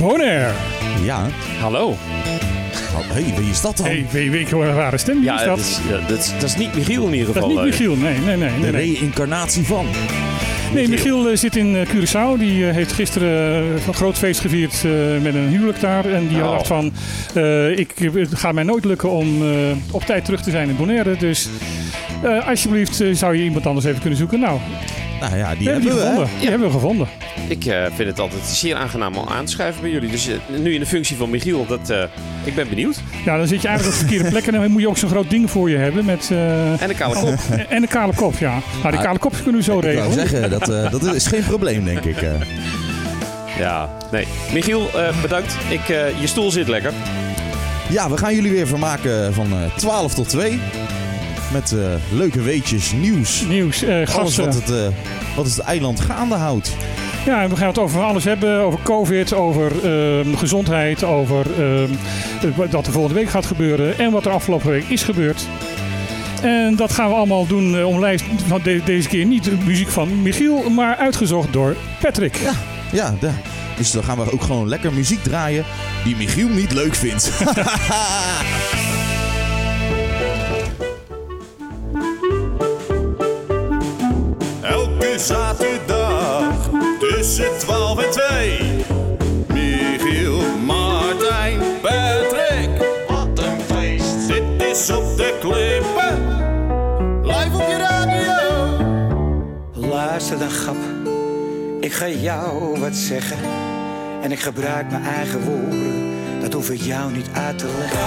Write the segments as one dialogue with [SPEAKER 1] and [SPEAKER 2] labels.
[SPEAKER 1] Oh. Ja.
[SPEAKER 2] Hallo.
[SPEAKER 1] Hé, hey, wie is dat dan?
[SPEAKER 3] Hey, weet, weet je wel een rare stem? Wie
[SPEAKER 2] Ja,
[SPEAKER 3] is
[SPEAKER 2] dat
[SPEAKER 3] dat?
[SPEAKER 2] is, eh, dat, is, dat is niet Michiel in ieder
[SPEAKER 3] Dat
[SPEAKER 2] geval.
[SPEAKER 3] is niet
[SPEAKER 2] eh.
[SPEAKER 3] Michiel, nee, nee,
[SPEAKER 1] De
[SPEAKER 3] nee. nee, nee.
[SPEAKER 1] reïncarnatie van.
[SPEAKER 3] Nee, Michiel eh, zit in eh, Curaçao. Die eh, heeft gisteren eh, een groot feest gevierd eh, met een huwelijk daar. En die
[SPEAKER 2] Oh.
[SPEAKER 3] dacht van, eh, ik, het gaat mij nooit lukken om eh, op tijd terug te zijn in Bonaire. Dus eh, alsjeblieft eh, zou je iemand anders even kunnen zoeken. Nou, die
[SPEAKER 1] Nou ja, die
[SPEAKER 3] hebben
[SPEAKER 1] hebben we.
[SPEAKER 3] we
[SPEAKER 1] hè?
[SPEAKER 3] gevonden. Die hebben we gevonden.
[SPEAKER 2] Ik eh, vind het altijd zeer aangenaam om aan te schuiven bij jullie. Dus eh, nu in de functie van Michiel, dat, eh, ik ben benieuwd.
[SPEAKER 3] Ja, dan zit je eigenlijk op de verkeerde plek. En dan moet je ook zo'n groot ding voor je hebben. Met, eh,
[SPEAKER 2] En de kale kop.
[SPEAKER 3] en een kale kop, ja. Nou, die kale kop kunnen we zo
[SPEAKER 1] Ik wou
[SPEAKER 3] regelen.
[SPEAKER 1] zeggen, dat, eh, dat is geen probleem, denk ik. eh.
[SPEAKER 3] Oh.
[SPEAKER 2] Ja, nee. Michiel, eh, bedankt. Ik, eh, je stoel zit lekker.
[SPEAKER 1] Ja, we gaan jullie weer vermaken van eh 12 tot 2. Met eh, leuke weetjes, nieuws.
[SPEAKER 3] Nieuws, eh
[SPEAKER 1] Alles
[SPEAKER 3] gasten.
[SPEAKER 1] wat het, eh, wat het eiland gaande houdt.
[SPEAKER 3] Ja, en we gaan het over van alles hebben. Over COVID, over ehm, gezondheid, over ehm, eh, wat er volgende week gaat gebeuren. En wat er afgelopen week is gebeurd. En dat gaan we allemaal doen eh, omlijst. Van de- deze keer niet de muziek van Michiel, maar uitgezocht door Patrick.
[SPEAKER 1] Ja, da. dus dan gaan we ook gewoon lekker muziek draaien die Michiel niet leuk vindt.
[SPEAKER 4] Elke zaterdag tussen 12 en 2. Michiel, Martijn, Patrick. Wat een feest. Dit is op de klippen. Live op je radio.
[SPEAKER 5] Luister dan, grap. Ik ga jou wat zeggen. En ik gebruik mijn eigen woorden. Dat hoef ik jou niet uit te leggen.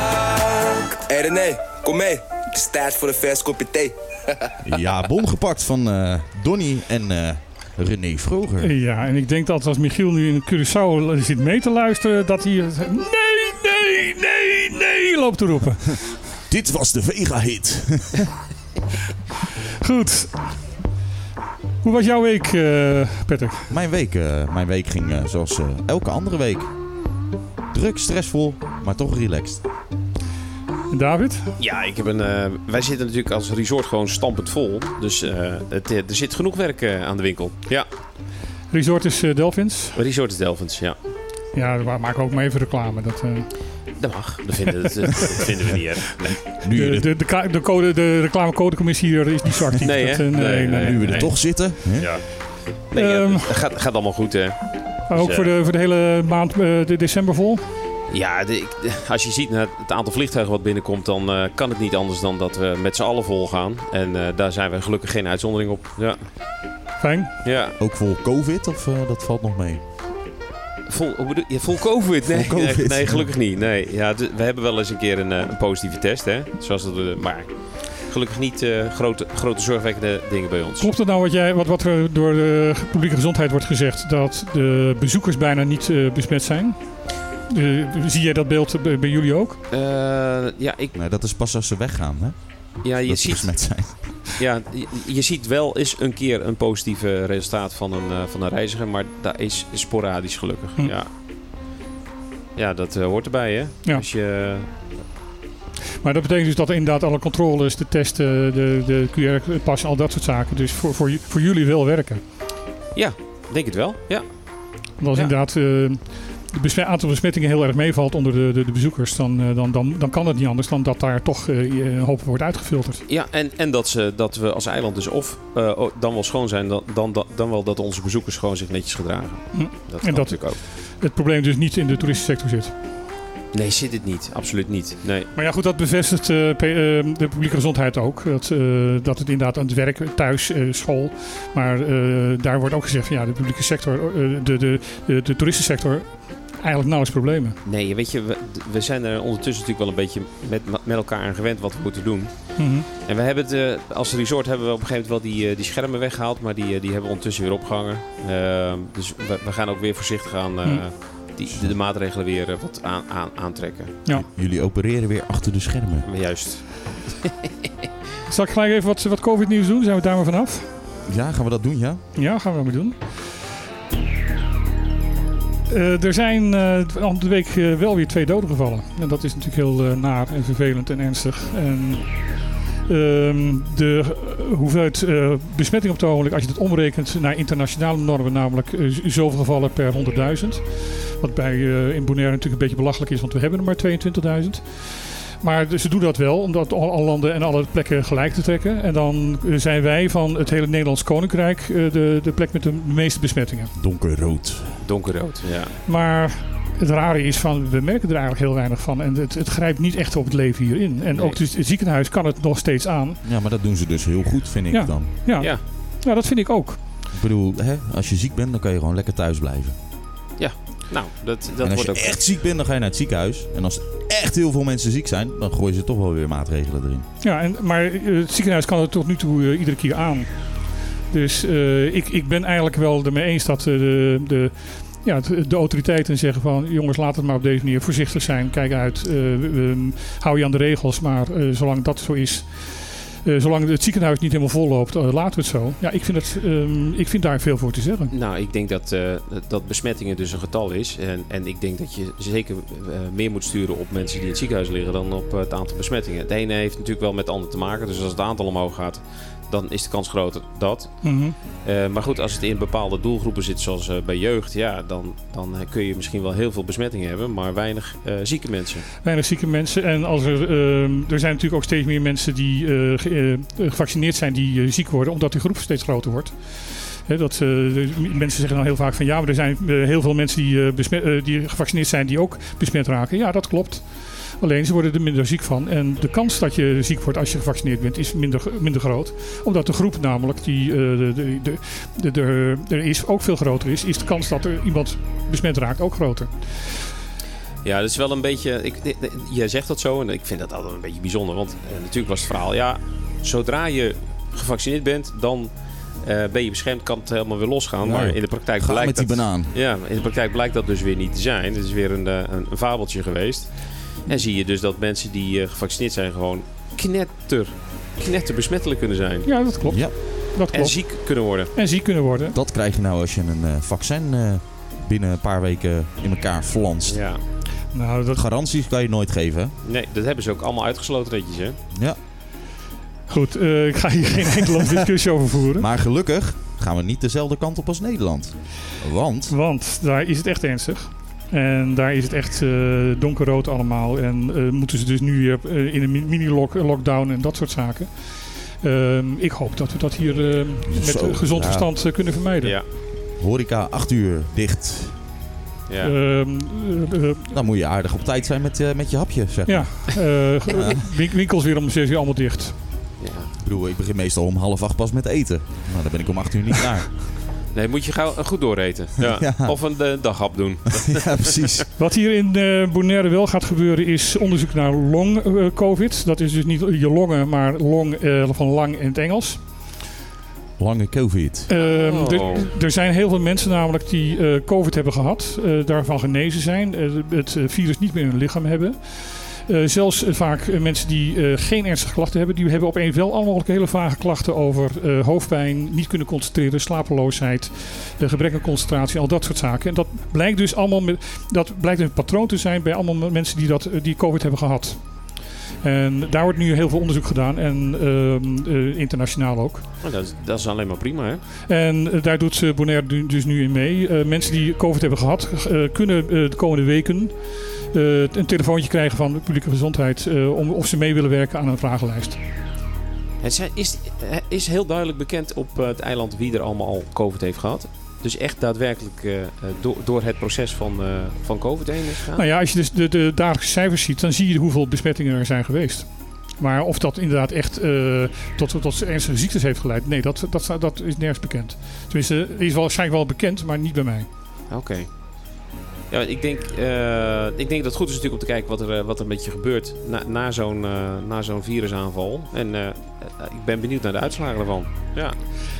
[SPEAKER 6] Hé René, kom mee. Het is tijd voor een vers kopje thee.
[SPEAKER 1] ja, bom gepakt van eh Donny en eh, René Vroger.
[SPEAKER 3] Ja, en ik denk dat als Michiel nu in Curaçao zit mee te luisteren, dat hij... Nee, nee, nee, nee, loopt te roepen.
[SPEAKER 1] Dit was de Vega-hit.
[SPEAKER 3] Goed. Hoe was jouw week, eh Patrick?
[SPEAKER 1] mijn, week, eh, mijn week ging eh, zoals eh, elke andere week. Druk, stressvol, maar toch relaxed.
[SPEAKER 3] David?
[SPEAKER 2] Ja, ik heb een, eh, wij zitten natuurlijk als resort gewoon stampend vol. Dus eh, het, eh, er zit genoeg werk eh, aan de winkel. Ja,
[SPEAKER 3] Resort is eh, Delphins.
[SPEAKER 2] Resort is Delvens, ja.
[SPEAKER 3] Ja, daar maken we ook maar even reclame. Dat, eh,
[SPEAKER 2] Dat mag. Dat vinden, dat, dat vinden we niet erg. Nee.
[SPEAKER 1] Nu we
[SPEAKER 3] de,
[SPEAKER 1] er,
[SPEAKER 3] de, de, ka- de, code, de reclamecodecommissie hier is niet zo actief.
[SPEAKER 2] Nee,
[SPEAKER 3] Dat,
[SPEAKER 2] hè?
[SPEAKER 3] eh,
[SPEAKER 2] Nee, nee,
[SPEAKER 1] nu we er toch zitten. Hè?
[SPEAKER 2] Ja. Nee, ja,
[SPEAKER 3] Ehm.
[SPEAKER 2] het gaat, gaat allemaal goed, hè.
[SPEAKER 3] Maar Ook
[SPEAKER 2] Dus,
[SPEAKER 3] voor de, voor de hele maand eh, de december vol.
[SPEAKER 2] Ja, de- ik- de- als je ziet naar het aantal vliegtuigen wat binnenkomt, dan eh, kan het niet anders dan dat we met z'n allen vol gaan. En eh, daar zijn we gelukkig geen uitzondering op. Ja,
[SPEAKER 3] Fijn.
[SPEAKER 2] ja.
[SPEAKER 1] Ook vol COVID, of eh, dat valt nog mee?
[SPEAKER 2] Vol, hoe bedoel- ja, vol COVID. Nee,
[SPEAKER 1] Vol COVID.
[SPEAKER 2] nee, nee, gelukkig niet. Nee. Ja, d- we hebben wel eens een keer een, eh, een positieve test, hè. Zoals dat we, maar gelukkig niet eh, grote, grote zorgwekkende dingen bij ons.
[SPEAKER 3] Klopt het nou wat, jij, wat, wat er door de publieke gezondheid wordt gezegd? Dat de bezoekers bijna niet eh, besmet zijn? Eh, zie jij dat beeld bij, bij jullie ook?
[SPEAKER 2] Eh, ja, ik,
[SPEAKER 1] Nou, dat is pas als ze weggaan, hè?
[SPEAKER 2] ja, je
[SPEAKER 1] dat ze
[SPEAKER 2] ziet
[SPEAKER 1] besmet zijn.
[SPEAKER 2] Ja, je, je ziet wel eens een keer een positief eh, resultaat van een, eh, van een reiziger, maar dat is sporadisch gelukkig.
[SPEAKER 3] Hm.
[SPEAKER 2] Ja. ja, dat eh, hoort erbij, hè?
[SPEAKER 3] Ja.
[SPEAKER 2] Als je,
[SPEAKER 3] Maar dat betekent dus dat inderdaad alle controles, de testen, de, de QR-pas, al dat soort zaken. Dus voor, voor, ju- voor jullie wel werken.
[SPEAKER 2] eh, denk het wel, ja.
[SPEAKER 3] Want als
[SPEAKER 2] Ja.
[SPEAKER 3] inderdaad het aantal besmettingen heel erg meevalt onder de, de, de bezoekers, dan, eh, dan, dan, dan kan het niet anders dan dat daar toch eh, je- een hoop wordt uitgefilterd.
[SPEAKER 2] ja en, en dat, ze, dat we als eiland dus of eh, o- dan wel schoon zijn, dan, dan, dan, dan wel dat onze bezoekers gewoon zich netjes gedragen.
[SPEAKER 3] Hm.
[SPEAKER 2] Dat
[SPEAKER 3] En
[SPEAKER 2] kan
[SPEAKER 3] dat-
[SPEAKER 2] natuurlijk ook.
[SPEAKER 3] Het probleem dus niet in de toeristensector zit.
[SPEAKER 2] Nee, zit het niet. Absoluut niet. Nee.
[SPEAKER 3] Maar ja, goed, dat bevestigt eh, P- eh, de publieke gezondheid ook. Dat, eh, dat het inderdaad aan het werk, thuis, eh, school. Maar eh, daar wordt ook gezegd, ja, de publieke sector, eh, de, de, de, de toeristensector, eigenlijk nauwelijks problemen.
[SPEAKER 2] nee, weet je, we, we zijn er ondertussen natuurlijk wel een beetje met, met elkaar aan gewend wat we moeten doen.
[SPEAKER 3] Mhm.
[SPEAKER 2] En we hebben het, eh, als resort hebben we op een gegeven moment wel die, eh, die schermen weggehaald, maar die, eh, die hebben we ondertussen weer opgehangen. Eh, dus we, we gaan ook weer voorzichtig aan eh,
[SPEAKER 3] Hmm.
[SPEAKER 2] die, de, de maatregelen weer eh, wat aan, aan, aantrekken.
[SPEAKER 1] Jullie opereren weer achter de schermen.
[SPEAKER 2] Maar juist.
[SPEAKER 3] Zal ik gelijk even wat, wat COVID-nieuws doen? Zijn we daar maar vanaf?
[SPEAKER 1] Ja, gaan we dat doen, ja?
[SPEAKER 3] Ja, gaan we maar doen. Eh, er zijn eh om de week eh, wel weer twee doden gevallen. En dat is natuurlijk heel eh, naar en vervelend en ernstig. En ehm, de hoeveelheid eh, besmetting op het ogenblik, als je dat omrekent naar internationale normen, namelijk eh, z- zoveel gevallen per 100.000. Wat bij, eh, in Bonaire natuurlijk een beetje belachelijk is, want we hebben er maar 22.000. Maar de- ze doen dat wel, om dat al- alle landen en alle plekken gelijk te trekken. En dan eh, zijn wij van het hele Nederlands Koninkrijk eh, de, de plek met de meeste besmettingen.
[SPEAKER 1] Donkerrood.
[SPEAKER 2] Donkerrood. Ja.
[SPEAKER 3] Maar het rare is van, we merken er eigenlijk heel weinig van. En het, het grijpt niet echt op het leven hierin. En
[SPEAKER 2] Nee.
[SPEAKER 3] ook het het ziekenhuis kan het nog steeds aan.
[SPEAKER 1] Ja, maar dat doen ze dus heel goed, vind ik
[SPEAKER 3] Ja.
[SPEAKER 1] dan.
[SPEAKER 3] Ja,
[SPEAKER 2] Ja.
[SPEAKER 3] ja. dat vind ik ook.
[SPEAKER 1] Ik bedoel, hè, als je ziek bent, dan kan je gewoon lekker thuis blijven.
[SPEAKER 2] Nou, dat,
[SPEAKER 1] en
[SPEAKER 2] dat
[SPEAKER 1] als
[SPEAKER 2] wordt
[SPEAKER 1] je
[SPEAKER 2] ook.
[SPEAKER 1] echt ziek bent, dan ga je naar het ziekenhuis. En als echt heel veel mensen ziek zijn, dan gooien ze toch wel weer maatregelen erin.
[SPEAKER 3] Ja, en, maar eh, het ziekenhuis kan het tot nu toe eh, iedere keer aan. Dus eh, ik, ik ben eigenlijk wel ermee eens dat eh, de, de, ja, het- de autoriteiten zeggen van... jongens, laat het maar op deze manier voorzichtig zijn. Kijk uit, eh, ehm, hou je aan de regels. Maar eh, zolang dat zo is... eh, zolang het ziekenhuis niet helemaal vol loopt, eh, laten we het zo. Ja, ik vind, het, ehm, ik vind daar veel voor te zeggen.
[SPEAKER 2] Nou, ik denk dat, eh, dat besmettingen dus een getal is. En, en ik denk dat je zeker eh, meer moet sturen op mensen die in het ziekenhuis liggen dan op eh, het aantal besmettingen. Het ene heeft natuurlijk wel met het ander te maken. Dus als het aantal omhoog gaat, dan is de kans groter dat.
[SPEAKER 3] Mhm.
[SPEAKER 2] Eh, maar goed, als het in bepaalde doelgroepen zit, zoals eh, bij jeugd, ja, dan, dan eh, kun je misschien wel heel veel besmettingen hebben, maar weinig eh, zieke mensen.
[SPEAKER 3] Weinig zieke mensen. En als er, ehm, er zijn natuurlijk ook steeds meer mensen die eh, ge- eh, gevaccineerd zijn die eh, ziek worden, omdat die groep steeds groter wordt. Hè, dat, eh, de- mensen zeggen dan heel vaak van ja, maar er zijn eh, heel veel mensen die, eh, besmet, eh, die gevaccineerd zijn die ook besmet raken. Ja, dat klopt. Alleen ze worden er minder ziek van. En de kans dat je ziek wordt als je gevaccineerd bent is minder, minder groot. Omdat de groep namelijk die eh, de, de, de, de- de- er is, ook veel groter is, is de kans dat er iemand besmet raakt ook groter.
[SPEAKER 2] Ja, dat is wel een beetje. Ik, ik- ik- jij zegt dat zo en ik vind dat altijd een beetje bijzonder. Want eh, natuurlijk was het verhaal, ja, zodra je gevaccineerd bent, dan eh, ben je beschermd, kan het helemaal weer losgaan.
[SPEAKER 1] Ja,
[SPEAKER 2] maar
[SPEAKER 1] joh.
[SPEAKER 2] in de praktijk
[SPEAKER 1] Ga
[SPEAKER 2] blijkt
[SPEAKER 1] met die
[SPEAKER 2] dat,
[SPEAKER 1] banaan.
[SPEAKER 2] Ja, in de praktijk blijkt dat dus weer niet te zijn. Het is weer een, eh, een, een fabeltje geweest. En zie je dus dat mensen die eh, gevaccineerd zijn gewoon knetter, knetter besmettelijk kunnen zijn.
[SPEAKER 3] Ja, dat klopt.
[SPEAKER 1] Ja.
[SPEAKER 3] Dat
[SPEAKER 2] En
[SPEAKER 3] klopt.
[SPEAKER 2] ziek kunnen worden.
[SPEAKER 3] en ziek kunnen worden.
[SPEAKER 1] Dat krijg je nou als je een eh, vaccin eh, binnen een paar weken in elkaar flanst.
[SPEAKER 2] Ja.
[SPEAKER 3] Nou, dat
[SPEAKER 1] Garanties kan je nooit geven, hè?
[SPEAKER 2] Nee, dat hebben ze ook allemaal uitgesloten netjes, hè?
[SPEAKER 1] Ja.
[SPEAKER 3] goed. eh, ik ga hier geen enkele discussie over voeren.
[SPEAKER 1] Maar gelukkig gaan we niet dezelfde kant op als Nederland. Want
[SPEAKER 3] Want daar is het echt ernstig. En daar is het echt eh, donkerrood allemaal. En eh, moeten ze dus nu weer eh, in een mi- mini-lockdown en dat soort zaken. Ehm, ik hoop dat we dat hier eh, met
[SPEAKER 1] Zo,
[SPEAKER 3] gezond
[SPEAKER 1] ja.
[SPEAKER 3] verstand eh, kunnen vermijden.
[SPEAKER 2] Ja.
[SPEAKER 1] horeca 8 uur dicht.
[SPEAKER 2] ja.
[SPEAKER 3] Ehm, eh, eh,
[SPEAKER 1] Dan moet je aardig op tijd zijn met, eh, met je hapje, zeg.
[SPEAKER 3] ja. Eh, win- winkels weer om 6 uur allemaal dicht.
[SPEAKER 2] ja.
[SPEAKER 1] Ik bedoel, ik begin meestal om half acht pas met eten. Maar dan ben ik om 8 uur niet klaar.
[SPEAKER 2] Nee, moet je gauw eh, goed dooreten. Ja.
[SPEAKER 1] Ja.
[SPEAKER 2] Of een eh, daghap doen.
[SPEAKER 1] ja, precies.
[SPEAKER 3] Wat hier in eh, Bonaire wel gaat gebeuren is onderzoek naar long eh, covid. Dat is dus niet je longen, maar long eh, van lang in het Engels.
[SPEAKER 1] Lange covid.
[SPEAKER 3] Ehm,
[SPEAKER 2] Oh.
[SPEAKER 3] er- Er zijn heel veel mensen namelijk die eh, covid hebben gehad, eh, daarvan genezen zijn, eh, het eh, virus niet meer in hun lichaam hebben. Eh, zelfs eh, vaak eh, mensen die eh, geen ernstige klachten hebben, die hebben opeens wel allemaal hele vage klachten over eh, hoofdpijn, niet kunnen concentreren, slapeloosheid, eh, gebrek aan concentratie, al dat soort zaken. En dat blijkt dus allemaal met, dat blijkt een patroon te zijn bij allemaal mensen die, dat, eh, die COVID hebben gehad. En daar wordt nu heel veel onderzoek gedaan en ehm, eh, internationaal ook.
[SPEAKER 2] Maar dat, is, dat is alleen maar prima, hè?
[SPEAKER 3] En eh, daar doet eh, Bonaire du- dus nu in mee. Eh, mensen die COVID hebben gehad, eh, kunnen eh, de komende weken eh, een telefoontje krijgen van de publieke gezondheid eh, om of ze mee willen werken aan een vragenlijst.
[SPEAKER 2] Het zijn- is, eh, is heel duidelijk bekend op eh, het eiland wie er allemaal al COVID heeft gehad. Dus echt daadwerkelijk eh, eh, door, door het proces van, eh, van COVID heen is gegaan.
[SPEAKER 3] Nou ja, als je dus de, de dagelijkse cijfers ziet, dan zie je hoeveel besmettingen er zijn geweest. Maar of dat inderdaad echt eh, tot, tot ernstige ziektes heeft geleid, nee, dat, dat, dat is nergens bekend. Tenminste, eh, is wel, waarschijnlijk wel bekend, maar niet bij mij.
[SPEAKER 2] Oké. Ja, ik denk, eh, ik denk dat het goed is natuurlijk om te kijken wat er, eh, wat er met je gebeurt na, na zo'n eh, na zo'n virusaanval. En eh, eh, ik ben benieuwd naar de uitslagen ervan. Ja.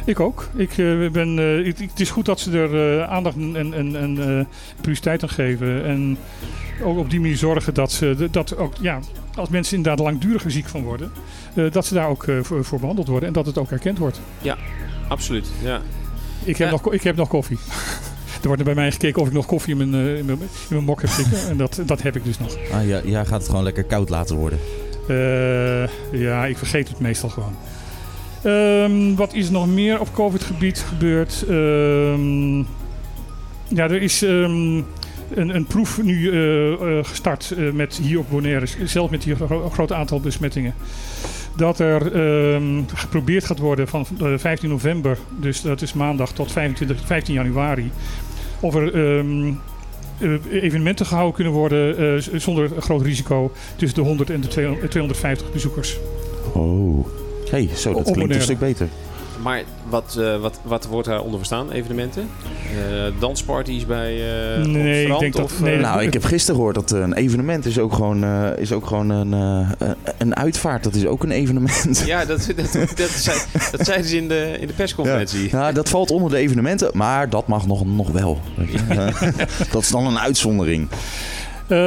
[SPEAKER 3] Ik ook. Ik, eh, ben, eh, ik- ik- het is goed dat ze er eh, aandacht en, en, en eh, prioriteit aan geven. En ook op die manier zorgen dat ze de- dat ook, ja, als mensen inderdaad langduriger ziek van worden, eh, dat ze daar ook eh, voor, voor behandeld worden en dat het ook erkend wordt.
[SPEAKER 2] Absoluut. Ja.
[SPEAKER 3] Ik heb,
[SPEAKER 2] Ja.
[SPEAKER 3] nog, ko- ik heb nog koffie. er wordt er bij mij gekeken of ik nog koffie in mijn, eh, in mijn, in mijn mok heb zitten. en dat, dat heb ik dus nog.
[SPEAKER 1] Ah, ja, jij gaat het gewoon lekker koud laten worden.
[SPEAKER 3] Eh, ja, ik vergeet het meestal gewoon. Ehm, wat is er nog meer op COVID-gebied gebeurd? Ehm, ja, er is ehm, een, een proef nu eh, eh, gestart eh, met hier op Bonaire, dus zelf met hier een gro- groot aantal besmettingen. Dat er ehm, geprobeerd gaat worden van eh, 15 november, dus dat is maandag tot 25, 15 januari, of er ehm, eh, evenementen gehouden kunnen worden eh, z- zonder groot risico tussen de 100 en de 200 250 bezoekers.
[SPEAKER 1] Oh. hey, zo, dat
[SPEAKER 3] Op-
[SPEAKER 1] klinkt een
[SPEAKER 3] moderne.
[SPEAKER 1] stuk beter.
[SPEAKER 2] Maar wat, eh, wat, wat wordt daar onder verstaan? Evenementen? Eh, dansparties bij eh, op
[SPEAKER 3] Nee,
[SPEAKER 2] het
[SPEAKER 3] ik
[SPEAKER 2] strand?
[SPEAKER 3] denk dat-
[SPEAKER 2] of,
[SPEAKER 3] nee,
[SPEAKER 2] eh,
[SPEAKER 3] dat-
[SPEAKER 1] Nou, ik heb gisteren gehoord dat eh, een evenement is ook gewoon, eh, is ook gewoon een, eh, eh, een uitvaart. Dat is ook een evenement.
[SPEAKER 2] eh, Ja, dat, dat, dat, zei, dat zeiden ze in de, in de persconferentie.
[SPEAKER 1] Nou, dat valt onder de evenementen, maar dat mag nog, nog wel. Eh, dat is dan een uitzondering.
[SPEAKER 3] Eh,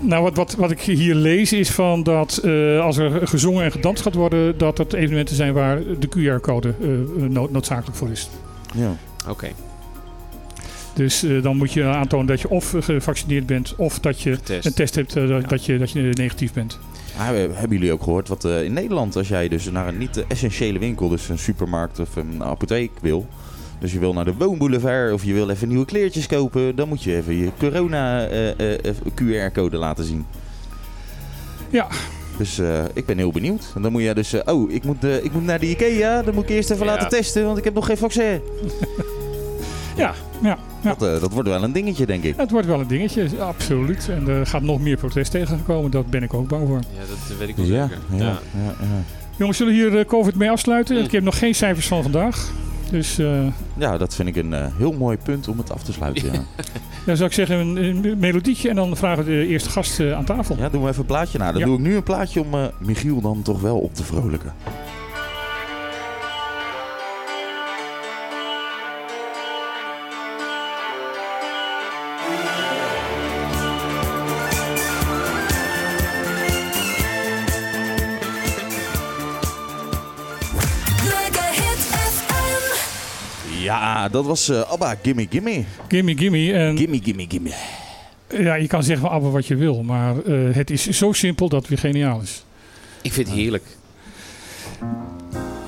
[SPEAKER 3] nou, wat, wat, wat ik hier lees is van dat eh, als er gezongen en gedanst gaat worden, dat dat evenementen zijn waar de QR-code eh, nood- noodzakelijk voor is.
[SPEAKER 1] Ja.
[SPEAKER 2] Oké.
[SPEAKER 3] Dus eh, dan moet je aantonen dat je of gevaccineerd bent of dat je
[SPEAKER 2] Getest.
[SPEAKER 3] een test hebt eh, dat,
[SPEAKER 2] Ja.
[SPEAKER 3] dat, je, dat je negatief bent.
[SPEAKER 1] Ah, we- hebben jullie ook gehoord wat eh, in Nederland, als jij dus naar een niet-essentiële winkel, dus een supermarkt of een apotheek wil. Dus je wil naar de woonboulevard of je wil even nieuwe kleertjes kopen. Dan moet je even je eh, corona-QR-code laten zien.
[SPEAKER 3] Ja.
[SPEAKER 1] Dus eh, ik ben heel benieuwd. En dan moet jij dus... eh, oh, ik moet, eh, ik moet naar de IKEA. Dan moet ik eerst even
[SPEAKER 2] Ja.
[SPEAKER 1] laten testen, want ik heb nog geen vaccin.
[SPEAKER 3] Ja, ja, ja.
[SPEAKER 1] Dat, eh, dat wordt wel een dingetje, denk ik.
[SPEAKER 3] Het wordt wel een dingetje, absoluut. En er gaat nog meer protest tegenkomen, daar ben ik ook bang voor.
[SPEAKER 2] Ja, dat weet ik wel
[SPEAKER 1] Dus ja,
[SPEAKER 2] zeker.
[SPEAKER 1] ja, ja. ja.
[SPEAKER 3] Jongens, zullen we hier eh, COVID mee afsluiten?
[SPEAKER 2] Hm.
[SPEAKER 3] Ik heb nog geen cijfers van vandaag. Dus eh
[SPEAKER 1] Ja, dat vind ik een eh, heel mooi punt om het af te sluiten. Ja,
[SPEAKER 3] dan zou ik zeggen een, een melodietje en dan vragen we de eerste gast eh, aan tafel.
[SPEAKER 1] ja doen we even een plaatje na. Dan
[SPEAKER 3] Ja.
[SPEAKER 1] doe ik nu een plaatje om eh, Michiel dan toch wel op te vrolijken.
[SPEAKER 7] Mega Hit FM.
[SPEAKER 1] Ja, dat was eh, ABBA Gimme Gimme.
[SPEAKER 3] Gimme, gimme. En
[SPEAKER 1] Gimme Gimme Gimme.
[SPEAKER 3] ja, je kan zeggen van Abba wat je wil, maar eh, het is zo simpel dat het weer geniaal is.
[SPEAKER 2] Ik vind het heerlijk.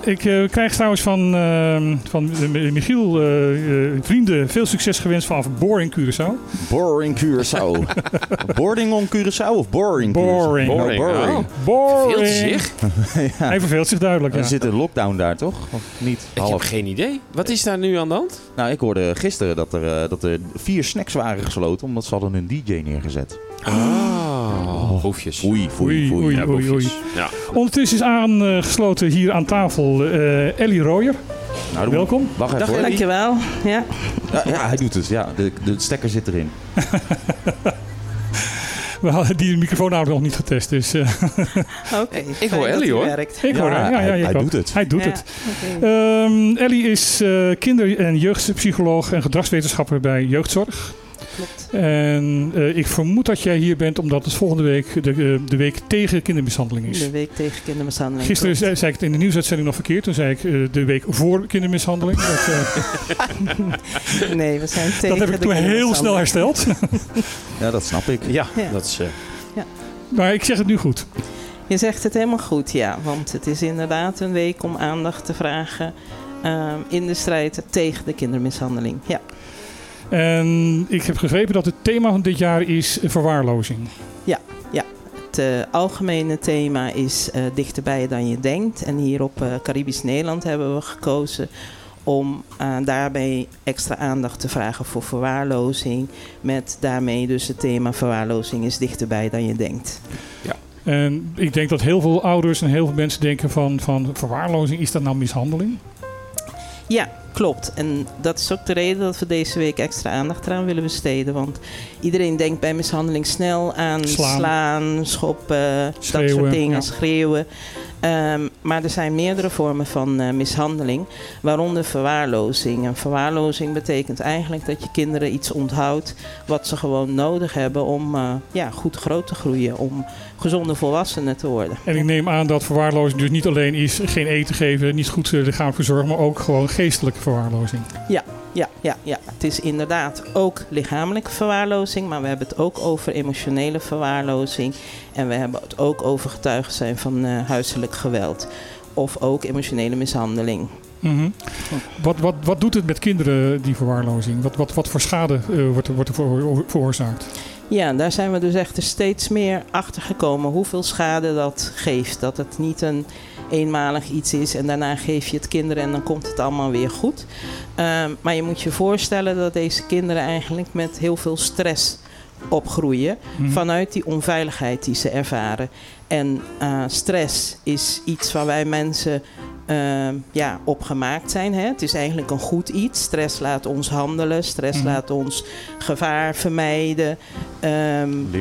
[SPEAKER 3] Ik eh, krijg trouwens van, eh, van eh, Michiel eh, eh, vrienden veel succes gewenst vanaf Boring Curaçao.
[SPEAKER 1] Boring Curaçao. Boarding on Curaçao of boring? Curaçao?
[SPEAKER 3] Boring.
[SPEAKER 1] Oh,
[SPEAKER 2] Boring,
[SPEAKER 1] boring.
[SPEAKER 2] oh.
[SPEAKER 3] Boring!
[SPEAKER 2] Heel zich?
[SPEAKER 3] Hij verveelt zich duidelijk,
[SPEAKER 1] Er
[SPEAKER 3] ja.
[SPEAKER 1] zit een lockdown daar toch? Of niet?
[SPEAKER 2] Ik heb geen idee. Wat is daar nu aan de hand?
[SPEAKER 1] Nou, ik hoorde gisteren dat er, eh, dat er vier snacks waren gesloten omdat ze hadden een DJ neergezet.
[SPEAKER 2] Ah, hoefjes.
[SPEAKER 1] Oei,
[SPEAKER 3] Oei,
[SPEAKER 1] oei, oei.
[SPEAKER 3] oei, oei, oei.
[SPEAKER 2] Ja.
[SPEAKER 3] Ondertussen is aangesloten hier aan tafel eh, Ellie Royer.
[SPEAKER 1] Nou, doe-
[SPEAKER 3] Welkom.
[SPEAKER 1] Wacht even hoor.
[SPEAKER 8] Dankjewel. Ja.
[SPEAKER 1] Ja, ja, hij doet het. Ja, de, de stekker zit erin.
[SPEAKER 3] We hadden die microfoonhouder nog niet getest, dus eh,
[SPEAKER 8] Oké.
[SPEAKER 2] ik hoor Ellie, hoor.
[SPEAKER 3] ik hoor
[SPEAKER 1] Ja,
[SPEAKER 3] haar. Ja, ja,
[SPEAKER 1] hij-
[SPEAKER 3] je
[SPEAKER 1] hij
[SPEAKER 3] kan-
[SPEAKER 1] doet het.
[SPEAKER 3] Hij doet het. Ehm, Ellie is eh, kinder- en jeugdpsycholoog en gedragswetenschapper bij jeugdzorg.
[SPEAKER 8] Klopt.
[SPEAKER 3] En eh, ik vermoed dat jij hier bent omdat het volgende week de, eh, de week tegen kindermishandeling is.
[SPEAKER 8] De week tegen kindermishandeling.
[SPEAKER 3] Gisteren
[SPEAKER 8] klopt.
[SPEAKER 3] zei, zei ik het in de nieuwsuitzending nog verkeerd. Toen zei ik eh, de week voor kindermishandeling. Dat, eh,
[SPEAKER 8] Nee, we zijn tegen
[SPEAKER 3] dat heb ik
[SPEAKER 8] de
[SPEAKER 3] toen heel snel
[SPEAKER 8] kindermishandeling.
[SPEAKER 3] hersteld.
[SPEAKER 1] Ja, dat snap ik.
[SPEAKER 2] Ja,
[SPEAKER 8] Ja.
[SPEAKER 2] dat is... eh,
[SPEAKER 3] maar ik zeg het nu goed.
[SPEAKER 8] Je zegt het helemaal goed, ja. Want het is inderdaad een week om aandacht te vragen ehm, in de strijd tegen de kindermishandeling. Ja,
[SPEAKER 3] En ik heb begrepen dat het thema van dit jaar is verwaarlozing.
[SPEAKER 8] het eh, algemene thema is eh, dichterbij dan je denkt. En hier op eh, Caribisch Nederland hebben we gekozen om eh, daarbij extra aandacht te vragen voor verwaarlozing. Met daarmee dus het thema verwaarlozing is dichterbij dan je denkt.
[SPEAKER 3] En ik denk dat heel veel ouders en heel veel mensen denken van, van verwaarlozing, is dat nou mishandeling?
[SPEAKER 8] Ja, klopt. En dat is ook de reden dat we deze week extra aandacht eraan willen besteden. Want iedereen denkt bij mishandeling snel aan
[SPEAKER 3] Slaan.
[SPEAKER 8] slaan, schoppen, dat
[SPEAKER 3] Schreeuwen,
[SPEAKER 8] soort dingen,
[SPEAKER 3] ja.
[SPEAKER 8] schreeuwen. Ehm, maar er zijn meerdere vormen van eh, mishandeling, waaronder verwaarlozing. En verwaarlozing betekent eigenlijk dat je kinderen iets onthoudt wat ze gewoon nodig hebben om eh, ja, goed groot te groeien, om gezonde volwassenen te worden.
[SPEAKER 3] En ik neem aan dat verwaarlozing dus niet alleen is geen eten geven, niet goed eh, lichamelijk verzorgen, maar ook gewoon geestelijke verwaarlozing.
[SPEAKER 8] Ja, ja, ja, het is inderdaad ook lichamelijke verwaarlozing, maar we hebben het ook over emotionele verwaarlozing. En we hebben het ook over getuigen zijn van eh, huiselijk geweld. Of ook emotionele mishandeling.
[SPEAKER 3] Mhm. Wat, wat, wat doet het met kinderen, die verwaarlozing? Wat, wat, wat voor schade eh, wordt, er- wordt er voor- veroorzaakt?
[SPEAKER 8] Ja, daar zijn we dus echt er steeds meer achter gekomen hoeveel schade dat geeft. Dat het niet een eenmalig iets is en daarna geef je het kinderen en dan komt het allemaal weer goed. Ehm, maar je moet je voorstellen dat deze kinderen eigenlijk met heel veel stress opgroeien vanuit die onveiligheid die ze ervaren. En eh, stress is iets waar wij mensen eh, ja, op gemaakt zijn. Hè? Het is eigenlijk een goed iets. Stress laat ons handelen, stress laat ons gevaar vermijden. Ehm,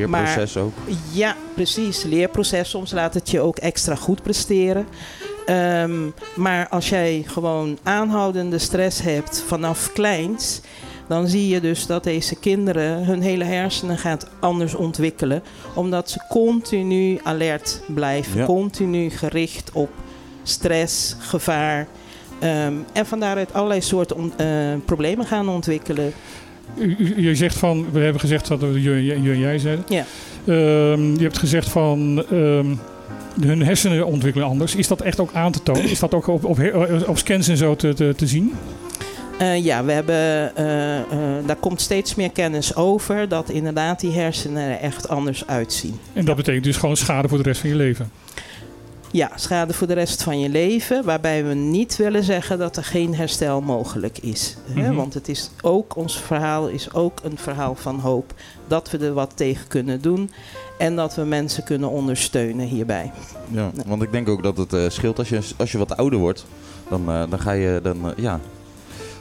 [SPEAKER 8] maar-
[SPEAKER 1] Leerproces ook.
[SPEAKER 8] ja, precies. Leerproces. Soms laat het je ook extra goed presteren. Ehm, maar als jij gewoon aanhoudende stress hebt vanaf kleins, dan zie je dus dat deze kinderen hun hele hersenen gaat anders ontwikkelen. Omdat ze continu alert blijven,
[SPEAKER 1] Ja.
[SPEAKER 8] continu gericht op stress, gevaar. ehm, en van daaruit allerlei soorten on- eh, problemen gaan ontwikkelen.
[SPEAKER 3] U, u- je zegt van, we hebben gezegd dat we je, je, je en jij zeiden.
[SPEAKER 8] Ja.
[SPEAKER 3] Ehm, je hebt gezegd van, ehm, hun hersenen ontwikkelen anders. Is dat echt ook aan te tonen? Is dat ook op, op, he- op scans en zo te, te, te zien?
[SPEAKER 8] Eh, ja, we hebben, eh, eh, daar komt steeds meer kennis over dat inderdaad die hersenen er echt anders uitzien.
[SPEAKER 3] En dat betekent dus gewoon schade voor de rest van je leven.
[SPEAKER 8] Ja, schade voor de rest van je leven, waarbij we niet willen zeggen dat er geen herstel mogelijk is. Hè?
[SPEAKER 3] Mhm.
[SPEAKER 8] Want het is ook, ons verhaal is ook een verhaal van hoop dat we er wat tegen kunnen doen en dat we mensen kunnen ondersteunen hierbij.
[SPEAKER 1] Ja, want ik denk ook dat het eh, scheelt als je, als je wat ouder wordt. Dan, eh, dan ga je, dan, eh, ja.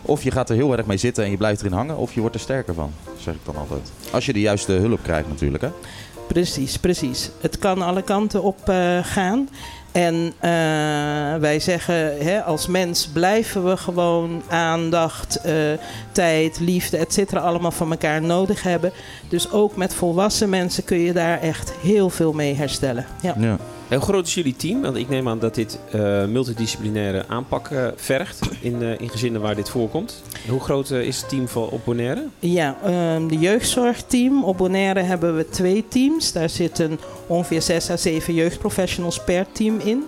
[SPEAKER 1] Of je gaat er heel erg mee zitten en je blijft erin hangen, of je wordt er sterker van, zeg ik dan altijd. Als je de juiste hulp krijgt natuurlijk, hè.
[SPEAKER 8] Precies, precies. Het kan alle kanten op eh, gaan. En eh, wij zeggen, hè, als mens blijven we gewoon aandacht, eh, tijd, liefde, et cetera, allemaal van elkaar nodig hebben. Dus ook met volwassen mensen kun je daar echt heel veel mee herstellen. Ja.
[SPEAKER 1] Ja.
[SPEAKER 2] En Hoe groot is jullie team? Want ik neem aan dat dit eh, multidisciplinaire aanpak eh, vergt in, eh, in gezinnen waar dit voorkomt. En hoe groot eh, is het team van op Bonaire?
[SPEAKER 8] Ja, ehm, de jeugdzorgteam. Op Bonaire hebben we twee teams. Daar zitten ongeveer 6 à 7 jeugdprofessionals per team in.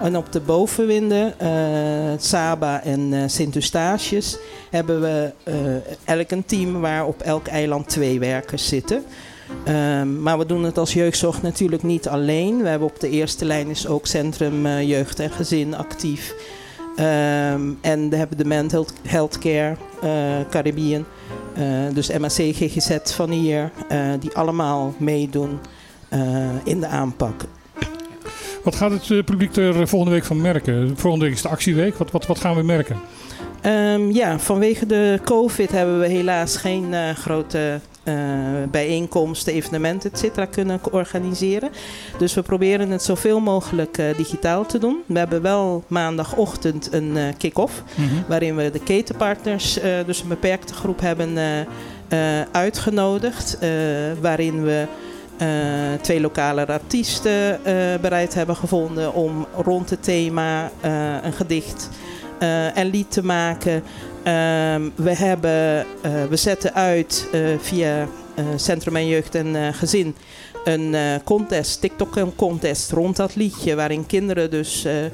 [SPEAKER 8] En op de bovenwinden, eh, Saba en eh, Sint-Eustatius, hebben we eh, elk een team waar op elk eiland twee werkers zitten. Ehm, maar we doen het als jeugdzorg natuurlijk niet alleen. We hebben op de eerste lijn is ook Centrum eh, Jeugd en Gezin actief. Ehm, en we hebben de Mental Healthcare eh, Caribbean. Eh, dus MAC, GGZ van hier, eh, die allemaal meedoen eh, in de aanpak.
[SPEAKER 3] Wat gaat het eh, publiek er volgende week van merken? Volgende week is de actieweek. Wat, wat, wat gaan we merken?
[SPEAKER 8] Ehm, ja, vanwege de COVID hebben we helaas geen eh, grote eh, bijeenkomsten, evenementen, et cetera, kunnen ko- organiseren. Dus we proberen het zoveel mogelijk eh, digitaal te doen. We hebben wel maandagochtend een eh, kick-off. waarin we de ketenpartners, eh, dus een beperkte groep, hebben eh, eh, uitgenodigd. eh, waarin we eh, twee lokale artiesten eh, bereid hebben gevonden om rond het thema eh, een gedicht eh, en lied te maken. Ehm, we, hebben, eh, we zetten uit eh, via eh, Centrum en Jeugd en eh, Gezin een eh, contest, TikTok-contest rond dat liedje, waarin kinderen dus eh,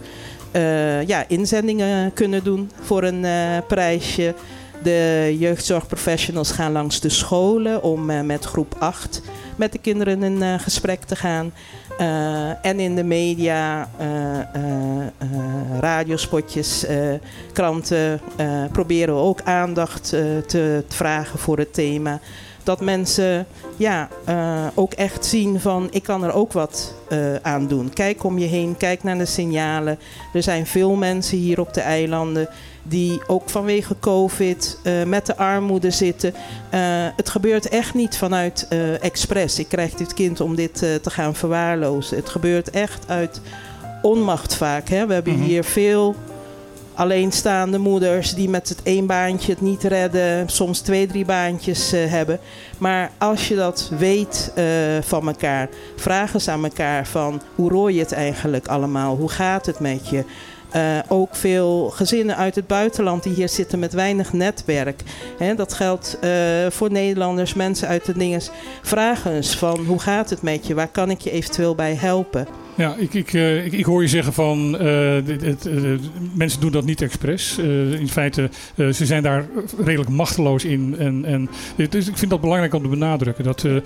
[SPEAKER 8] eh, ja, inzendingen kunnen doen voor een eh, prijsje. De jeugdzorgprofessionals gaan langs de scholen om eh, met groep 8 met de kinderen in eh, gesprek te gaan. Eh, en in de media, eh, eh, eh, radiospotjes, eh, kranten eh, proberen we ook aandacht eh, te vragen voor het thema. Dat mensen ja, eh, ook echt zien van ik kan er ook wat eh, aan doen. Kijk om je heen, kijk naar de signalen. Er zijn veel mensen hier op de eilanden die ook vanwege COVID eh, met de armoede zitten. Eh, het gebeurt echt niet vanuit eh, expres. Ik krijg dit kind om dit eh, te gaan verwaarlozen. Het gebeurt echt uit onmacht vaak. Hè? We hebben
[SPEAKER 3] Mhm.
[SPEAKER 8] hier veel alleenstaande moeders die met het één baantje het niet redden, soms twee, drie baantjes eh, hebben. Maar als je dat weet eh, van elkaar, vraag eens aan elkaar van hoe rooi je het eigenlijk allemaal? Hoe gaat het met je? eh, ook veel gezinnen uit het buitenland die hier zitten met weinig netwerk. Hè, dat geldt eh, voor Nederlanders, mensen uit de dinges. Vragen eens van hoe gaat het met je? Waar kan ik je eventueel bij helpen?
[SPEAKER 3] Ja, ik, ik, eh, ik, ik hoor je zeggen van eh, dit- het, eh, mensen doen dat niet expres. Eh, in feite, eh, ze zijn daar redelijk machteloos in. En, en, dit is- ik vind dat belangrijk om te benadrukken. Dat, eh,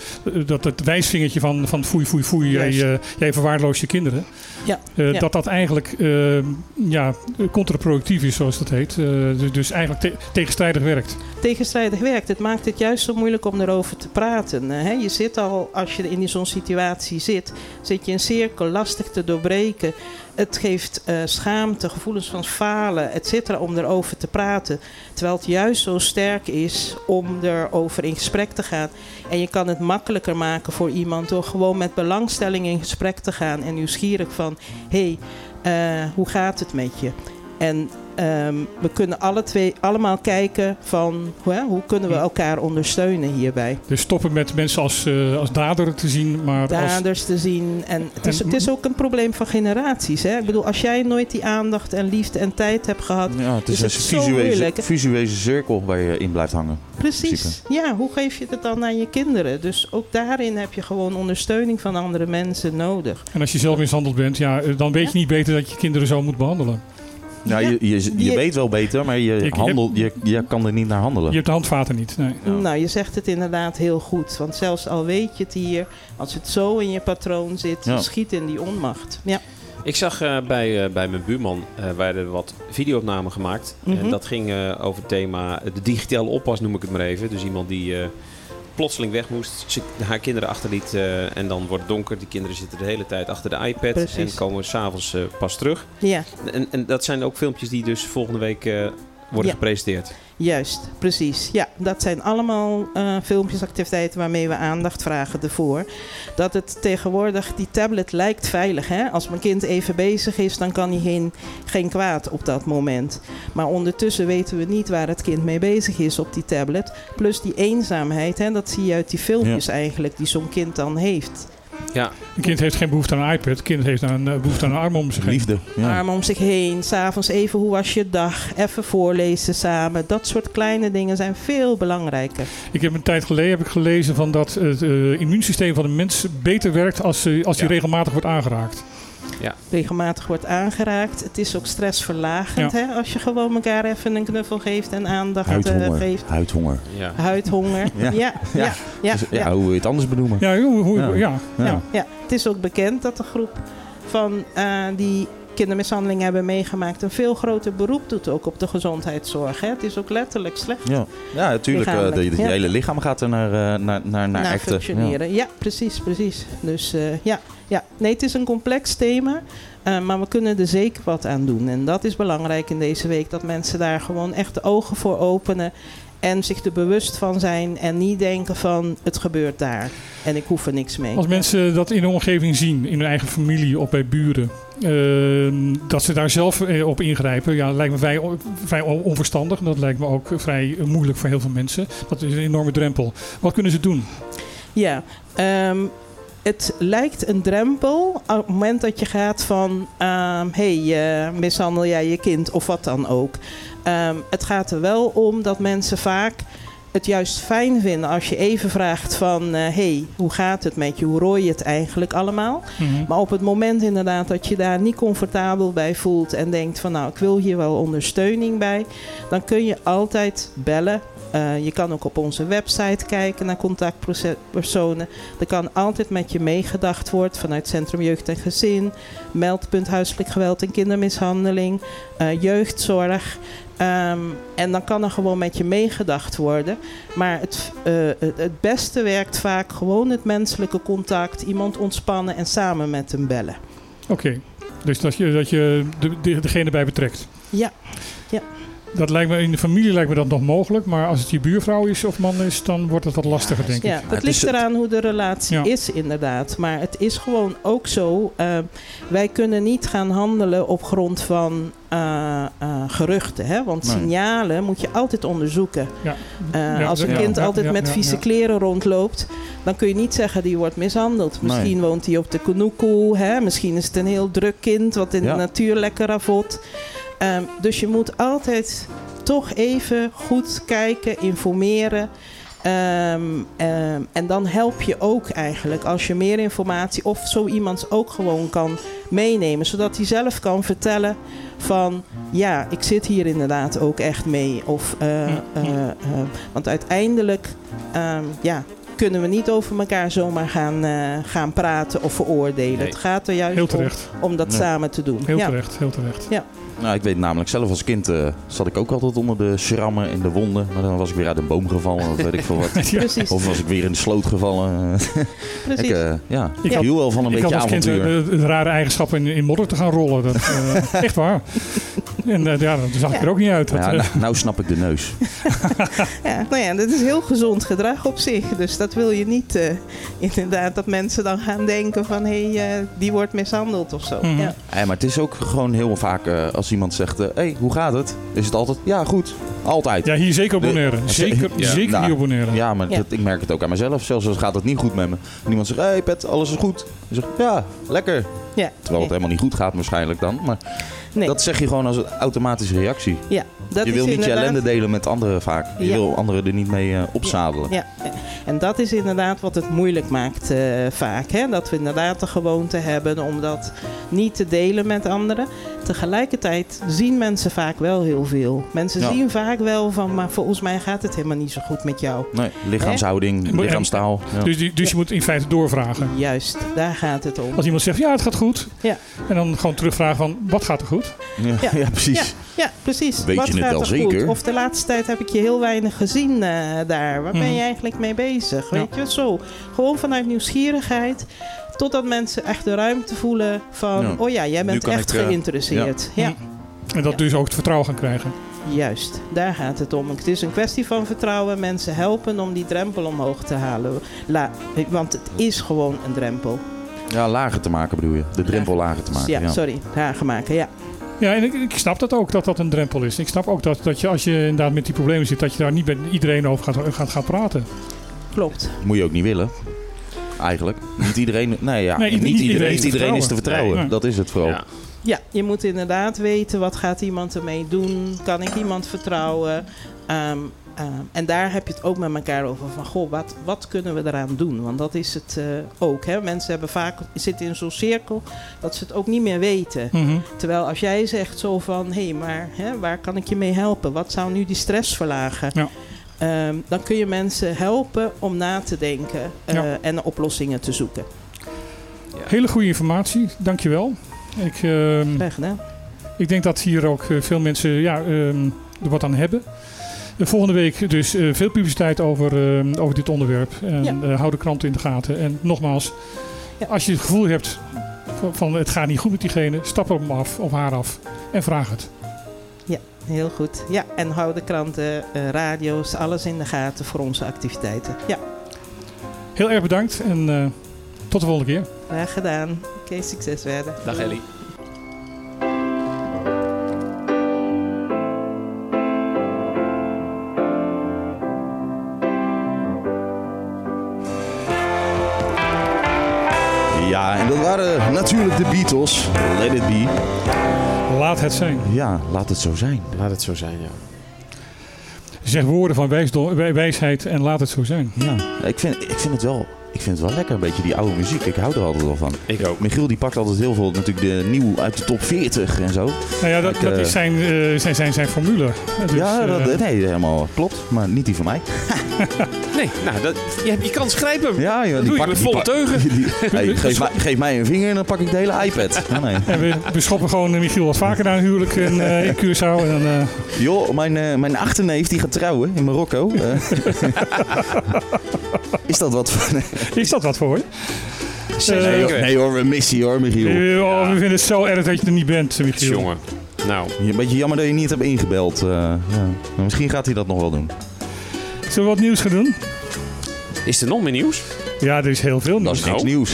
[SPEAKER 3] dat het wijsvingertje van, van foei, foei, foei, jij,
[SPEAKER 8] Juist.
[SPEAKER 3] eh, jij verwaarloost je kinderen.
[SPEAKER 8] Ja,
[SPEAKER 3] Eh,
[SPEAKER 8] ja.
[SPEAKER 3] Dat dat eigenlijk eh, ja, contraproductief is, zoals dat heet. Eh, dus, dus eigenlijk te- tegenstrijdig werkt.
[SPEAKER 8] tegenstrijdig werkt. Het maakt het juist zo moeilijk om erover te praten. eh, Hè? Je zit al, als je in zo'n situatie zit, zit je in een cirkel lastig te doorbreken. Het geeft eh, schaamte, gevoelens van falen, et cetera, om erover te praten. Terwijl het juist zo sterk is om erover in gesprek te gaan. En je kan het makkelijker maken voor iemand door gewoon met belangstelling in gesprek te gaan. En nieuwsgierig van, hé, hey, eh, hoe gaat het met je? En ehm, we kunnen alle twee allemaal kijken van hoe, hè, hoe kunnen we elkaar ondersteunen hierbij.
[SPEAKER 3] Dus stoppen met mensen als, eh, als dader te zien, maar als
[SPEAKER 8] Daders te zien. En het is,
[SPEAKER 3] En-
[SPEAKER 8] het is ook een probleem van generaties. Hè? Ik bedoel, als jij nooit die aandacht en liefde en tijd hebt gehad.
[SPEAKER 1] Ja, het
[SPEAKER 8] is
[SPEAKER 1] is,
[SPEAKER 8] het zo
[SPEAKER 1] een visuele,
[SPEAKER 8] moeilijk, hè?
[SPEAKER 1] visuele cirkel waar je in blijft hangen.
[SPEAKER 8] Precies. Ja, hoe geef je het dan aan je kinderen? Dus ook daarin heb je gewoon ondersteuning van andere mensen nodig.
[SPEAKER 3] En als je zelf mishandeld bent, ja, eh, dan weet je niet beter dat je kinderen zo moet behandelen.
[SPEAKER 1] Nou, je, je, je
[SPEAKER 8] Je-
[SPEAKER 1] weet wel beter, maar je,
[SPEAKER 3] Ik
[SPEAKER 1] handelt, je, je kan er niet naar handelen.
[SPEAKER 3] Je hebt de handvaten niet. Nee.
[SPEAKER 1] Ja.
[SPEAKER 8] Nou, je zegt het inderdaad heel goed. Want zelfs al weet je het hier, als het zo in je patroon zit,
[SPEAKER 1] Ja.
[SPEAKER 8] schiet in die onmacht. Ja.
[SPEAKER 2] Ik zag eh, bij, eh, bij mijn buurman, eh werden wat videoopnamen gemaakt.
[SPEAKER 8] Mhm.
[SPEAKER 2] En dat ging eh, over het thema de digitale oppas, noem ik het maar even. Dus iemand die eh, plotseling weg moest, ze- haar kinderen achterliet eh, en dan wordt het donker. Die kinderen zitten de hele tijd achter de iPad
[SPEAKER 8] Precies.
[SPEAKER 2] en komen s'avonds eh pas terug.
[SPEAKER 8] ja.
[SPEAKER 2] En, en dat zijn ook filmpjes die dus volgende week eh, worden
[SPEAKER 8] Ja.
[SPEAKER 2] gepresenteerd.
[SPEAKER 8] Juist, precies. Ja, dat zijn allemaal eh, filmpjes, activiteiten waarmee we aandacht vragen ervoor. Dat het tegenwoordig, die tablet lijkt veilig. Hè? Als mijn kind even bezig is, dan kan hij geen, geen kwaad op dat moment. Maar ondertussen weten we niet waar het kind mee bezig is op die tablet. Plus die eenzaamheid, hè? dat zie je uit die filmpjes eigenlijk, die zo'n kind dan heeft.
[SPEAKER 3] Een kind heeft geen behoefte aan een iPad. Een kind heeft een eh, behoefte aan een arm om zich heen.
[SPEAKER 1] Liefde. Ja.
[SPEAKER 8] Armen om zich heen, s'avonds even hoe was je dag, even voorlezen samen. Dat soort kleine dingen zijn veel belangrijker.
[SPEAKER 3] Ik heb een tijd geleden heb ik gelezen van dat het eh, immuunsysteem van een mens beter werkt als, ze- als hij
[SPEAKER 2] Ja.
[SPEAKER 3] regelmatig wordt aangeraakt.
[SPEAKER 8] regelmatig wordt aangeraakt. Het is ook stressverlagend hè, als je gewoon elkaar even een knuffel geeft en aandacht eh,
[SPEAKER 1] Huidhonger.
[SPEAKER 8] geeft.
[SPEAKER 1] Huidhonger.
[SPEAKER 2] Ja.
[SPEAKER 8] Huidhonger.
[SPEAKER 1] Ja.
[SPEAKER 8] Ja, ja, ja.
[SPEAKER 1] Ja. Dus, ja, hoe wil je het anders benoemen?
[SPEAKER 3] Ja, hoe, hoe-
[SPEAKER 1] Ja.
[SPEAKER 3] ja.
[SPEAKER 1] Ja.
[SPEAKER 8] ja, ja. Het is ook bekend dat de groep van eh, die kindermishandeling hebben meegemaakt een veel groter beroep doet ook op de gezondheidszorg. Hè. Het is ook letterlijk slecht
[SPEAKER 1] Ja, ja natuurlijk. eh,
[SPEAKER 8] Lichamelijk,
[SPEAKER 1] de- de- Je
[SPEAKER 8] ja.
[SPEAKER 1] hele lichaam gaat er naar, eh, naar, naar, naar,
[SPEAKER 8] naar
[SPEAKER 1] acten.
[SPEAKER 8] functioneren. Ja. precies, precies. Dus eh, ja, ja, nee, het is een complex thema, eh, maar we kunnen er zeker wat aan doen. En dat is belangrijk in deze week, dat mensen daar gewoon echt de ogen voor openen en zich er bewust van zijn en niet denken van het gebeurt daar en ik hoef er niks mee.
[SPEAKER 3] Als mensen dat in de omgeving zien, in hun eigen familie of bij buren, eh, dat ze daar zelf eh, op ingrijpen, ja, lijkt me vrij, on- vrij on- onverstandig. En dat lijkt me ook vrij eh, moeilijk voor heel veel mensen. Dat is een enorme drempel. Wat kunnen ze doen?
[SPEAKER 8] Ja, ehm, het lijkt een drempel op het moment dat je gaat van... ehm, hey, eh, mishandel jij je kind of wat dan ook. Ehm, het gaat er wel om dat mensen vaak het juist fijn vinden als je even vraagt van... eh, hey, hoe gaat het met je? Hoe rooi je het eigenlijk allemaal?
[SPEAKER 3] Mhm.
[SPEAKER 8] Maar op het moment inderdaad dat je daar niet comfortabel bij voelt en denkt van nou ik wil hier wel ondersteuning bij, dan kun je altijd bellen. Eh, je kan ook op onze website kijken naar contactpersonen. Er kan altijd met je meegedacht worden vanuit Centrum Jeugd en Gezin, meldpunt huiselijk geweld en kindermishandeling, eh, jeugdzorg. Ehm, en dan kan er gewoon met je meegedacht worden. Maar het, eh, het, het beste werkt vaak gewoon het menselijke contact. Iemand ontspannen en samen met hem bellen.
[SPEAKER 3] Oké, dus dat je, dat je de- de- degene bij betrekt.
[SPEAKER 8] Ja, ja.
[SPEAKER 3] Dat lijkt me, in de familie lijkt me dat nog mogelijk. Maar als het je buurvrouw is of man is, dan wordt het wat lastiger, denk
[SPEAKER 8] Ja,
[SPEAKER 3] ik.
[SPEAKER 1] het
[SPEAKER 8] dat
[SPEAKER 1] is
[SPEAKER 8] ligt
[SPEAKER 1] het.
[SPEAKER 8] eraan hoe de relatie
[SPEAKER 3] Ja.
[SPEAKER 8] is, inderdaad. Maar het is gewoon ook zo. eh, wij kunnen niet gaan handelen op grond van eh, eh, geruchten. Hè? Want
[SPEAKER 1] Nee.
[SPEAKER 8] signalen moet je altijd onderzoeken.
[SPEAKER 3] Ja.
[SPEAKER 8] Eh,
[SPEAKER 3] Ja,
[SPEAKER 8] als een
[SPEAKER 3] ja,
[SPEAKER 8] kind
[SPEAKER 3] ja,
[SPEAKER 8] altijd
[SPEAKER 3] ja,
[SPEAKER 8] met
[SPEAKER 3] ja,
[SPEAKER 8] vieze
[SPEAKER 3] ja.
[SPEAKER 8] kleren rondloopt, dan kun je niet zeggen die wordt mishandeld.
[SPEAKER 1] Nee.
[SPEAKER 8] Misschien woont hij op de Koenoekoe, hè? misschien is het een heel druk kind wat in
[SPEAKER 1] Ja.
[SPEAKER 8] de natuur lekker avot. Ehm, dus je moet altijd toch even goed kijken, informeren. Ehm, ehm, en dan help je ook eigenlijk als je meer informatie of zo iemand ook gewoon kan meenemen. Zodat hij zelf kan vertellen van ja, ik zit hier inderdaad ook echt mee. Of, eh,
[SPEAKER 3] Ja, ja.
[SPEAKER 8] eh, eh, want uiteindelijk ehm, ja, kunnen we niet over elkaar zomaar gaan, eh, gaan praten of veroordelen.
[SPEAKER 2] Nee.
[SPEAKER 8] Het gaat er juist
[SPEAKER 3] Heel
[SPEAKER 8] om,
[SPEAKER 3] terecht.
[SPEAKER 8] om dat
[SPEAKER 1] Ja.
[SPEAKER 8] samen te doen.
[SPEAKER 3] Heel
[SPEAKER 8] ja.
[SPEAKER 3] terecht, heel terecht.
[SPEAKER 1] Nou, ik weet namelijk zelf als kind eh, zat ik ook altijd onder de schrammen en de wonden. Maar dan was ik weer uit een boom gevallen of weet ik veel wat.
[SPEAKER 3] Ja.
[SPEAKER 8] Precies,
[SPEAKER 1] Of was ik weer in de sloot gevallen. ik
[SPEAKER 8] precies.
[SPEAKER 1] eh, ja, ik
[SPEAKER 8] Ja.
[SPEAKER 1] hield wel van een
[SPEAKER 3] ik had
[SPEAKER 1] beetje
[SPEAKER 3] als kind
[SPEAKER 1] avontuur.
[SPEAKER 3] eh, de, de rare eigenschap in, in modder te gaan rollen. Dat, eh, echt waar. En eh, ja, dat zag ik er ook niet uit. Dat,
[SPEAKER 1] ja,
[SPEAKER 3] eh,
[SPEAKER 1] nou, nou snap ik de neus.
[SPEAKER 8] Ja, nou ja, dat is heel gezond gedrag op zich. Dus dat wil je niet eh, inderdaad dat mensen dan gaan denken van hé, hey, eh, die wordt mishandeld of zo.
[SPEAKER 3] Mhm.
[SPEAKER 8] Ja.
[SPEAKER 1] Ja, Eh, maar het is ook gewoon heel vaak eh, als iemand zegt: Hé, hey, hoe gaat het? Is het altijd ja, goed? Altijd.
[SPEAKER 3] ja, hier zeker
[SPEAKER 1] De-
[SPEAKER 3] abonneren. Zeker,
[SPEAKER 1] Ja.
[SPEAKER 3] zeker
[SPEAKER 1] Nou,
[SPEAKER 3] hier abonneren.
[SPEAKER 1] Ja, maar
[SPEAKER 8] Ja.
[SPEAKER 1] Dat, ik merk het ook aan mezelf. Zelfs als gaat het niet goed met me. En iemand zegt, hey Pet, alles is goed. Dan zeg ik, ja, lekker.
[SPEAKER 8] Ja.
[SPEAKER 1] Terwijl het helemaal niet goed gaat waarschijnlijk dan. Maar
[SPEAKER 8] Nee.
[SPEAKER 1] dat zeg je gewoon als een automatische reactie.
[SPEAKER 8] ja, dat
[SPEAKER 1] je
[SPEAKER 8] is
[SPEAKER 1] wil niet je
[SPEAKER 8] inderdaad-
[SPEAKER 1] ellende delen met anderen vaak. Je
[SPEAKER 8] Ja.
[SPEAKER 1] wil anderen er niet mee eh, opzadelen.
[SPEAKER 8] Ja, en dat is inderdaad wat het moeilijk maakt eh, vaak. Hè? Dat we inderdaad de gewoonte hebben om dat niet te delen met anderen. Tegelijkertijd zien mensen vaak wel heel veel. Mensen
[SPEAKER 1] Ja.
[SPEAKER 8] zien vaak wel van, maar volgens mij gaat het helemaal niet zo goed met jou.
[SPEAKER 1] Nee, lichaamshouding,
[SPEAKER 3] Hè?
[SPEAKER 1] lichaamstaal. Ja.
[SPEAKER 3] Dus, die, dus je moet in feite doorvragen.
[SPEAKER 8] Juist, daar gaat het om.
[SPEAKER 3] Als iemand zegt, ja, het gaat goed.
[SPEAKER 8] Ja.
[SPEAKER 3] En dan gewoon terugvragen van, wat gaat er goed?
[SPEAKER 1] Ja,
[SPEAKER 8] Ja.
[SPEAKER 1] ja,
[SPEAKER 8] Ja,
[SPEAKER 1] precies.
[SPEAKER 8] ja, precies.
[SPEAKER 1] Weet
[SPEAKER 8] Wat
[SPEAKER 1] je het
[SPEAKER 8] gaat
[SPEAKER 1] wel
[SPEAKER 8] er
[SPEAKER 1] zeker?
[SPEAKER 8] Goed? Of de laatste tijd heb ik je heel weinig gezien eh, daar. Waar
[SPEAKER 1] Hmm.
[SPEAKER 8] ben
[SPEAKER 3] Mhm.
[SPEAKER 8] je eigenlijk mee bezig?
[SPEAKER 3] Ja.
[SPEAKER 8] Weet je, zo. Gewoon vanuit nieuwsgierigheid. Totdat mensen echt de ruimte voelen van...
[SPEAKER 1] Ja.
[SPEAKER 8] Oh ja, jij
[SPEAKER 1] Nu
[SPEAKER 8] bent
[SPEAKER 1] kan
[SPEAKER 8] echt
[SPEAKER 1] ik, eh,
[SPEAKER 8] geïnteresseerd. Ja.
[SPEAKER 3] En dat
[SPEAKER 8] Ja.
[SPEAKER 3] dus ook het vertrouwen gaan krijgen.
[SPEAKER 1] Hmm.
[SPEAKER 8] juist. Daar gaat het om. Het is een kwestie van vertrouwen. Mensen helpen om die drempel omhoog te halen. La- want het is gewoon een drempel.
[SPEAKER 1] Ja, lager te maken bedoel je. De drempel lager te maken.
[SPEAKER 8] ja,
[SPEAKER 1] Ja.
[SPEAKER 8] sorry. Hagen maken, ja.
[SPEAKER 3] Ja, en ik, ik snap dat ook, dat dat een drempel is. Ik snap ook dat, dat je als je inderdaad met die problemen zit, dat je daar niet met iedereen over gaat, gaat, gaat praten.
[SPEAKER 8] Klopt.
[SPEAKER 1] Moet je ook niet willen. Eigenlijk. Niet iedereen, nee, ja.
[SPEAKER 3] Nee,
[SPEAKER 1] niet
[SPEAKER 3] ieder-
[SPEAKER 1] iedereen,
[SPEAKER 3] iedereen
[SPEAKER 1] niet
[SPEAKER 3] te
[SPEAKER 1] iedereen is te
[SPEAKER 2] vertrouwen.
[SPEAKER 1] vertrouwen.
[SPEAKER 3] Nee.
[SPEAKER 1] Dat is het vooral.
[SPEAKER 2] Ja.
[SPEAKER 8] Ja, je moet inderdaad weten wat gaat iemand ermee doen. Kan ik iemand vertrouwen? Ehm, ehm, en daar heb je het ook met elkaar over van goh, wat, wat kunnen we eraan doen? Want dat is het eh, ook. Hè? Mensen hebben vaak, zitten in zo'n cirkel dat ze het ook niet meer weten.
[SPEAKER 3] Mhm.
[SPEAKER 8] Terwijl als jij zegt zo van hé, maar hè, waar kan ik je mee helpen? Wat zou nu die stress verlagen?
[SPEAKER 3] Ja.
[SPEAKER 8] Ehm, dan kun je mensen helpen om na te denken eh,
[SPEAKER 3] Ja.
[SPEAKER 8] en oplossingen te zoeken.
[SPEAKER 3] Hele goede informatie, dankjewel. Ik, ehm,
[SPEAKER 8] Graag gedaan.
[SPEAKER 3] ik denk dat hier ook eh, veel mensen ja, ehm, er wat aan hebben. Eh, Volgende week dus eh, veel publiciteit over, ehm, over dit onderwerp. En
[SPEAKER 8] Ja.
[SPEAKER 3] eh, hou de krant in de gaten. En nogmaals,
[SPEAKER 8] Ja.
[SPEAKER 3] als je het gevoel hebt van, van het gaat niet goed met diegene, stap op hem af of haar af en vraag het.
[SPEAKER 8] Heel goed. Ja, en hou de kranten, eh, radio's, alles in de gaten voor onze activiteiten. Ja,
[SPEAKER 3] Heel erg bedankt en eh, tot de volgende keer.
[SPEAKER 8] graag gedaan. Oké, succes verder.
[SPEAKER 2] Dag Ellie.
[SPEAKER 1] Ja, en dat waren natuurlijk de Beatles. Let it be.
[SPEAKER 3] Laat het zijn.
[SPEAKER 1] Ja, laat het zo zijn.
[SPEAKER 2] Laat het zo zijn, ja.
[SPEAKER 3] Zeg woorden van wijsdom- wij- wijsheid en laat het zo zijn.
[SPEAKER 1] Ja, ik vind, ik vind het wel... Ik vind het wel lekker, een beetje die oude muziek. Ik hou er altijd wel van.
[SPEAKER 2] Ik ook.
[SPEAKER 1] Michiel die pakt altijd heel veel natuurlijk de nieuw uit de top 40 en zo.
[SPEAKER 3] Nou ja, dat,
[SPEAKER 1] Ik,
[SPEAKER 3] dat
[SPEAKER 1] eh,
[SPEAKER 3] is zijn, eh, zijn, zijn, zijn formule. Dus,
[SPEAKER 1] ja, dat,
[SPEAKER 3] eh,
[SPEAKER 1] nee, helemaal klopt. Maar niet die van mij.
[SPEAKER 2] Nee, nou, dat, je, hebt- je kan schrijven.
[SPEAKER 1] Ja, joh,
[SPEAKER 2] doe je
[SPEAKER 1] pak-
[SPEAKER 2] met volle
[SPEAKER 1] pak-
[SPEAKER 2] teugen.
[SPEAKER 1] die- hey, geef, mij, geef mij een vinger en dan pak ik de hele iPad. Ja, nee.
[SPEAKER 3] En we, we schoppen gewoon eh, Michiel wat vaker naar een huwelijk in, eh, in Curaçao. En dan, eh,
[SPEAKER 1] Joh, mijn, eh, mijn achterneef die gaat trouwen in Marokko. Eh, is dat wat voor...
[SPEAKER 3] is dat wat voor je?
[SPEAKER 2] Zeker. Eh,
[SPEAKER 1] Nee hoor, we missen je hoor, Michiel.
[SPEAKER 3] Eh, oh, we vinden het zo erg dat je er niet bent, Michiel.
[SPEAKER 2] Jongen. Nou,
[SPEAKER 1] Een beetje jammer dat je niet hebt ingebeld. eh, ja. Maar Misschien gaat hij dat nog wel doen.
[SPEAKER 3] Zullen we wat nieuws gaan doen?
[SPEAKER 2] is er nog meer nieuws?
[SPEAKER 3] Ja, er is heel
[SPEAKER 1] Dat
[SPEAKER 3] veel nieuws.
[SPEAKER 1] is niks nieuws.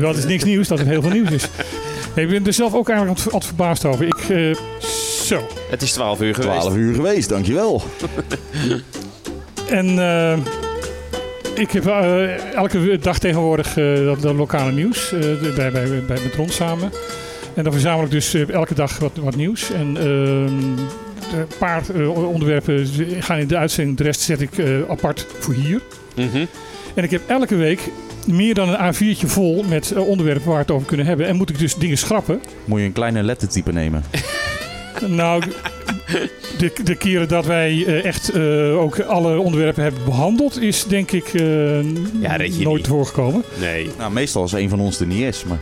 [SPEAKER 3] Dat is niks nieuws, dat er heel veel nieuws is. Nee, ik ben er zelf ook eigenlijk aan het- aan het verbaasd over. Ik, eh, zo.
[SPEAKER 2] Het is 12 uur geweest.
[SPEAKER 1] 12 uur geweest, dankjewel.
[SPEAKER 3] En eh, ik heb eh, elke dag tegenwoordig eh, dat, dat lokale nieuws eh, bij, bij, bij met Ron samen. En dan verzamel ik dus eh, elke dag wat, wat nieuws. En ehm, een paar eh, onderwerpen gaan in de uitzending, de rest zet ik eh, apart voor hier.
[SPEAKER 2] Mhm.
[SPEAKER 3] En ik heb elke week meer dan een A4'tje vol met eh, onderwerpen waar we het over kunnen hebben. En moet ik dus dingen schrappen.
[SPEAKER 1] Moet je een kleine lettertype nemen.
[SPEAKER 3] Nou, de, de keren dat wij eh, echt eh, ook alle onderwerpen hebben behandeld, is denk ik eh,
[SPEAKER 2] Ja, dat je
[SPEAKER 3] nooit
[SPEAKER 2] niet.
[SPEAKER 3] voorgekomen.
[SPEAKER 2] Nee.
[SPEAKER 1] Nou, meestal als een van ons er niet is, maar...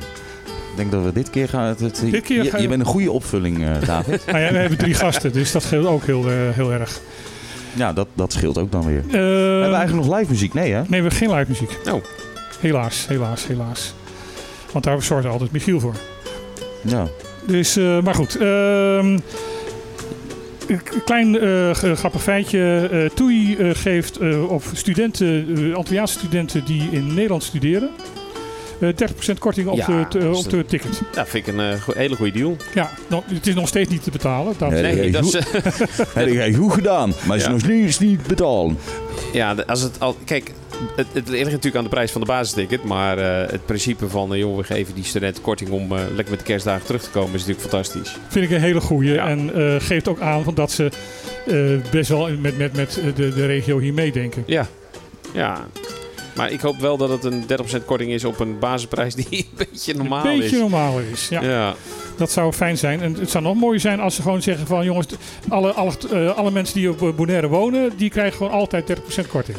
[SPEAKER 1] Ik denk dat we dit keer gaan... het- het-
[SPEAKER 3] Dit keer
[SPEAKER 1] je,
[SPEAKER 3] gaan
[SPEAKER 1] je
[SPEAKER 3] we-
[SPEAKER 1] bent een goede opvulling, eh, David.
[SPEAKER 3] Nou ja, we hebben drie gasten, dus dat scheelt ook heel, eh, heel erg.
[SPEAKER 1] ja, dat, dat scheelt ook dan
[SPEAKER 2] Ehm.
[SPEAKER 1] weer.
[SPEAKER 3] Eh,
[SPEAKER 1] Hebben we eigenlijk nog live muziek? Nee, hè?
[SPEAKER 3] Nee, we hebben geen live muziek.
[SPEAKER 2] Oh.
[SPEAKER 3] Helaas, helaas, helaas. Want daar zorgt altijd Michiel voor.
[SPEAKER 1] Ja.
[SPEAKER 3] Dus, eh, maar goed. ehm, een k- klein eh, g- grappig feitje. Eh TUI eh, geeft eh, op studenten, eh, Antilliaanse studenten die in Nederland studeren, eh, 30% korting op,
[SPEAKER 2] Ja,
[SPEAKER 3] de, t- eh,
[SPEAKER 2] is
[SPEAKER 3] op
[SPEAKER 2] dat-
[SPEAKER 3] de ticket.
[SPEAKER 2] Dat vind ik een eh, go- hele goede deal.
[SPEAKER 3] Ja, nou, het is nog steeds niet te betalen. Dat,
[SPEAKER 1] Nee.
[SPEAKER 2] Nee,
[SPEAKER 1] eh,
[SPEAKER 2] dat is,
[SPEAKER 1] hoe-
[SPEAKER 2] eh,
[SPEAKER 1] Heb ik goed gedaan, maar is
[SPEAKER 2] Ja.
[SPEAKER 1] nog steeds niet betalen.
[SPEAKER 2] eh, Ja, de- als het al, kijk, het, het ligt natuurlijk aan de prijs van de basisticket. Maar eh, het principe van, eh, joh, we geven die studenten korting om eh, lekker met de kerstdagen terug te komen, is natuurlijk fantastisch.
[SPEAKER 3] Vind ik een hele goeie.
[SPEAKER 2] Ja.
[SPEAKER 3] En eh, geeft ook aan van dat ze eh, best wel met, met, met de, de regio hier meedenken.
[SPEAKER 2] Ja, ja. Maar ik hoop wel dat het een 30% korting is op een basisprijs die een beetje normaal
[SPEAKER 3] Een beetje
[SPEAKER 2] is.
[SPEAKER 3] normaal is. Ja.
[SPEAKER 2] Ja,
[SPEAKER 3] Dat zou fijn zijn. En het zou nog mooier zijn als ze gewoon zeggen van... jongens, alle, alle, eh, alle mensen die op eh, Bonaire wonen... die krijgen gewoon altijd 30% korting.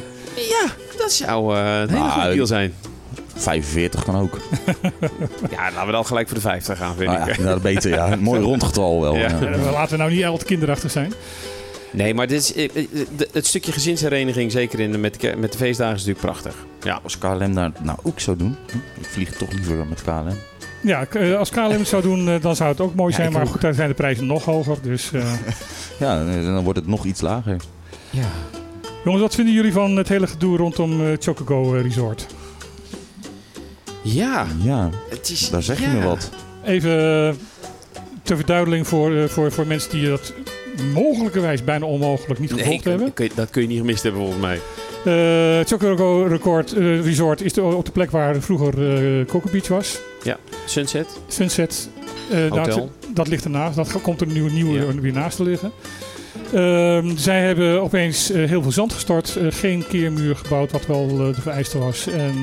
[SPEAKER 2] dat zou eh, een hele
[SPEAKER 1] Nou,
[SPEAKER 2] goede deal zijn.
[SPEAKER 1] 45 kan ook.
[SPEAKER 2] Ja, laten we dan gelijk voor de 50 gaan, vind
[SPEAKER 1] Nou
[SPEAKER 2] ik.
[SPEAKER 1] ja, inderdaad, beter, ja. Een mooi rondgetal wel.
[SPEAKER 2] Ja.
[SPEAKER 1] ja.
[SPEAKER 3] Eh, Laten we nou niet al te kinderachtig zijn.
[SPEAKER 2] Nee, maar dit is, eh, eh, de- het stukje gezinshereniging, zeker in, de- met, de, ke- met de feestdagen, is natuurlijk prachtig. Ja,
[SPEAKER 1] Als KLM daar nou ook zou doen. Ik vlieg toch liever met KLM.
[SPEAKER 3] Ja, k- eh, als KLM het zou doen, eh, dan zou het ook mooi
[SPEAKER 2] Ja,
[SPEAKER 3] zijn.
[SPEAKER 2] ik
[SPEAKER 3] Maar
[SPEAKER 2] ook.
[SPEAKER 3] goed, daar zijn de prijzen nog hoger. Dus, eh.
[SPEAKER 1] Ja, eh, dan wordt het nog iets lager.
[SPEAKER 3] jongens, wat vinden jullie van het hele gedoe rondom eh Chocogo eh, Resort?
[SPEAKER 2] ja
[SPEAKER 1] Ja,
[SPEAKER 2] het is...
[SPEAKER 1] daar zeg je
[SPEAKER 2] ja.
[SPEAKER 1] me wat.
[SPEAKER 3] Even eh, ter verduidelijking voor, eh, voor, voor mensen die dat mogelijkerwijs bijna onmogelijk niet gevolgd
[SPEAKER 2] Nee, kun-
[SPEAKER 3] hebben.
[SPEAKER 2] kun je- dat kun je niet gemist hebben volgens mij.
[SPEAKER 3] Eh Chocogo Record eh, Resort is de, op de plek waar vroeger eh Cocoa Beach was.
[SPEAKER 2] Sunset,
[SPEAKER 3] Sunset, eh,
[SPEAKER 2] hotel.
[SPEAKER 3] Dat, dat ligt ernaast. Dat ge- komt er nu nieuw
[SPEAKER 2] Ja.
[SPEAKER 3] weer naast te liggen. Ehm, zij hebben opeens eh, heel veel zand gestort. eh, geen keermuur gebouwd, wat wel eh, de vereiste was. En,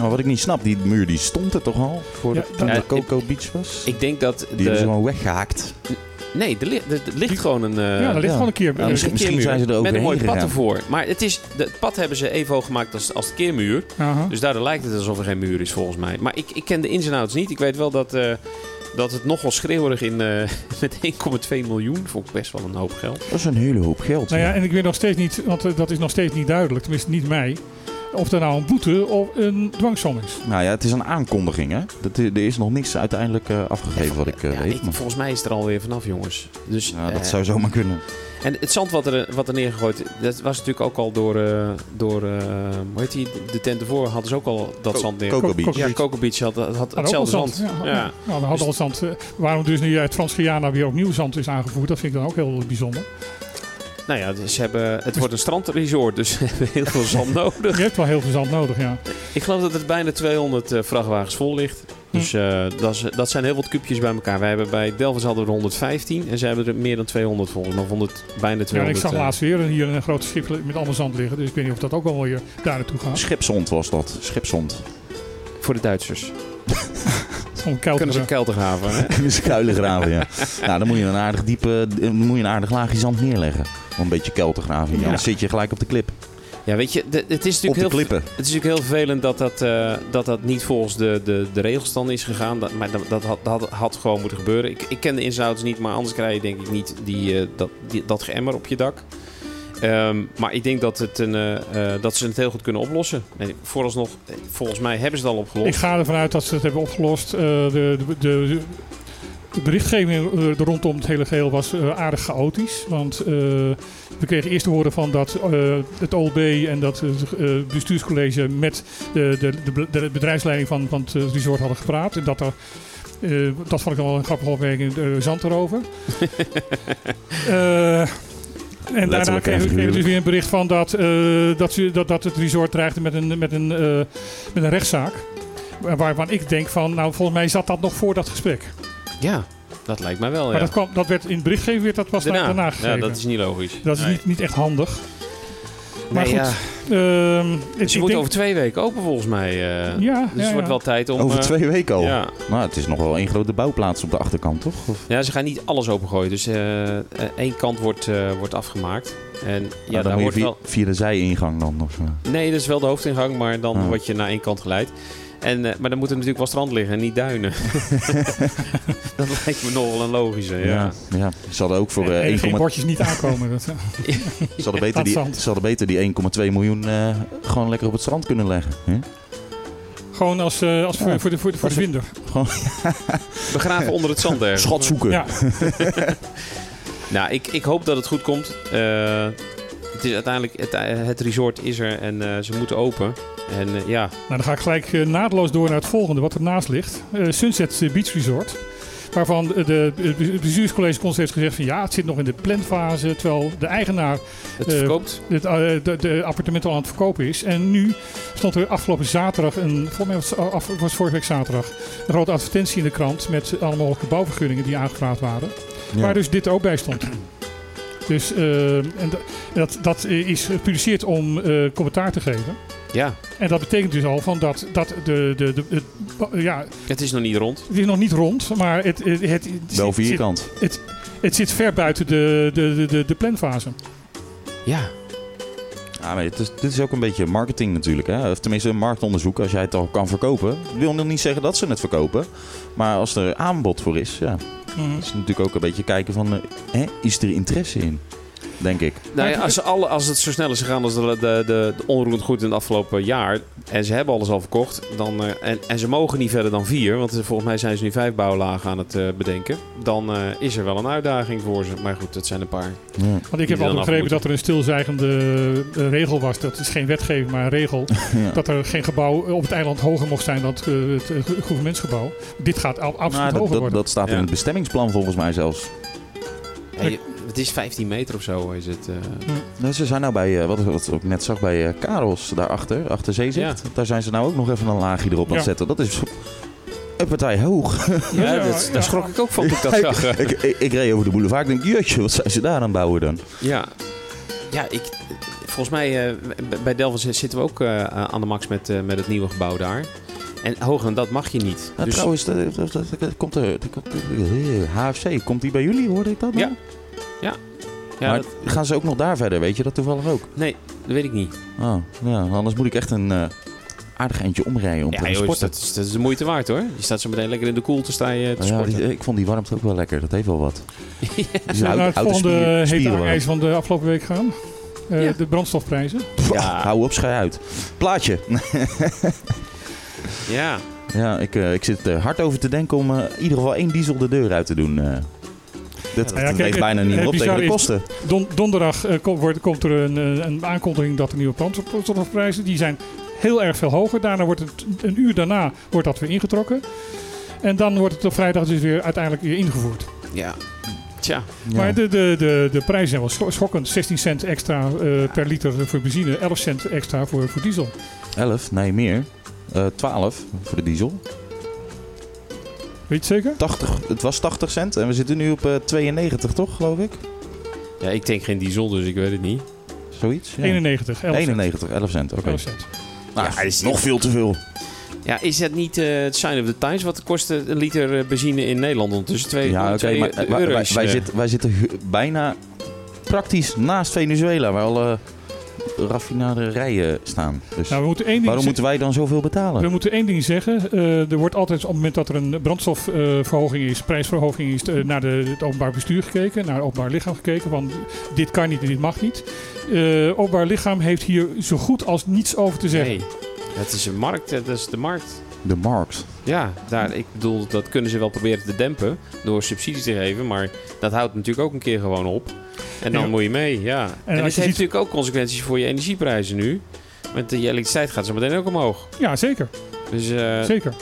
[SPEAKER 1] Maar wat ik niet snap, die muur die stond er toch al? Voor
[SPEAKER 3] Ja,
[SPEAKER 1] de,
[SPEAKER 3] dat-
[SPEAKER 1] toen de
[SPEAKER 2] Ja,
[SPEAKER 1] Coco Beach was?
[SPEAKER 2] Ik denk dat...
[SPEAKER 1] die hebben ze
[SPEAKER 2] De,
[SPEAKER 1] gewoon weggehaakt.
[SPEAKER 2] nee, er, li- er- er ligt gewoon een... eh,
[SPEAKER 3] ja, er ligt
[SPEAKER 1] ja.
[SPEAKER 3] gewoon een keer.
[SPEAKER 1] Ja, misschien-
[SPEAKER 2] een keermuur
[SPEAKER 1] zijn ze er
[SPEAKER 2] Met een
[SPEAKER 1] overheen
[SPEAKER 2] mooi pad
[SPEAKER 1] gegaan.
[SPEAKER 2] ervoor. Maar het, is, de, het pad hebben ze even hoog gemaakt als, als de keermuur.
[SPEAKER 3] Aha.
[SPEAKER 2] Dus daardoor lijkt het alsof er geen muur is volgens mij. Maar ik, ik ken de ins en outs niet. Ik weet wel dat, eh, dat het nogal schreeuwerig in... eh, met 1,2 miljoen vond ik best wel een hoop geld.
[SPEAKER 1] Dat is een hele hoop geld.
[SPEAKER 3] Nou ja,
[SPEAKER 1] ja.
[SPEAKER 3] en ik weet nog steeds niet, want eh, dat is nog steeds niet duidelijk. Tenminste, niet mij. Of er nou een boete of een dwangsom is.
[SPEAKER 1] Nou ja, het is een aankondiging, hè? Dat, er is nog niks uiteindelijk eh, afgegeven, wat ik eh,
[SPEAKER 2] Ja,
[SPEAKER 1] weet.
[SPEAKER 2] ik-
[SPEAKER 1] maar-
[SPEAKER 2] volgens mij is het er alweer vanaf, jongens. Dus,
[SPEAKER 1] Ja, dat
[SPEAKER 2] eh,
[SPEAKER 1] zou zomaar kunnen.
[SPEAKER 2] En het zand wat er, wat er neergegooid, dat was natuurlijk ook al door, eh, door eh, hoe heet die, de tent ervoor hadden ze ook al dat zand neer.
[SPEAKER 1] Coco
[SPEAKER 3] Ko-
[SPEAKER 1] Beach.
[SPEAKER 3] ko-
[SPEAKER 2] ja, Coco Beach had, had
[SPEAKER 3] Hadden ook
[SPEAKER 2] hetzelfde
[SPEAKER 3] al
[SPEAKER 2] zand. Ja.
[SPEAKER 3] Ja, Nou, we hadden al zand. eh, waarom dus nu uit Frans Guyana weer opnieuw zand is aangevoerd, dat vind ik dan ook heel bijzonder.
[SPEAKER 2] Nou ja, dus ze hebben, het wordt een strandresort, dus ze hebben heel veel zand nodig.
[SPEAKER 3] Je hebt wel heel veel zand nodig, ja.
[SPEAKER 2] Ik geloof dat het bijna 200 eh, vrachtwagens vol ligt.
[SPEAKER 3] Hm.
[SPEAKER 2] Dus eh, dat, is- dat zijn heel wat kubjes bij elkaar. Wij hebben bij Delvers hadden we er 115 en ze hebben er meer dan 200 volgens mij. Of 100, bijna 200.
[SPEAKER 3] ja en ik zag
[SPEAKER 2] eh,
[SPEAKER 3] laatst weer een- hier een groot schip met allemaal zand liggen, dus ik weet niet of dat ook wel weer daar naartoe gaat.
[SPEAKER 1] Schipzond was dat. Schipzond.
[SPEAKER 2] Voor de Duitsers.
[SPEAKER 3] Om kuil te
[SPEAKER 2] Kunnen ze een
[SPEAKER 3] gaan.
[SPEAKER 2] kelter graven. hè?
[SPEAKER 1] In de kuilen graven, ja. Nou, dan moet je een aardig diepe, eh, dan moet je een aardig laagje zand neerleggen. Om een beetje kuil te graven. Ja. Dan zit je gelijk op de klip.
[SPEAKER 2] Ja, weet je, de- het is
[SPEAKER 1] Op
[SPEAKER 2] natuurlijk
[SPEAKER 1] de
[SPEAKER 2] heel,
[SPEAKER 1] klippen.
[SPEAKER 2] Het is natuurlijk heel vervelend dat dat, eh, dat, dat niet volgens de, de, de regels dan is gegaan. Dat, maar dat, dat, had, dat had gewoon moeten gebeuren. Ik, ik ken de ins en outs niet, maar anders krijg je denk ik niet die, eh, dat, die, dat geëmmer op je dak. Ehm, maar ik denk dat, het een, eh, eh, dat ze het heel goed kunnen oplossen. En vooralsnog, eh, volgens mij hebben ze het al
[SPEAKER 3] Ik
[SPEAKER 2] opgelost.
[SPEAKER 3] ga ervan uit dat ze het hebben opgelost. Eh, de, de, de, de berichtgeving eh, er rondom het hele geheel was eh, aardig chaotisch. Want eh, we kregen eerst te horen van dat eh, het OLB en dat het eh, bestuurscollege met de, de, de, be- de bedrijfsleiding van, van het eh, resort hadden gepraat. En dat er, eh, dat vond ik wel een grappige opmerking, eh, zand erover. Eh, en daarna
[SPEAKER 1] Letterlijk en
[SPEAKER 3] kregen we- kregen we dus
[SPEAKER 1] figuurlijk.
[SPEAKER 3] weer een bericht van dat, eh, dat, ze, dat, dat het resort dreigde met een, met een, eh, met een rechtszaak. Waar- Waarvan ik denk van, nou volgens mij zat dat nog voor dat gesprek.
[SPEAKER 2] Ja, dat lijkt mij wel.
[SPEAKER 3] Maar
[SPEAKER 2] Oh ja.
[SPEAKER 3] dat, kwam, dat werd in het berichtgeving weer, dat was daarna, daarna
[SPEAKER 2] ja,
[SPEAKER 3] gegeven.
[SPEAKER 2] dat is niet logisch.
[SPEAKER 3] Dat is
[SPEAKER 2] Nee.
[SPEAKER 3] niet, niet echt handig. Maar
[SPEAKER 2] Nee,
[SPEAKER 3] goed,
[SPEAKER 2] ja.
[SPEAKER 3] ehm, het- ik
[SPEAKER 2] Ze wordt
[SPEAKER 3] denk-
[SPEAKER 2] over twee weken open volgens mij. eh.
[SPEAKER 3] Ja,
[SPEAKER 2] dus
[SPEAKER 3] ja,
[SPEAKER 2] het
[SPEAKER 3] ja.
[SPEAKER 2] wordt wel tijd om.
[SPEAKER 1] Over
[SPEAKER 2] eh,
[SPEAKER 1] twee weken al.
[SPEAKER 2] Ja.
[SPEAKER 1] Nou, het is nog wel één grote bouwplaats op de achterkant, toch? Of-
[SPEAKER 2] ja, ze gaan niet alles opengooien. Dus eh, eh, één kant wordt, eh, wordt afgemaakt. En ja,
[SPEAKER 1] Nou, dan
[SPEAKER 2] daar
[SPEAKER 1] moet je
[SPEAKER 2] hoort
[SPEAKER 1] via,
[SPEAKER 2] wel.
[SPEAKER 1] via de zijingang dan. Of, zo.
[SPEAKER 2] Nee, dat is wel de hoofdingang, maar dan
[SPEAKER 1] Ah.
[SPEAKER 2] word je naar één kant geleid. En, eh, maar dan moet er natuurlijk wel strand liggen en niet duinen. dat lijkt me nog wel een logische. Ja.
[SPEAKER 1] ja. ja. Ze hadden ook voor eh,
[SPEAKER 3] en
[SPEAKER 1] 1,2
[SPEAKER 3] geen bordjes niet aankomen. Dat,
[SPEAKER 1] Ze hadden beter
[SPEAKER 3] Dat
[SPEAKER 1] die,
[SPEAKER 3] zand.
[SPEAKER 1] ze hadden beter die 1,2 miljoen eh, gewoon lekker op het strand kunnen leggen. hè?
[SPEAKER 3] gewoon als, eh, als voor, voor de, voor de, voor de vinder.
[SPEAKER 2] Begraven onder het zand ergens.
[SPEAKER 1] Schat zoeken.
[SPEAKER 3] Ja.
[SPEAKER 2] Nou, ik, ik hoop dat het goed komt. Eh, het is uiteindelijk, het, eh, het resort is er en eh, ze moeten open. En eh, ja,
[SPEAKER 3] Nou, dan ga ik gelijk eh, naadloos door naar het volgende, wat ernaast ligt. Eh, Sunset Beach Resort. Waarvan de, de, het bestuurscollege Cons heeft gezegd van ja, het zit nog in de planfase. Terwijl de eigenaar
[SPEAKER 2] het
[SPEAKER 3] Eh,
[SPEAKER 2] verkoopt.
[SPEAKER 3] het eh, de, de appartement al aan het verkopen is. En nu stond er afgelopen zaterdag, een, volgens mij was het af- was het vorige week zaterdag, een grote advertentie in de krant met alle mogelijke bouwvergunningen die aangevraagd waren.
[SPEAKER 1] Ja.
[SPEAKER 3] Waar dus dit ook bij stond. Dus eh, en da- dat, dat is gepubliceerd om eh, commentaar te geven.
[SPEAKER 2] Ja,
[SPEAKER 3] En dat betekent dus al van dat, dat de, de, de, het, ja,
[SPEAKER 2] het is nog niet rond.
[SPEAKER 3] het is nog niet rond, maar het, het, het, het
[SPEAKER 1] Wel
[SPEAKER 3] zit-
[SPEAKER 1] vierkant.
[SPEAKER 3] zit- het zit ver buiten de, de, de, de, de planfase.
[SPEAKER 2] Ja,
[SPEAKER 1] Ja, maar het is, dit is ook een beetje marketing natuurlijk. Hè? Of tenminste, een marktonderzoek. Als jij het al kan verkopen. wil nog niet zeggen dat ze het verkopen. Maar als er aanbod voor is, ja,
[SPEAKER 3] Mhm.
[SPEAKER 1] is het natuurlijk ook een beetje kijken van... eh, hè, is er interesse in? Denk ik.
[SPEAKER 2] nou ja, als, ze alle, als het zo snel is gegaan als de, de, de, de onroerend goed in het afgelopen jaar. En ze hebben alles al verkocht. Dan, eh, en, en ze mogen niet verder dan vier. Want eh, volgens mij zijn ze nu vijf bouwlagen aan het eh, bedenken. Dan eh, is er wel een uitdaging voor ze. Maar goed, dat zijn een paar.
[SPEAKER 1] Ja.
[SPEAKER 3] Want ik
[SPEAKER 2] Die
[SPEAKER 3] heb al
[SPEAKER 2] dan af
[SPEAKER 3] begrepen
[SPEAKER 2] moeten.
[SPEAKER 3] dat er een stilzwijgende eh, regel was. Dat is geen wetgeving, maar een regel.
[SPEAKER 1] Ja.
[SPEAKER 3] Dat er geen gebouw op het eiland hoger mocht zijn dan het, eh, het, eh, gouvernementsgebouw. Dit gaat al, absoluut
[SPEAKER 1] Nou, dat,
[SPEAKER 3] hoger
[SPEAKER 1] dat,
[SPEAKER 3] worden.
[SPEAKER 1] dat staat in
[SPEAKER 2] Ja.
[SPEAKER 1] het bestemmingsplan volgens mij zelfs.
[SPEAKER 2] Ja, je- het is 15 meter of zo is het. eh.
[SPEAKER 1] Nou, ze zijn nou bij, eh, wat, wat ik net zag bij eh Karels daarachter, achter zeezicht. Daar zijn ze nou ook nog even een laagje erop aan het
[SPEAKER 3] Ja.
[SPEAKER 1] zetten. Dat is een partij hoog.
[SPEAKER 2] ja,
[SPEAKER 3] ja,
[SPEAKER 2] dat,
[SPEAKER 3] ja.
[SPEAKER 2] daar schrok ik ook van toen ik dat zag.
[SPEAKER 1] ik, ik, ik reed over de boulevard. Ik denk, jeetje, wat zijn ze daar aan het bouwen dan?
[SPEAKER 2] Ja. Ja, ik, volgens mij eh, b- bij Delft zitten we ook eh, aan de max met, eh, met het nieuwe gebouw daar. En hoger dan dat mag je niet.
[SPEAKER 1] Nou,
[SPEAKER 2] dus
[SPEAKER 1] Trouwens, dat, dat, dat- dat komt er, dat komt- eh, HFC, komt die bij jullie? Hoorde ik dat? nou?
[SPEAKER 2] Ja, ja,
[SPEAKER 1] maar
[SPEAKER 2] dat,
[SPEAKER 1] gaan ze ook nog daar verder? Weet je dat toevallig ook?
[SPEAKER 2] nee, dat weet ik niet.
[SPEAKER 1] Oh, ja, anders moet ik echt een eh, aardig eindje omrijden om te
[SPEAKER 2] Ja,
[SPEAKER 1] gaan
[SPEAKER 2] joh, is
[SPEAKER 1] sporten.
[SPEAKER 2] dat, is, dat is de moeite waard hoor. Je staat zo meteen lekker in de koelte te, je te
[SPEAKER 1] Ja,
[SPEAKER 2] sporten. nou,
[SPEAKER 1] die- ik vond die warmte ook wel lekker. Dat heeft wel wat. Dus
[SPEAKER 3] Zullen we naar het volgende hete
[SPEAKER 1] warm.
[SPEAKER 3] hangijs van de afgelopen week gaan? Eh,
[SPEAKER 2] Ja.
[SPEAKER 3] De brandstofprijzen.
[SPEAKER 2] Ja.
[SPEAKER 1] Ja. Hou op, schij uit. Plaatje.
[SPEAKER 2] Ja,
[SPEAKER 1] Ja, ik, eh, ik zit er hard over te denken om eh, in ieder geval één diesel de deur uit te doen. eh. dat dat
[SPEAKER 3] kijk,
[SPEAKER 1] weegt
[SPEAKER 3] het-
[SPEAKER 1] bijna niet
[SPEAKER 3] het
[SPEAKER 1] meer op tegen
[SPEAKER 3] bizarre
[SPEAKER 1] de
[SPEAKER 3] is-
[SPEAKER 1] kosten.
[SPEAKER 3] Don- donderdag eh, kom- wordt, komt er een, eh, een aankondiging dat de nieuwe brandstofprijzen... die zijn heel erg veel hoger. Daarna wordt het, een uur daarna wordt dat weer ingetrokken. En dan wordt het op vrijdag dus weer uiteindelijk weer ingevoerd.
[SPEAKER 2] ja. Tja,
[SPEAKER 1] Ja.
[SPEAKER 3] Maar de, de, de, de prijzen zijn wel scho- schokkend. 16 cent extra eh, per liter voor benzine, 11 cent extra voor, voor diesel.
[SPEAKER 1] 11, nee meer. Eh 12 voor de diesel.
[SPEAKER 3] Weet je het zeker?
[SPEAKER 1] 80, het was 80 cent en we zitten nu op eh, 92, toch, geloof ik?
[SPEAKER 2] ja, ik tank geen diesel, dus ik weet het niet.
[SPEAKER 1] Zoiets? Ja.
[SPEAKER 3] 91, 11 cent.
[SPEAKER 1] 91, 11 cent, oké.
[SPEAKER 3] 11 cent.
[SPEAKER 1] Nou,
[SPEAKER 2] Ja, is-
[SPEAKER 1] nog veel te veel.
[SPEAKER 2] Ja, is dat niet eh, het sign of the times? Wat kost een liter eh, benzine in Nederland ondertussen? Twee,
[SPEAKER 1] Ja, oké,
[SPEAKER 2] twee
[SPEAKER 1] maar eh, wij, wij,
[SPEAKER 2] euro's,
[SPEAKER 1] wij
[SPEAKER 2] eh.
[SPEAKER 1] zitten, wij zitten hu- bijna praktisch naast Venezuela, waar alle raffinaderijen staan. Dus
[SPEAKER 3] Nou, we moeten één ding
[SPEAKER 1] waarom
[SPEAKER 3] ze-
[SPEAKER 1] moeten wij dan zoveel betalen?
[SPEAKER 3] we moeten één ding zeggen. Eh, er wordt altijd op het moment dat er een brandstofverhoging is, prijsverhoging is, eh, naar de, het openbaar bestuur gekeken, naar het openbaar lichaam gekeken. Want dit kan niet en dit mag niet. Eh openbaar lichaam heeft hier zo goed als niets over te zeggen.
[SPEAKER 2] Nee, het is een markt, eh, dat is de markt.
[SPEAKER 1] De markt.
[SPEAKER 2] Ja, daar, ik bedoel, dat kunnen ze wel proberen te dempen door subsidies te geven, maar dat houdt natuurlijk ook een keer gewoon op. En dan
[SPEAKER 3] Ja.
[SPEAKER 2] moet je mee, ja.
[SPEAKER 3] als
[SPEAKER 2] En, dit
[SPEAKER 3] je
[SPEAKER 2] heeft
[SPEAKER 3] ziet-
[SPEAKER 2] natuurlijk ook consequenties voor je energieprijzen nu. Want de elektriciteit gaat zo meteen ook omhoog.
[SPEAKER 3] Ja, zeker.
[SPEAKER 2] Dus eh,
[SPEAKER 3] zeker.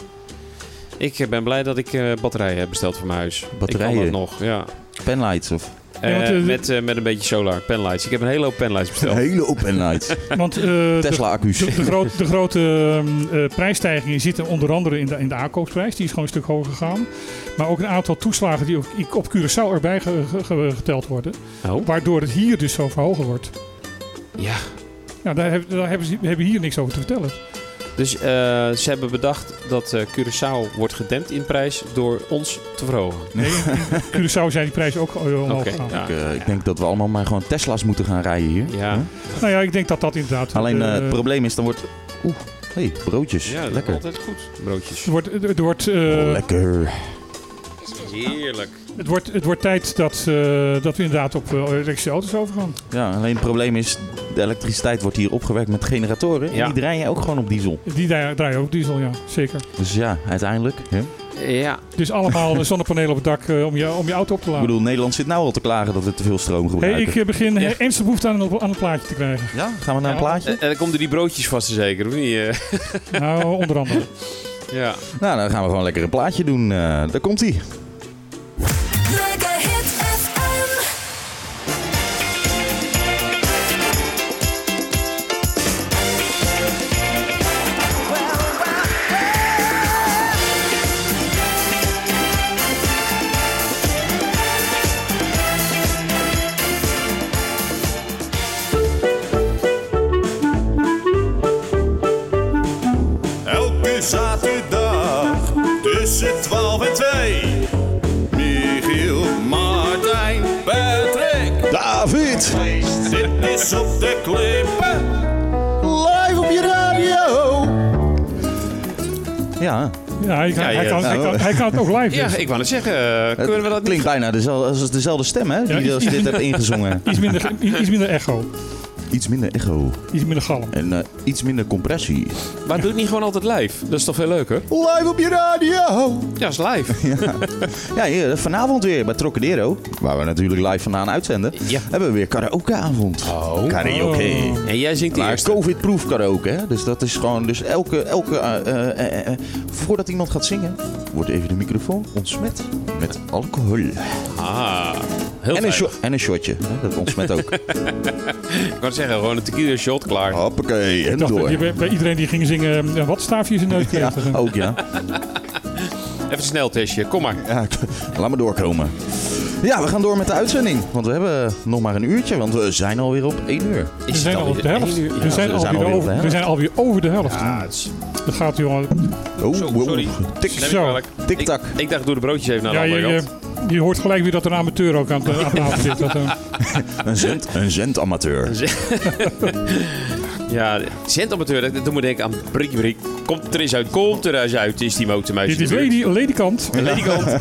[SPEAKER 2] ik ben blij dat ik eh, batterijen heb besteld voor mijn huis. Ik kan
[SPEAKER 1] Batterijen?
[SPEAKER 2] dat nog, ja.
[SPEAKER 1] Penlights of...
[SPEAKER 2] Eh,
[SPEAKER 3] Ja, want, eh,
[SPEAKER 2] met, eh, met een beetje solar, penlights. Ik heb een hele hoop penlights besteld.
[SPEAKER 1] Hele hoop penlights.
[SPEAKER 3] Want eh, de,
[SPEAKER 1] Tesla-accu's.
[SPEAKER 3] de, de groot- de grote ehm, eh, prijsstijgingen zitten onder andere in de, in de aankoopprijs. Die is gewoon een stuk hoger gegaan. Maar ook een aantal toeslagen die ook op Curaçao erbij ge- ge- ge- geteld worden.
[SPEAKER 2] Oh,
[SPEAKER 3] Waardoor het hier dus zo verhogen wordt.
[SPEAKER 2] ja.
[SPEAKER 3] Ja, daar, heb- daar hebben ze hebben we hier niks over te vertellen.
[SPEAKER 2] Dus eh, ze hebben bedacht dat eh, Curaçao wordt gedempt in prijs door ons te verhogen.
[SPEAKER 3] Curaçao zijn die prijzen ook eh, omhoog
[SPEAKER 2] Oké,
[SPEAKER 3] gegaan.
[SPEAKER 2] ja.
[SPEAKER 1] Ik, eh, ik denk dat we allemaal maar gewoon Tesla's moeten gaan rijden hier.
[SPEAKER 2] Ja.
[SPEAKER 3] Nou ja, ik denk dat dat inderdaad...
[SPEAKER 1] Alleen eh,
[SPEAKER 3] eh,
[SPEAKER 1] het probleem is, dan wordt... Oeh, hey, broodjes.
[SPEAKER 2] Ja, dat is
[SPEAKER 1] Lekker. Oh,
[SPEAKER 2] altijd goed. Broodjes.
[SPEAKER 3] er wordt, er wordt, eh,
[SPEAKER 1] Lekker.
[SPEAKER 2] Heerlijk.
[SPEAKER 3] het, wordt, het wordt tijd dat, eh, dat we inderdaad op eh, elektrische auto's overgaan.
[SPEAKER 1] Ja, alleen het probleem is, de elektriciteit wordt hier opgewerkt met generatoren.
[SPEAKER 2] Ja.
[SPEAKER 1] En die draaien ook gewoon op diesel.
[SPEAKER 3] Die draa- draaien ook diesel, ja, zeker.
[SPEAKER 1] Dus ja, uiteindelijk. Hè?
[SPEAKER 2] Ja,
[SPEAKER 3] Dus allemaal eh, zonnepanelen op het dak eh, om, je, om je auto op te
[SPEAKER 1] Ik
[SPEAKER 3] laden.
[SPEAKER 1] bedoel, Nederland zit nou al te klagen dat we te veel stroom
[SPEAKER 3] Hey,
[SPEAKER 1] gebruiken.
[SPEAKER 3] ik eh, begin
[SPEAKER 2] Ja.
[SPEAKER 3] eh, ernstig behoefte aan een, aan een plaatje te krijgen.
[SPEAKER 1] Ja, gaan we naar een
[SPEAKER 3] Ja.
[SPEAKER 1] plaatje?
[SPEAKER 2] en dan komen er die broodjes vast zeker, of niet? Eh,
[SPEAKER 3] nou, onder andere.
[SPEAKER 2] Ja.
[SPEAKER 1] Nou, dan gaan we gewoon lekker een plaatje doen. Eh, daar komt ie.
[SPEAKER 7] Lekker Hit FM.
[SPEAKER 4] Elke zaterdag tussen 12 en 2. Michiel, Martijn, Patrick.
[SPEAKER 1] David,
[SPEAKER 4] Dit is op de klippen.
[SPEAKER 1] live op je radio. Ja,
[SPEAKER 3] Ja, hij kan,
[SPEAKER 2] Ja,
[SPEAKER 3] hij
[SPEAKER 2] ja,
[SPEAKER 3] kan,
[SPEAKER 1] nou,
[SPEAKER 3] hij kan, hij kan het ook live.
[SPEAKER 2] ja,
[SPEAKER 3] dus.
[SPEAKER 2] ik wou net zeggen, eh,
[SPEAKER 1] het
[SPEAKER 2] kunnen we dat
[SPEAKER 1] klinkt
[SPEAKER 2] niet?
[SPEAKER 1] bijna dezelfde, als dezelfde stem, hè? Die
[SPEAKER 3] Ja,
[SPEAKER 1] als je dit hebt ingezongen.
[SPEAKER 3] Iets, minder, iets minder echo,
[SPEAKER 1] Iets minder echo
[SPEAKER 3] iets minder galm.
[SPEAKER 1] en eh, iets minder compressie.
[SPEAKER 2] Maar doe het niet gewoon altijd live? Dat is toch veel leuker?
[SPEAKER 1] Live op je radio.
[SPEAKER 2] Ja, is live.
[SPEAKER 1] Ja, hier, vanavond weer bij Trocadero, waar we natuurlijk live vandaan uitzenden,
[SPEAKER 2] Ja.
[SPEAKER 1] hebben we weer karaokeavond.
[SPEAKER 2] Oh.
[SPEAKER 1] Karaoke.
[SPEAKER 2] En jij zingt die
[SPEAKER 1] Maar
[SPEAKER 2] eerste.
[SPEAKER 1] covid-proof karaoke, hè? Dus dat is gewoon. Dus elke. elke eh, eh, eh, eh, voordat iemand gaat zingen, wordt even de microfoon ontsmet met alcohol.
[SPEAKER 2] Ah, heel
[SPEAKER 1] En een,
[SPEAKER 2] fijn.
[SPEAKER 1] sho- en een shotje. hè, Dat ontsmet ook.
[SPEAKER 2] Ik wou zeggen, gewoon een tequila shot, klaar.
[SPEAKER 1] Oh. Hoppakee, en
[SPEAKER 3] Ik dacht dat je
[SPEAKER 1] door.
[SPEAKER 3] bij, bij iedereen die ging zingen eh, een watstaafje in zijn neus
[SPEAKER 1] Ja, Oh.
[SPEAKER 3] kreeg. Dat-
[SPEAKER 1] ook ja.
[SPEAKER 2] Even een sneltestje, kom maar.
[SPEAKER 1] ja. Laat me doorkomen. Ja, we gaan door met de uitzending. Want we hebben nog maar een uurtje, want we zijn alweer op één uur.
[SPEAKER 3] We zijn al op de helft.
[SPEAKER 2] Ja,
[SPEAKER 3] We zijn
[SPEAKER 1] we zijn
[SPEAKER 3] alweer
[SPEAKER 1] alweer op de
[SPEAKER 3] over- we
[SPEAKER 1] helft.
[SPEAKER 3] zijn alweer over de helft.
[SPEAKER 2] Ja, het is-
[SPEAKER 3] Dat gaat jongen.
[SPEAKER 1] Oh,
[SPEAKER 2] Zo, sorry.
[SPEAKER 1] Tik,
[SPEAKER 2] neem ik
[SPEAKER 3] Zo.
[SPEAKER 2] kwalijk.
[SPEAKER 1] Tik-tak.
[SPEAKER 2] Ik, ik dacht, doe de broodjes even naar de
[SPEAKER 3] Ja, je,
[SPEAKER 2] andere kant.
[SPEAKER 3] je, je hoort gelijk weer dat er een amateur ook aan het aan tafel zit. Dat, eh,
[SPEAKER 1] Een, zend, een zendamateur.
[SPEAKER 2] Ja, zendamateur, dat dat doet me denken aan Brik Brik. Komt er eens uit, komt er eens uit, is die motormeisje.
[SPEAKER 3] dit is lady, ladykant.
[SPEAKER 2] Aan die kant.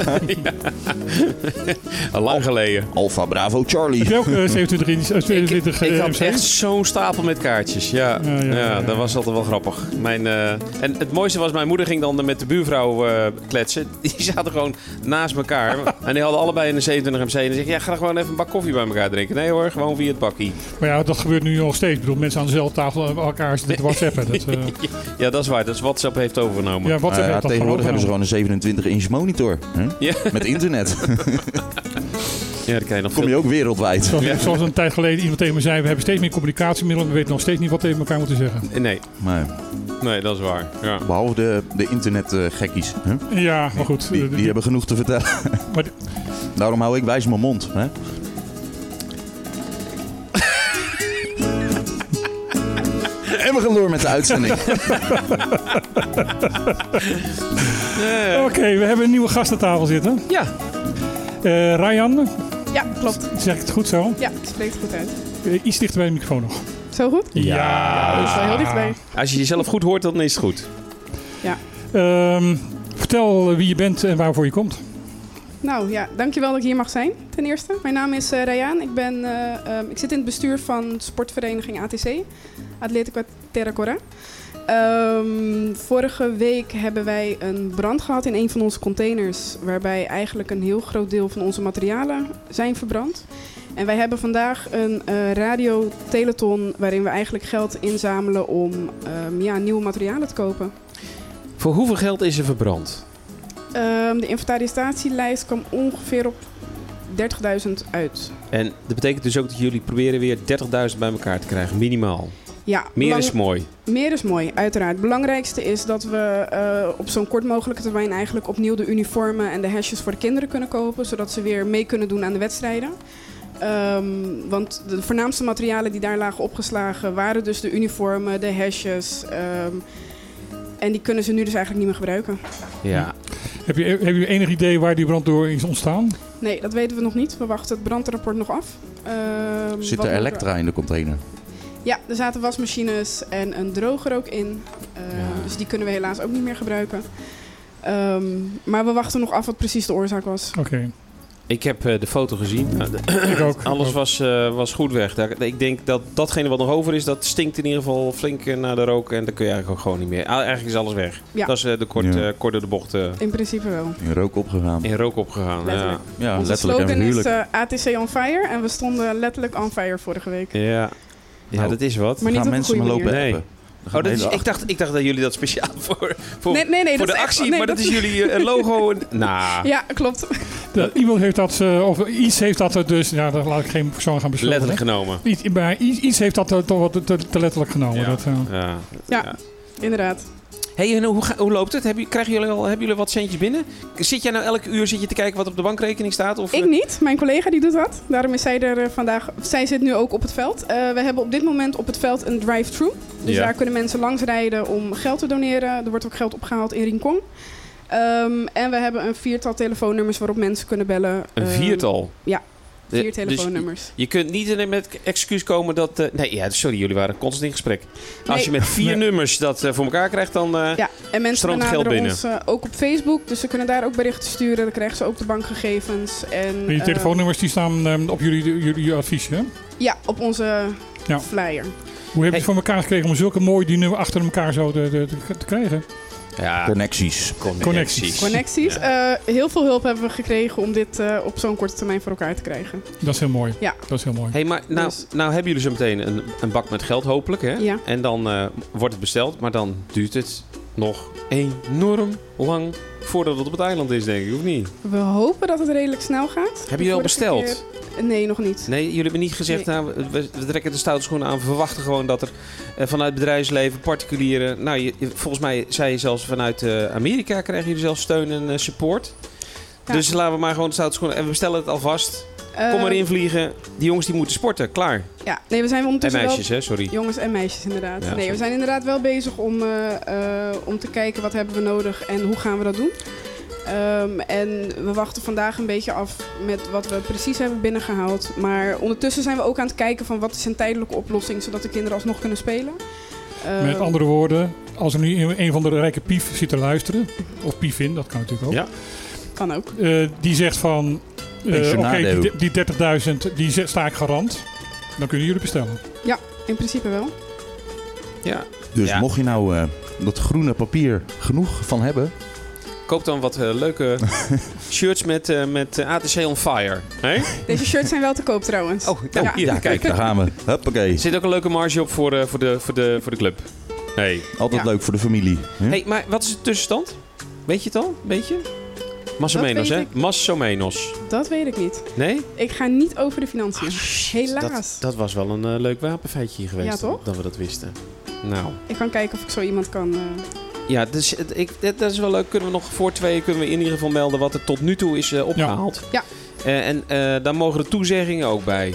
[SPEAKER 2] Ja. Lang geleden.
[SPEAKER 1] Alfa Bravo Charlie.
[SPEAKER 3] Heb jij ook eh, 27 inch, eh,
[SPEAKER 2] Ik,
[SPEAKER 3] 22
[SPEAKER 2] ik
[SPEAKER 3] eh,
[SPEAKER 2] had
[SPEAKER 3] MC?
[SPEAKER 2] echt zo'n stapel met kaartjes. Ja,
[SPEAKER 3] Ja,
[SPEAKER 2] ja,
[SPEAKER 3] ja, ja, ja.
[SPEAKER 2] dat was altijd wel grappig. Mijn, eh, en het mooiste was, mijn moeder ging dan met de buurvrouw eh, kletsen. Die zaten gewoon naast elkaar. en die hadden allebei een 27 MC. En die zeggen, ja, ga gewoon even een bak koffie bij elkaar drinken. Nee hoor, gewoon via het bakkie.
[SPEAKER 3] Maar ja, dat gebeurt nu nog steeds. Ik bedoel, mensen aan dezelfde tafel eh, elkaar zitten te whatsappen. Dat, eh,
[SPEAKER 2] Ja, dat is waar. Dat is WhatsApp heeft overgenomen.
[SPEAKER 3] ja, wat
[SPEAKER 1] Nou ja, tegenwoordig hebben ze gewoon een 27-inch monitor. Hè?
[SPEAKER 2] Ja.
[SPEAKER 1] Met internet.
[SPEAKER 2] Ja, dat kan je nog
[SPEAKER 1] Kom je ook wereldwijd.
[SPEAKER 3] Zoals, zoals een tijd geleden iemand tegen me zei, we hebben steeds meer communicatiemiddelen, maar we weten nog steeds niet wat we tegen elkaar moeten zeggen.
[SPEAKER 2] veel- Nee,
[SPEAKER 1] Maar
[SPEAKER 2] nee, dat is waar. Ja.
[SPEAKER 1] behalve de, de internetgekkies. hè?
[SPEAKER 3] Ja, maar goed.
[SPEAKER 1] Die,
[SPEAKER 3] eh,
[SPEAKER 1] die hebben genoeg te vertellen.
[SPEAKER 3] maar d-
[SPEAKER 1] Daarom hou ik wijs mijn mond. Hè? en we gaan door met de uitzending.
[SPEAKER 2] Eh,
[SPEAKER 3] Oké, we hebben een nieuwe gast aan tafel zitten.
[SPEAKER 9] Ja.
[SPEAKER 3] Eh Ryan,
[SPEAKER 9] Ja, klopt.
[SPEAKER 3] zeg ik het goed zo?
[SPEAKER 9] Ja, het spreekt goed uit.
[SPEAKER 3] Eh, iets dichter bij de microfoon nog.
[SPEAKER 9] Zo goed?
[SPEAKER 3] Ja.
[SPEAKER 9] Dat is wel heel dichtbij.
[SPEAKER 2] Als je jezelf goed hoort, dan is het goed.
[SPEAKER 3] Ehm, vertel wie je bent en waarvoor je komt.
[SPEAKER 9] Nou ja, dankjewel dat ik hier mag zijn, ten eerste. Mijn naam is eh Rayaan. Ik, ben, eh, ehm, ik zit in het bestuur van sportvereniging ATC, Atletico Terracora. Ehm, vorige week hebben wij een brand gehad in een van onze containers. Waarbij eigenlijk een heel groot deel van onze materialen zijn verbrand. En wij hebben vandaag een eh radio-teleton waarin we eigenlijk geld inzamelen om ehm, ja, nieuwe materialen te kopen.
[SPEAKER 2] Voor hoeveel geld is er verbrand?
[SPEAKER 9] Ehm, de inventarisatielijst kwam ongeveer op 30.000 uit.
[SPEAKER 2] En dat betekent dus ook dat jullie proberen weer 30.000 bij elkaar te krijgen, minimaal.
[SPEAKER 9] Ja,
[SPEAKER 2] Meer
[SPEAKER 9] belang-
[SPEAKER 2] is mooi.
[SPEAKER 9] Meer is mooi, uiteraard. Het belangrijkste is dat we eh, op zo'n kort mogelijke termijn eigenlijk opnieuw de uniformen en de hesjes voor de kinderen kunnen kopen, zodat ze weer mee kunnen doen aan de wedstrijden. Ehm, want de voornaamste materialen die daar lagen opgeslagen waren dus de uniformen, de hesjes. ehm, en die kunnen ze nu dus eigenlijk niet meer gebruiken.
[SPEAKER 2] Ja.
[SPEAKER 3] Heb je, heb je enig idee waar die brand door is ontstaan?
[SPEAKER 9] Nee, dat weten we nog niet. We wachten het brandrapport nog af. Ehm,
[SPEAKER 1] Zit
[SPEAKER 9] wat
[SPEAKER 1] er
[SPEAKER 9] nog-
[SPEAKER 1] elektra in de container?
[SPEAKER 9] Ja, er zaten wasmachines en een droger ook in. Eh,
[SPEAKER 2] Ja.
[SPEAKER 9] Dus die kunnen we helaas ook niet meer gebruiken. Ehm, maar we wachten nog af wat precies de oorzaak was.
[SPEAKER 3] Oké,
[SPEAKER 2] Ik heb eh, de foto gezien. Nou, de-
[SPEAKER 3] ik ook.
[SPEAKER 2] Alles was, eh, was goed weg. Daar, ik denk dat datgene wat nog over is, dat stinkt in ieder geval flink eh, naar de rook. En dat kun je eigenlijk ook gewoon niet meer. Ah, eigenlijk is alles weg.
[SPEAKER 9] Ja.
[SPEAKER 2] Dat is eh, de kort,
[SPEAKER 1] Ja.
[SPEAKER 2] eh, kort door de bocht eh,
[SPEAKER 9] In principe wel.
[SPEAKER 1] In rook opgegaan.
[SPEAKER 2] in rook opgegaan. Ja.
[SPEAKER 9] Letterlijk.
[SPEAKER 1] Ja,
[SPEAKER 9] Onze
[SPEAKER 1] letterlijk en
[SPEAKER 9] slogan is
[SPEAKER 1] figuurlijk.
[SPEAKER 9] eh, ATC on fire. En we stonden letterlijk on fire vorige week.
[SPEAKER 2] Ja. ja,
[SPEAKER 1] Nou.
[SPEAKER 2] dat is wat.
[SPEAKER 9] Maar niet
[SPEAKER 1] Gaan
[SPEAKER 9] op een
[SPEAKER 1] mensen
[SPEAKER 9] goede
[SPEAKER 1] maar
[SPEAKER 9] manier.
[SPEAKER 1] lopen
[SPEAKER 2] manier.
[SPEAKER 1] appen. Dan gaan
[SPEAKER 2] Oh, dat is,
[SPEAKER 1] hele
[SPEAKER 2] ik, dacht, ik dacht dat jullie dat speciaal voor, voor,
[SPEAKER 9] Nee, nee, nee.
[SPEAKER 2] voor
[SPEAKER 9] dat
[SPEAKER 2] de
[SPEAKER 9] is echt-
[SPEAKER 2] actie,
[SPEAKER 9] nee,
[SPEAKER 2] maar dat, is jullie eh, logo. en- Nou,
[SPEAKER 9] Ja, klopt.
[SPEAKER 3] Dat- iemand heeft dat, eh, of iets heeft dat er dus, ja, daar laat ik geen persoon gaan bespreken.
[SPEAKER 2] letterlijk genomen.
[SPEAKER 3] Iets, maar iets, iets heeft dat er toch wat te, te letterlijk genomen.
[SPEAKER 2] Ja.
[SPEAKER 3] Dat, eh,
[SPEAKER 2] Ja.
[SPEAKER 9] Ja. Inderdaad.
[SPEAKER 2] Hey, en hoe, ga- hoe loopt het? Hebben, krijgen jullie al, hebben jullie wat centjes binnen? Zit jij nou elke uur zit je te kijken wat op de bankrekening staat? Of,
[SPEAKER 9] Ik niet. Mijn collega die doet dat. Daarom is zij er eh, vandaag. Zij zit nu ook op het veld. Eh, we hebben op dit moment op het veld een drive-thru. Dus
[SPEAKER 2] Ja.
[SPEAKER 9] daar kunnen mensen langs rijden om geld te doneren. Er wordt ook geld opgehaald in Rincon. Ehm, en we hebben een viertal telefoonnummers waarop mensen kunnen bellen.
[SPEAKER 2] Een
[SPEAKER 9] Ehm,
[SPEAKER 2] viertal.
[SPEAKER 9] ja.
[SPEAKER 2] Eh,
[SPEAKER 9] vier
[SPEAKER 2] dus
[SPEAKER 9] telefoonnummers.
[SPEAKER 2] je kunt niet alleen met excuus komen dat... eh, nee, ja, sorry, jullie waren constant in gesprek. Als
[SPEAKER 9] Nee.
[SPEAKER 2] je met vier
[SPEAKER 3] Nee.
[SPEAKER 2] nummers dat eh, voor elkaar krijgt, dan... eh,
[SPEAKER 9] ja, en mensen
[SPEAKER 2] stroomt geld
[SPEAKER 9] benaderen
[SPEAKER 2] binnen.
[SPEAKER 9] ons eh, ook op Facebook. Dus ze kunnen daar ook berichten sturen. Dan krijgen ze ook de bankgegevens. En,
[SPEAKER 3] die
[SPEAKER 9] eh,
[SPEAKER 3] telefoonnummers die staan eh, op jullie, jullie advies, hè?
[SPEAKER 9] ja, op onze
[SPEAKER 3] Ja. Hoe
[SPEAKER 9] flyer.
[SPEAKER 3] heb je
[SPEAKER 2] Hey.
[SPEAKER 3] het voor elkaar gekregen om zulke mooie die nu achter elkaar zo te, te- te krijgen?
[SPEAKER 2] ja,
[SPEAKER 1] Connecties.
[SPEAKER 3] Connecties.
[SPEAKER 9] Connecties. Eh, heel veel hulp hebben we gekregen om dit eh, op zo'n korte termijn voor elkaar te krijgen.
[SPEAKER 3] Dat is heel mooi.
[SPEAKER 9] Ja.
[SPEAKER 3] Dat is heel mooi.
[SPEAKER 2] Hey, maar nou,
[SPEAKER 9] Dus-
[SPEAKER 2] nou hebben jullie zo meteen een, een bak met geld, hopelijk. Hè?
[SPEAKER 9] Ja.
[SPEAKER 2] En dan eh, wordt het besteld, maar dan duurt het nog enorm lang voordat het op het eiland is, denk ik, of niet?
[SPEAKER 9] We hopen dat het redelijk snel gaat.
[SPEAKER 2] Hebben jullie al
[SPEAKER 9] De vorige
[SPEAKER 2] besteld?
[SPEAKER 9] keer- Nee, nog niet.
[SPEAKER 2] Nee, jullie hebben niet gezegd, nou, we, we trekken de stoute schoenen aan. We verwachten gewoon dat er eh, vanuit bedrijfsleven, particulieren... Nou, je, je- volgens mij zei je zelfs vanuit eh, Amerika krijgen jullie zelfs steun en eh, support.
[SPEAKER 9] Ja.
[SPEAKER 2] Dus laten we maar gewoon de stoute schoenen... En we bestellen het alvast. Kom
[SPEAKER 9] Eh,
[SPEAKER 2] maar invliegen. Die jongens die moeten sporten, klaar.
[SPEAKER 9] Ja, nee, we zijn
[SPEAKER 2] En
[SPEAKER 9] ondertussen
[SPEAKER 2] meisjes, hè, sorry.
[SPEAKER 9] wel... Jongens en meisjes, inderdaad.
[SPEAKER 2] Ja,
[SPEAKER 9] nee,
[SPEAKER 2] sorry.
[SPEAKER 9] we zijn inderdaad wel bezig om, eh, eh, om te kijken wat hebben we nodig en hoe gaan we dat doen. Ehm, en we wachten vandaag een beetje af met wat we precies hebben binnengehaald. Maar ondertussen zijn we ook aan het kijken van wat is een tijdelijke oplossing, zodat de kinderen alsnog kunnen spelen. Ehm,
[SPEAKER 3] Met andere woorden, als er nu een van de rijke pief zit te luisteren, of pief in, dat kan natuurlijk ook,
[SPEAKER 2] Ja.
[SPEAKER 9] Kan ook.
[SPEAKER 3] eh, die zegt van, eh, oké,
[SPEAKER 1] Pensionado.
[SPEAKER 3] die, die 30.000, die zet- sta ik garant. Dan kunnen jullie bestellen.
[SPEAKER 9] In principe wel.
[SPEAKER 2] Ja.
[SPEAKER 1] Dus
[SPEAKER 2] Ja.
[SPEAKER 1] mocht je nou eh, dat groene papier genoeg van hebben...
[SPEAKER 2] Koop dan wat eh, leuke shirts met, eh, met eh, ATC on fire. Hé?
[SPEAKER 9] Deze shirts zijn wel te koop trouwens.
[SPEAKER 2] Oh, oh,
[SPEAKER 9] Oh, Ja.
[SPEAKER 2] hier, kijk.
[SPEAKER 1] daar gaan we.
[SPEAKER 2] Er
[SPEAKER 1] Huppakee.
[SPEAKER 2] zit ook een leuke marge op voor, eh, voor, de, voor, de, voor de club. Hey.
[SPEAKER 1] Altijd
[SPEAKER 9] Ja.
[SPEAKER 1] leuk voor de familie. hè?
[SPEAKER 2] hey, maar wat is de tussenstand? Weet je het al? Weet je? Massomenos,
[SPEAKER 9] weet
[SPEAKER 2] hè?
[SPEAKER 9] ik.
[SPEAKER 2] Massomenos.
[SPEAKER 9] Dat weet ik niet.
[SPEAKER 2] Nee?
[SPEAKER 9] Ik ga niet over de financiën.
[SPEAKER 2] Ah, Dat,
[SPEAKER 9] Oh, Helaas.
[SPEAKER 2] dat was wel een eh, leuk wapenfeitje hier geweest.
[SPEAKER 9] Ja, toch?
[SPEAKER 2] Dat we dat wisten. Nou.
[SPEAKER 9] Ik kan kijken of ik zo iemand kan. eh,
[SPEAKER 2] Ja, dus, het- ik, dat, dat is wel leuk. Kunnen we nog voor tweeën kunnen we in ieder geval melden wat er tot nu toe is eh, opgehaald.
[SPEAKER 9] Ja.
[SPEAKER 2] Eh, en eh, daar mogen de toezeggingen ook bij.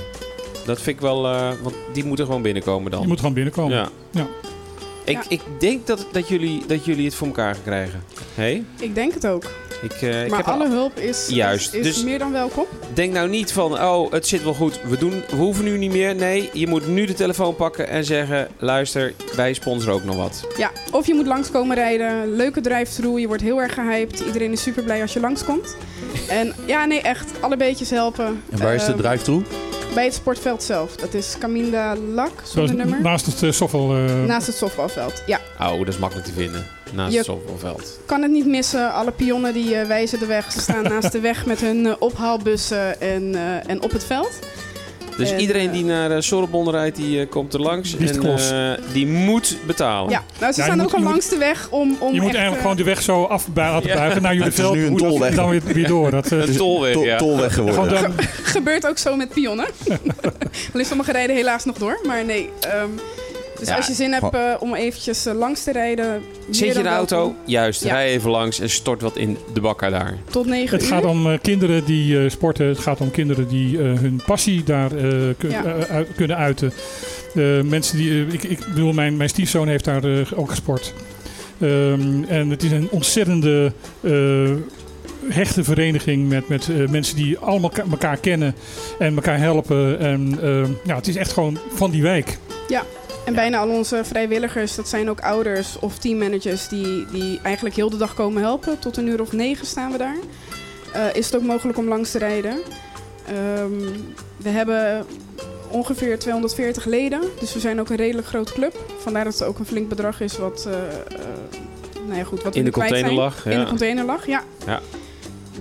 [SPEAKER 2] Dat vind ik wel, eh, want die moeten gewoon binnenkomen dan.
[SPEAKER 3] Je moet gewoon binnenkomen.
[SPEAKER 2] Ja.
[SPEAKER 3] Ja.
[SPEAKER 2] Ik,
[SPEAKER 9] Ja.
[SPEAKER 2] ik denk dat, dat, jullie, dat jullie het voor elkaar gaan krijgen. Hey?
[SPEAKER 9] ik denk het ook.
[SPEAKER 2] Ik, eh, ik
[SPEAKER 9] maar
[SPEAKER 2] heb al-
[SPEAKER 9] alle hulp is,
[SPEAKER 2] Juist,
[SPEAKER 9] is, is
[SPEAKER 2] dus-
[SPEAKER 9] meer dan welkom.
[SPEAKER 2] Denk nou niet van, oh, het zit wel goed, we, doen, we hoeven nu niet meer. Nee, je moet nu de telefoon pakken en zeggen, luister, wij sponsoren ook nog wat.
[SPEAKER 9] Ja, of je moet langskomen rijden. Leuke drive-thru. Je wordt heel erg gehyped. Iedereen is super blij als je langskomt. En ja, nee, echt. Alle beetjes helpen.
[SPEAKER 1] En waar is de
[SPEAKER 9] Ehm,
[SPEAKER 1] drive-thru?
[SPEAKER 9] Bij het sportveld zelf. Dat is Caminda Lak,
[SPEAKER 3] Dat
[SPEAKER 9] zonder
[SPEAKER 3] is
[SPEAKER 9] nummer. Nou,
[SPEAKER 3] naast het eh, softbal. eh,
[SPEAKER 9] Naast het softbalveld. Ja,
[SPEAKER 2] Oh, dat is makkelijk te vinden. Naast
[SPEAKER 9] Je-
[SPEAKER 2] het softbalveld.
[SPEAKER 9] kan het niet missen. Alle pionnen die eh, wijzen de weg. Ze staan naast de weg met hun eh, ophaalbussen en, eh, en op het veld.
[SPEAKER 2] Dus
[SPEAKER 9] En,
[SPEAKER 2] iedereen
[SPEAKER 9] eh,
[SPEAKER 2] die naar eh, Sorbonne rijdt, die eh, komt er langs.
[SPEAKER 3] Die is
[SPEAKER 2] en
[SPEAKER 3] de klos.
[SPEAKER 2] eh, die moet betalen.
[SPEAKER 9] Ja, nou, ze
[SPEAKER 3] Ja, je
[SPEAKER 9] staan
[SPEAKER 3] moet-
[SPEAKER 9] ook al
[SPEAKER 3] je moet-
[SPEAKER 9] langs de weg om, om
[SPEAKER 3] je moet
[SPEAKER 9] echt,
[SPEAKER 3] eigenlijk
[SPEAKER 9] eh,
[SPEAKER 3] gewoon de weg zo af bij laten
[SPEAKER 2] Ja.
[SPEAKER 3] buigen naar jullie
[SPEAKER 1] Het is
[SPEAKER 3] veld.
[SPEAKER 1] nu een
[SPEAKER 3] hoe dat-
[SPEAKER 1] tolweg.
[SPEAKER 3] Dan weer, weer door. Dat, eh,
[SPEAKER 2] Een tolweg,
[SPEAKER 1] Tol-
[SPEAKER 2] ja.
[SPEAKER 1] Tolweg
[SPEAKER 3] gewoon
[SPEAKER 1] geworden.
[SPEAKER 3] dan-
[SPEAKER 9] gebeurt ook zo met pionnen. Alleen sommige rijden helaas nog door, maar nee. ehm, dus
[SPEAKER 2] Ja,
[SPEAKER 9] als je zin hebt eh, om eventjes eh, langs te rijden. meer
[SPEAKER 2] Zit je
[SPEAKER 9] dan
[SPEAKER 2] in de auto?
[SPEAKER 9] welkom.
[SPEAKER 2] Juist,
[SPEAKER 9] Ja.
[SPEAKER 2] rij even langs en stort wat in de bakka daar.
[SPEAKER 9] Tot 9
[SPEAKER 3] het
[SPEAKER 9] uur.
[SPEAKER 3] gaat om eh, kinderen die eh, sporten. Het gaat om kinderen die eh, hun passie daar eh, kun-
[SPEAKER 9] Ja.
[SPEAKER 3] eh, uit- kunnen uiten. Eh, mensen die, eh, ik, ik bedoel, mijn, mijn stiefzoon heeft daar eh, ook gesport. Ehm, en het is een ontzettende eh, hechte vereniging met, met eh, mensen die allemaal ka- elkaar kennen en elkaar helpen. En ehm, ja, het is echt gewoon van die wijk.
[SPEAKER 9] En bijna al onze vrijwilligers, dat zijn ook ouders of teammanagers die, die eigenlijk heel de dag komen helpen. Tot een uur of negen staan we daar. Eh, is het ook mogelijk om langs te rijden? Ehm, we hebben ongeveer 240 leden, dus we zijn ook een redelijk groot club. Vandaar dat het ook een flink bedrag is wat, eh, eh, nou ja, goed, wat we
[SPEAKER 2] In de
[SPEAKER 9] nu kwijt zijn.
[SPEAKER 2] container lag.
[SPEAKER 9] In de
[SPEAKER 2] Ja.
[SPEAKER 9] container lag, ja.
[SPEAKER 2] Ja.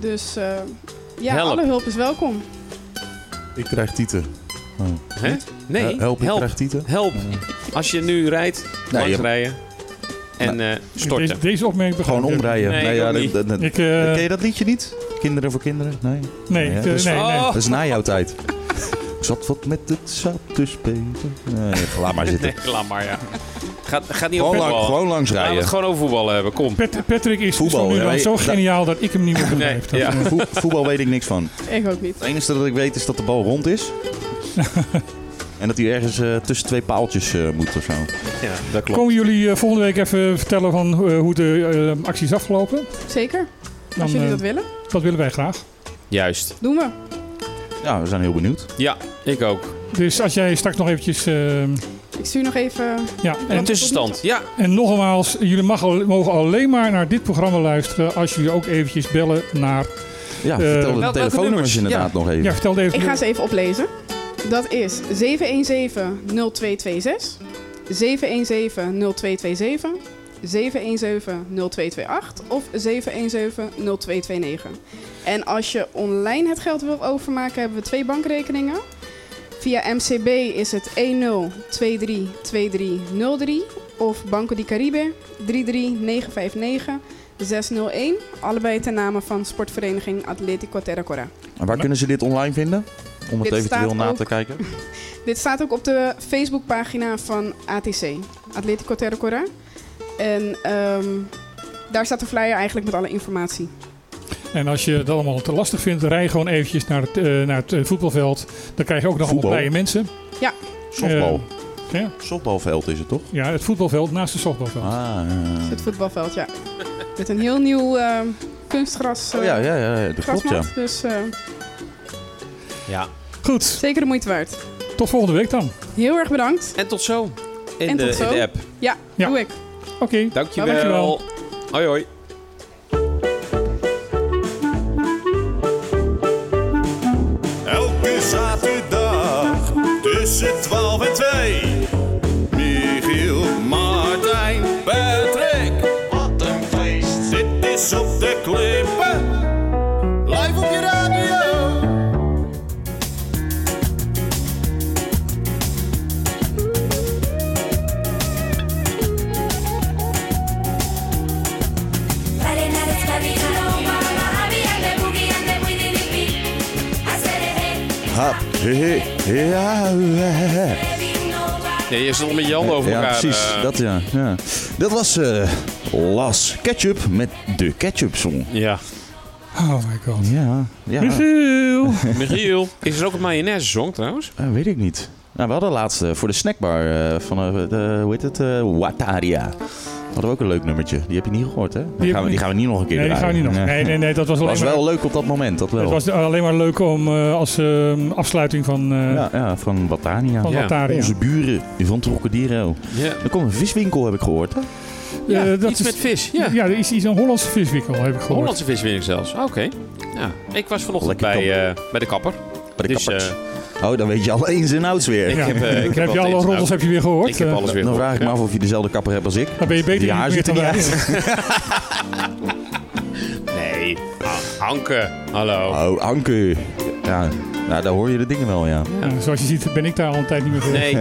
[SPEAKER 9] Dus eh, ja,
[SPEAKER 2] Help.
[SPEAKER 9] alle hulp is welkom.
[SPEAKER 1] Ik krijg tieten.
[SPEAKER 2] Hè? Nee,
[SPEAKER 1] Eh,
[SPEAKER 2] help.
[SPEAKER 1] help, ik
[SPEAKER 2] Help.
[SPEAKER 1] krijg tieten.
[SPEAKER 2] Als je nu rijdt, langs
[SPEAKER 1] je- Nou,
[SPEAKER 2] rijden. En eh,
[SPEAKER 3] Deze,
[SPEAKER 2] storten.
[SPEAKER 3] deze opmerking begrijp
[SPEAKER 1] Gewoon
[SPEAKER 3] ik even
[SPEAKER 1] omrijden.
[SPEAKER 2] Nee, ik ook
[SPEAKER 1] dat-
[SPEAKER 2] niet.
[SPEAKER 1] dat- dat-
[SPEAKER 3] niet. Ik, eh,
[SPEAKER 1] Ken je dat liedje niet? Kinderen voor kinderen? Nee.
[SPEAKER 3] nee,
[SPEAKER 1] Ja,
[SPEAKER 3] ik, eh,
[SPEAKER 1] dus-
[SPEAKER 3] nee, nee.
[SPEAKER 2] Oh.
[SPEAKER 1] Dat is na jouw tijd. Ik zat wat met het zat te spelen. Nee, laat maar zitten.
[SPEAKER 2] Nee, laat maar, ja. Gaat, gaat niet
[SPEAKER 1] Gewoon,
[SPEAKER 2] over
[SPEAKER 1] lang-
[SPEAKER 2] voetbal.
[SPEAKER 1] gewoon langs
[SPEAKER 2] Laten we
[SPEAKER 1] rijden.
[SPEAKER 2] het gewoon over voetbal hebben, kom.
[SPEAKER 3] Pat- Patrick is
[SPEAKER 1] Voetbal,
[SPEAKER 3] tot nu
[SPEAKER 1] hè?
[SPEAKER 3] dan zo
[SPEAKER 1] Dat-
[SPEAKER 3] geniaal dat ik hem niet meer begrijp.
[SPEAKER 2] Nee,
[SPEAKER 3] Dat-
[SPEAKER 2] ja.
[SPEAKER 1] Vo- voetbal weet ik niks van.
[SPEAKER 9] Ik ook niet.
[SPEAKER 1] Het enige dat ik weet is dat de bal rond is. en dat hij ergens eh, tussen twee paaltjes eh, moet of zo.
[SPEAKER 2] Ja, dat klopt.
[SPEAKER 3] Komen jullie eh, volgende week even vertellen van eh, hoe de eh, actie is afgelopen?
[SPEAKER 9] Zeker,
[SPEAKER 3] Dan,
[SPEAKER 9] als jullie
[SPEAKER 3] eh,
[SPEAKER 9] dat willen,
[SPEAKER 3] dat willen wij graag.
[SPEAKER 2] Juist.
[SPEAKER 9] doen we.
[SPEAKER 1] Ja, we zijn heel benieuwd.
[SPEAKER 2] Ja, ik ook.
[SPEAKER 3] Dus als jij straks nog eventjes... eh,
[SPEAKER 9] Ik stuur nog even
[SPEAKER 3] ja,
[SPEAKER 2] Een
[SPEAKER 3] en,
[SPEAKER 2] tussenstand. Ja,
[SPEAKER 3] en nogmaals, jullie mag, al- mogen alleen maar naar dit programma luisteren als jullie ook eventjes bellen naar...
[SPEAKER 1] Ja,
[SPEAKER 3] Eh,
[SPEAKER 1] vertel
[SPEAKER 3] wel-
[SPEAKER 1] de
[SPEAKER 2] welke
[SPEAKER 1] telefoonnummers
[SPEAKER 2] nummers?
[SPEAKER 1] inderdaad nog even.
[SPEAKER 3] Ja,
[SPEAKER 1] Ja.
[SPEAKER 3] vertel even...
[SPEAKER 9] Ik ga ze even oplezen. Dat is 717-0226, 717-0227, 717-0228 of 717-0229. En als je online het geld wil overmaken, hebben we twee bankrekeningen. Via MCB is het 10232303 of Banco di Caribe 33959 601. Allebei ten name van sportvereniging Atletico Terracora.
[SPEAKER 1] En waar kunnen ze dit online vinden? Om het
[SPEAKER 9] Dit
[SPEAKER 1] eventueel
[SPEAKER 9] staat
[SPEAKER 1] na
[SPEAKER 9] ook-
[SPEAKER 1] te kijken.
[SPEAKER 3] Eh,
[SPEAKER 9] Dit staat ook op de Facebookpagina van ATC, Atletico Terracora. En ehm, daar staat de flyer eigenlijk met alle informatie.
[SPEAKER 3] En als je dat allemaal te lastig vindt, rij gewoon eventjes naar het, eh, naar het eh, voetbalveld. Dan krijg je ook nog allemaal
[SPEAKER 1] Voetbal?
[SPEAKER 3] blije mensen.
[SPEAKER 1] Softbal.
[SPEAKER 3] Eh, ja.
[SPEAKER 1] Softbalveld is het toch?
[SPEAKER 3] Ja, het voetbalveld naast het softbalveld.
[SPEAKER 1] Ah,
[SPEAKER 9] Dus
[SPEAKER 1] eh.
[SPEAKER 9] Het voetbalveld, ja. Met een heel nieuw ehm, kunstgras. eh,
[SPEAKER 1] Oh, ja, ja, ja, dat klopt ja.
[SPEAKER 9] grasmat. Dus eh,
[SPEAKER 2] Ja.
[SPEAKER 3] Goed,
[SPEAKER 9] zeker de moeite waard.
[SPEAKER 3] tot volgende week dan.
[SPEAKER 9] Heel erg bedankt.
[SPEAKER 2] En tot zo. In,
[SPEAKER 9] En
[SPEAKER 2] de,
[SPEAKER 9] tot zo.
[SPEAKER 2] in de app.
[SPEAKER 9] Ja,
[SPEAKER 3] Ja.
[SPEAKER 9] doe ik.
[SPEAKER 3] Oké.
[SPEAKER 2] Dankjewel.
[SPEAKER 3] Dankjewel.
[SPEAKER 2] Hoi hoi.
[SPEAKER 4] Elke zaterdag tussen 12 en 2. Michiel, Martijn, Patrick. Wat een feest. Dit is op de klippen. Live op je radio.
[SPEAKER 7] Arenales, Cabina, Oh, Mama, Abby, and the Boogie, and the Winnie the Pig. I said, hey,
[SPEAKER 1] Ha, he, he, ja, he, he.
[SPEAKER 7] baby, nobody.
[SPEAKER 2] Ja, je zit al met Jan over
[SPEAKER 1] ja,
[SPEAKER 2] elkaar.
[SPEAKER 1] precies.
[SPEAKER 2] eh.
[SPEAKER 1] Dat, ja. Ja. dat was eh, Las Ketchup met de Ketchup Song.
[SPEAKER 2] Ja.
[SPEAKER 3] Oh my god.
[SPEAKER 1] Ja, ja
[SPEAKER 3] Michiel!
[SPEAKER 2] Michiel. Is er ook een mayonaise song trouwens?
[SPEAKER 1] eh, weet ik niet. Nou, we hadden laatst eh, voor de snackbar eh, van, eh, de, hoe heet het, eh, Wataria. Hadden we ook een leuk nummertje. Die heb je niet gehoord, hè? Die,
[SPEAKER 3] heb
[SPEAKER 1] gaan,
[SPEAKER 3] ik
[SPEAKER 1] we, die
[SPEAKER 3] niet.
[SPEAKER 1] gaan we niet nog een keer
[SPEAKER 3] Nee, die gaan we
[SPEAKER 1] draaien.
[SPEAKER 3] niet nog.
[SPEAKER 1] Nee.
[SPEAKER 3] Nee, nee, nee, dat was alleen
[SPEAKER 1] was
[SPEAKER 3] maar...
[SPEAKER 1] wel leuk op dat moment, dat wel.
[SPEAKER 3] Het was alleen maar leuk om eh, als eh, afsluiting van, eh
[SPEAKER 1] ja, ja, van Wataria.
[SPEAKER 3] van
[SPEAKER 2] Ja.
[SPEAKER 3] Lataria.
[SPEAKER 1] Onze buren van Trocadero.
[SPEAKER 2] Ja.
[SPEAKER 1] Er komt een viswinkel, heb ik gehoord, hè?
[SPEAKER 3] Eh,
[SPEAKER 2] Ja,
[SPEAKER 3] dat
[SPEAKER 2] iets
[SPEAKER 3] is-
[SPEAKER 2] met vis. Ja.
[SPEAKER 3] Ja, ja er is iets een Hollandse viswinkel, heb ik gehoord.
[SPEAKER 2] Hollandse vis win ik zelfs. Ah, Oké. Ja. Ik was vanochtend
[SPEAKER 1] Lekker
[SPEAKER 2] bij, eh, bij de kapper.
[SPEAKER 1] Bij de
[SPEAKER 2] dus,
[SPEAKER 1] kappers.
[SPEAKER 2] eh,
[SPEAKER 1] Hij Oh, dan weet je al eens en outs weer.
[SPEAKER 2] heb, eh, ik
[SPEAKER 3] heb
[SPEAKER 2] heb wel
[SPEAKER 3] je alle
[SPEAKER 2] eens-
[SPEAKER 3] roddels heb je weer gehoord?
[SPEAKER 2] Ik heb
[SPEAKER 3] Eh,
[SPEAKER 2] alles weer
[SPEAKER 1] Dan
[SPEAKER 2] gehoord.
[SPEAKER 1] vraag ik me af of je dezelfde kapper hebt als ik.
[SPEAKER 3] Dan ben je beter
[SPEAKER 1] Die
[SPEAKER 3] in
[SPEAKER 1] haar
[SPEAKER 3] meer
[SPEAKER 1] ziet er
[SPEAKER 3] dan
[SPEAKER 1] niet
[SPEAKER 3] wij.
[SPEAKER 2] Nee, Ah, Anke, hallo.
[SPEAKER 1] Oh, Anke. Ja, nou, daar hoor je de dingen wel, ja.
[SPEAKER 3] Ja, Zoals je ziet ben ik daar al een tijd niet meer voor.
[SPEAKER 2] Nee,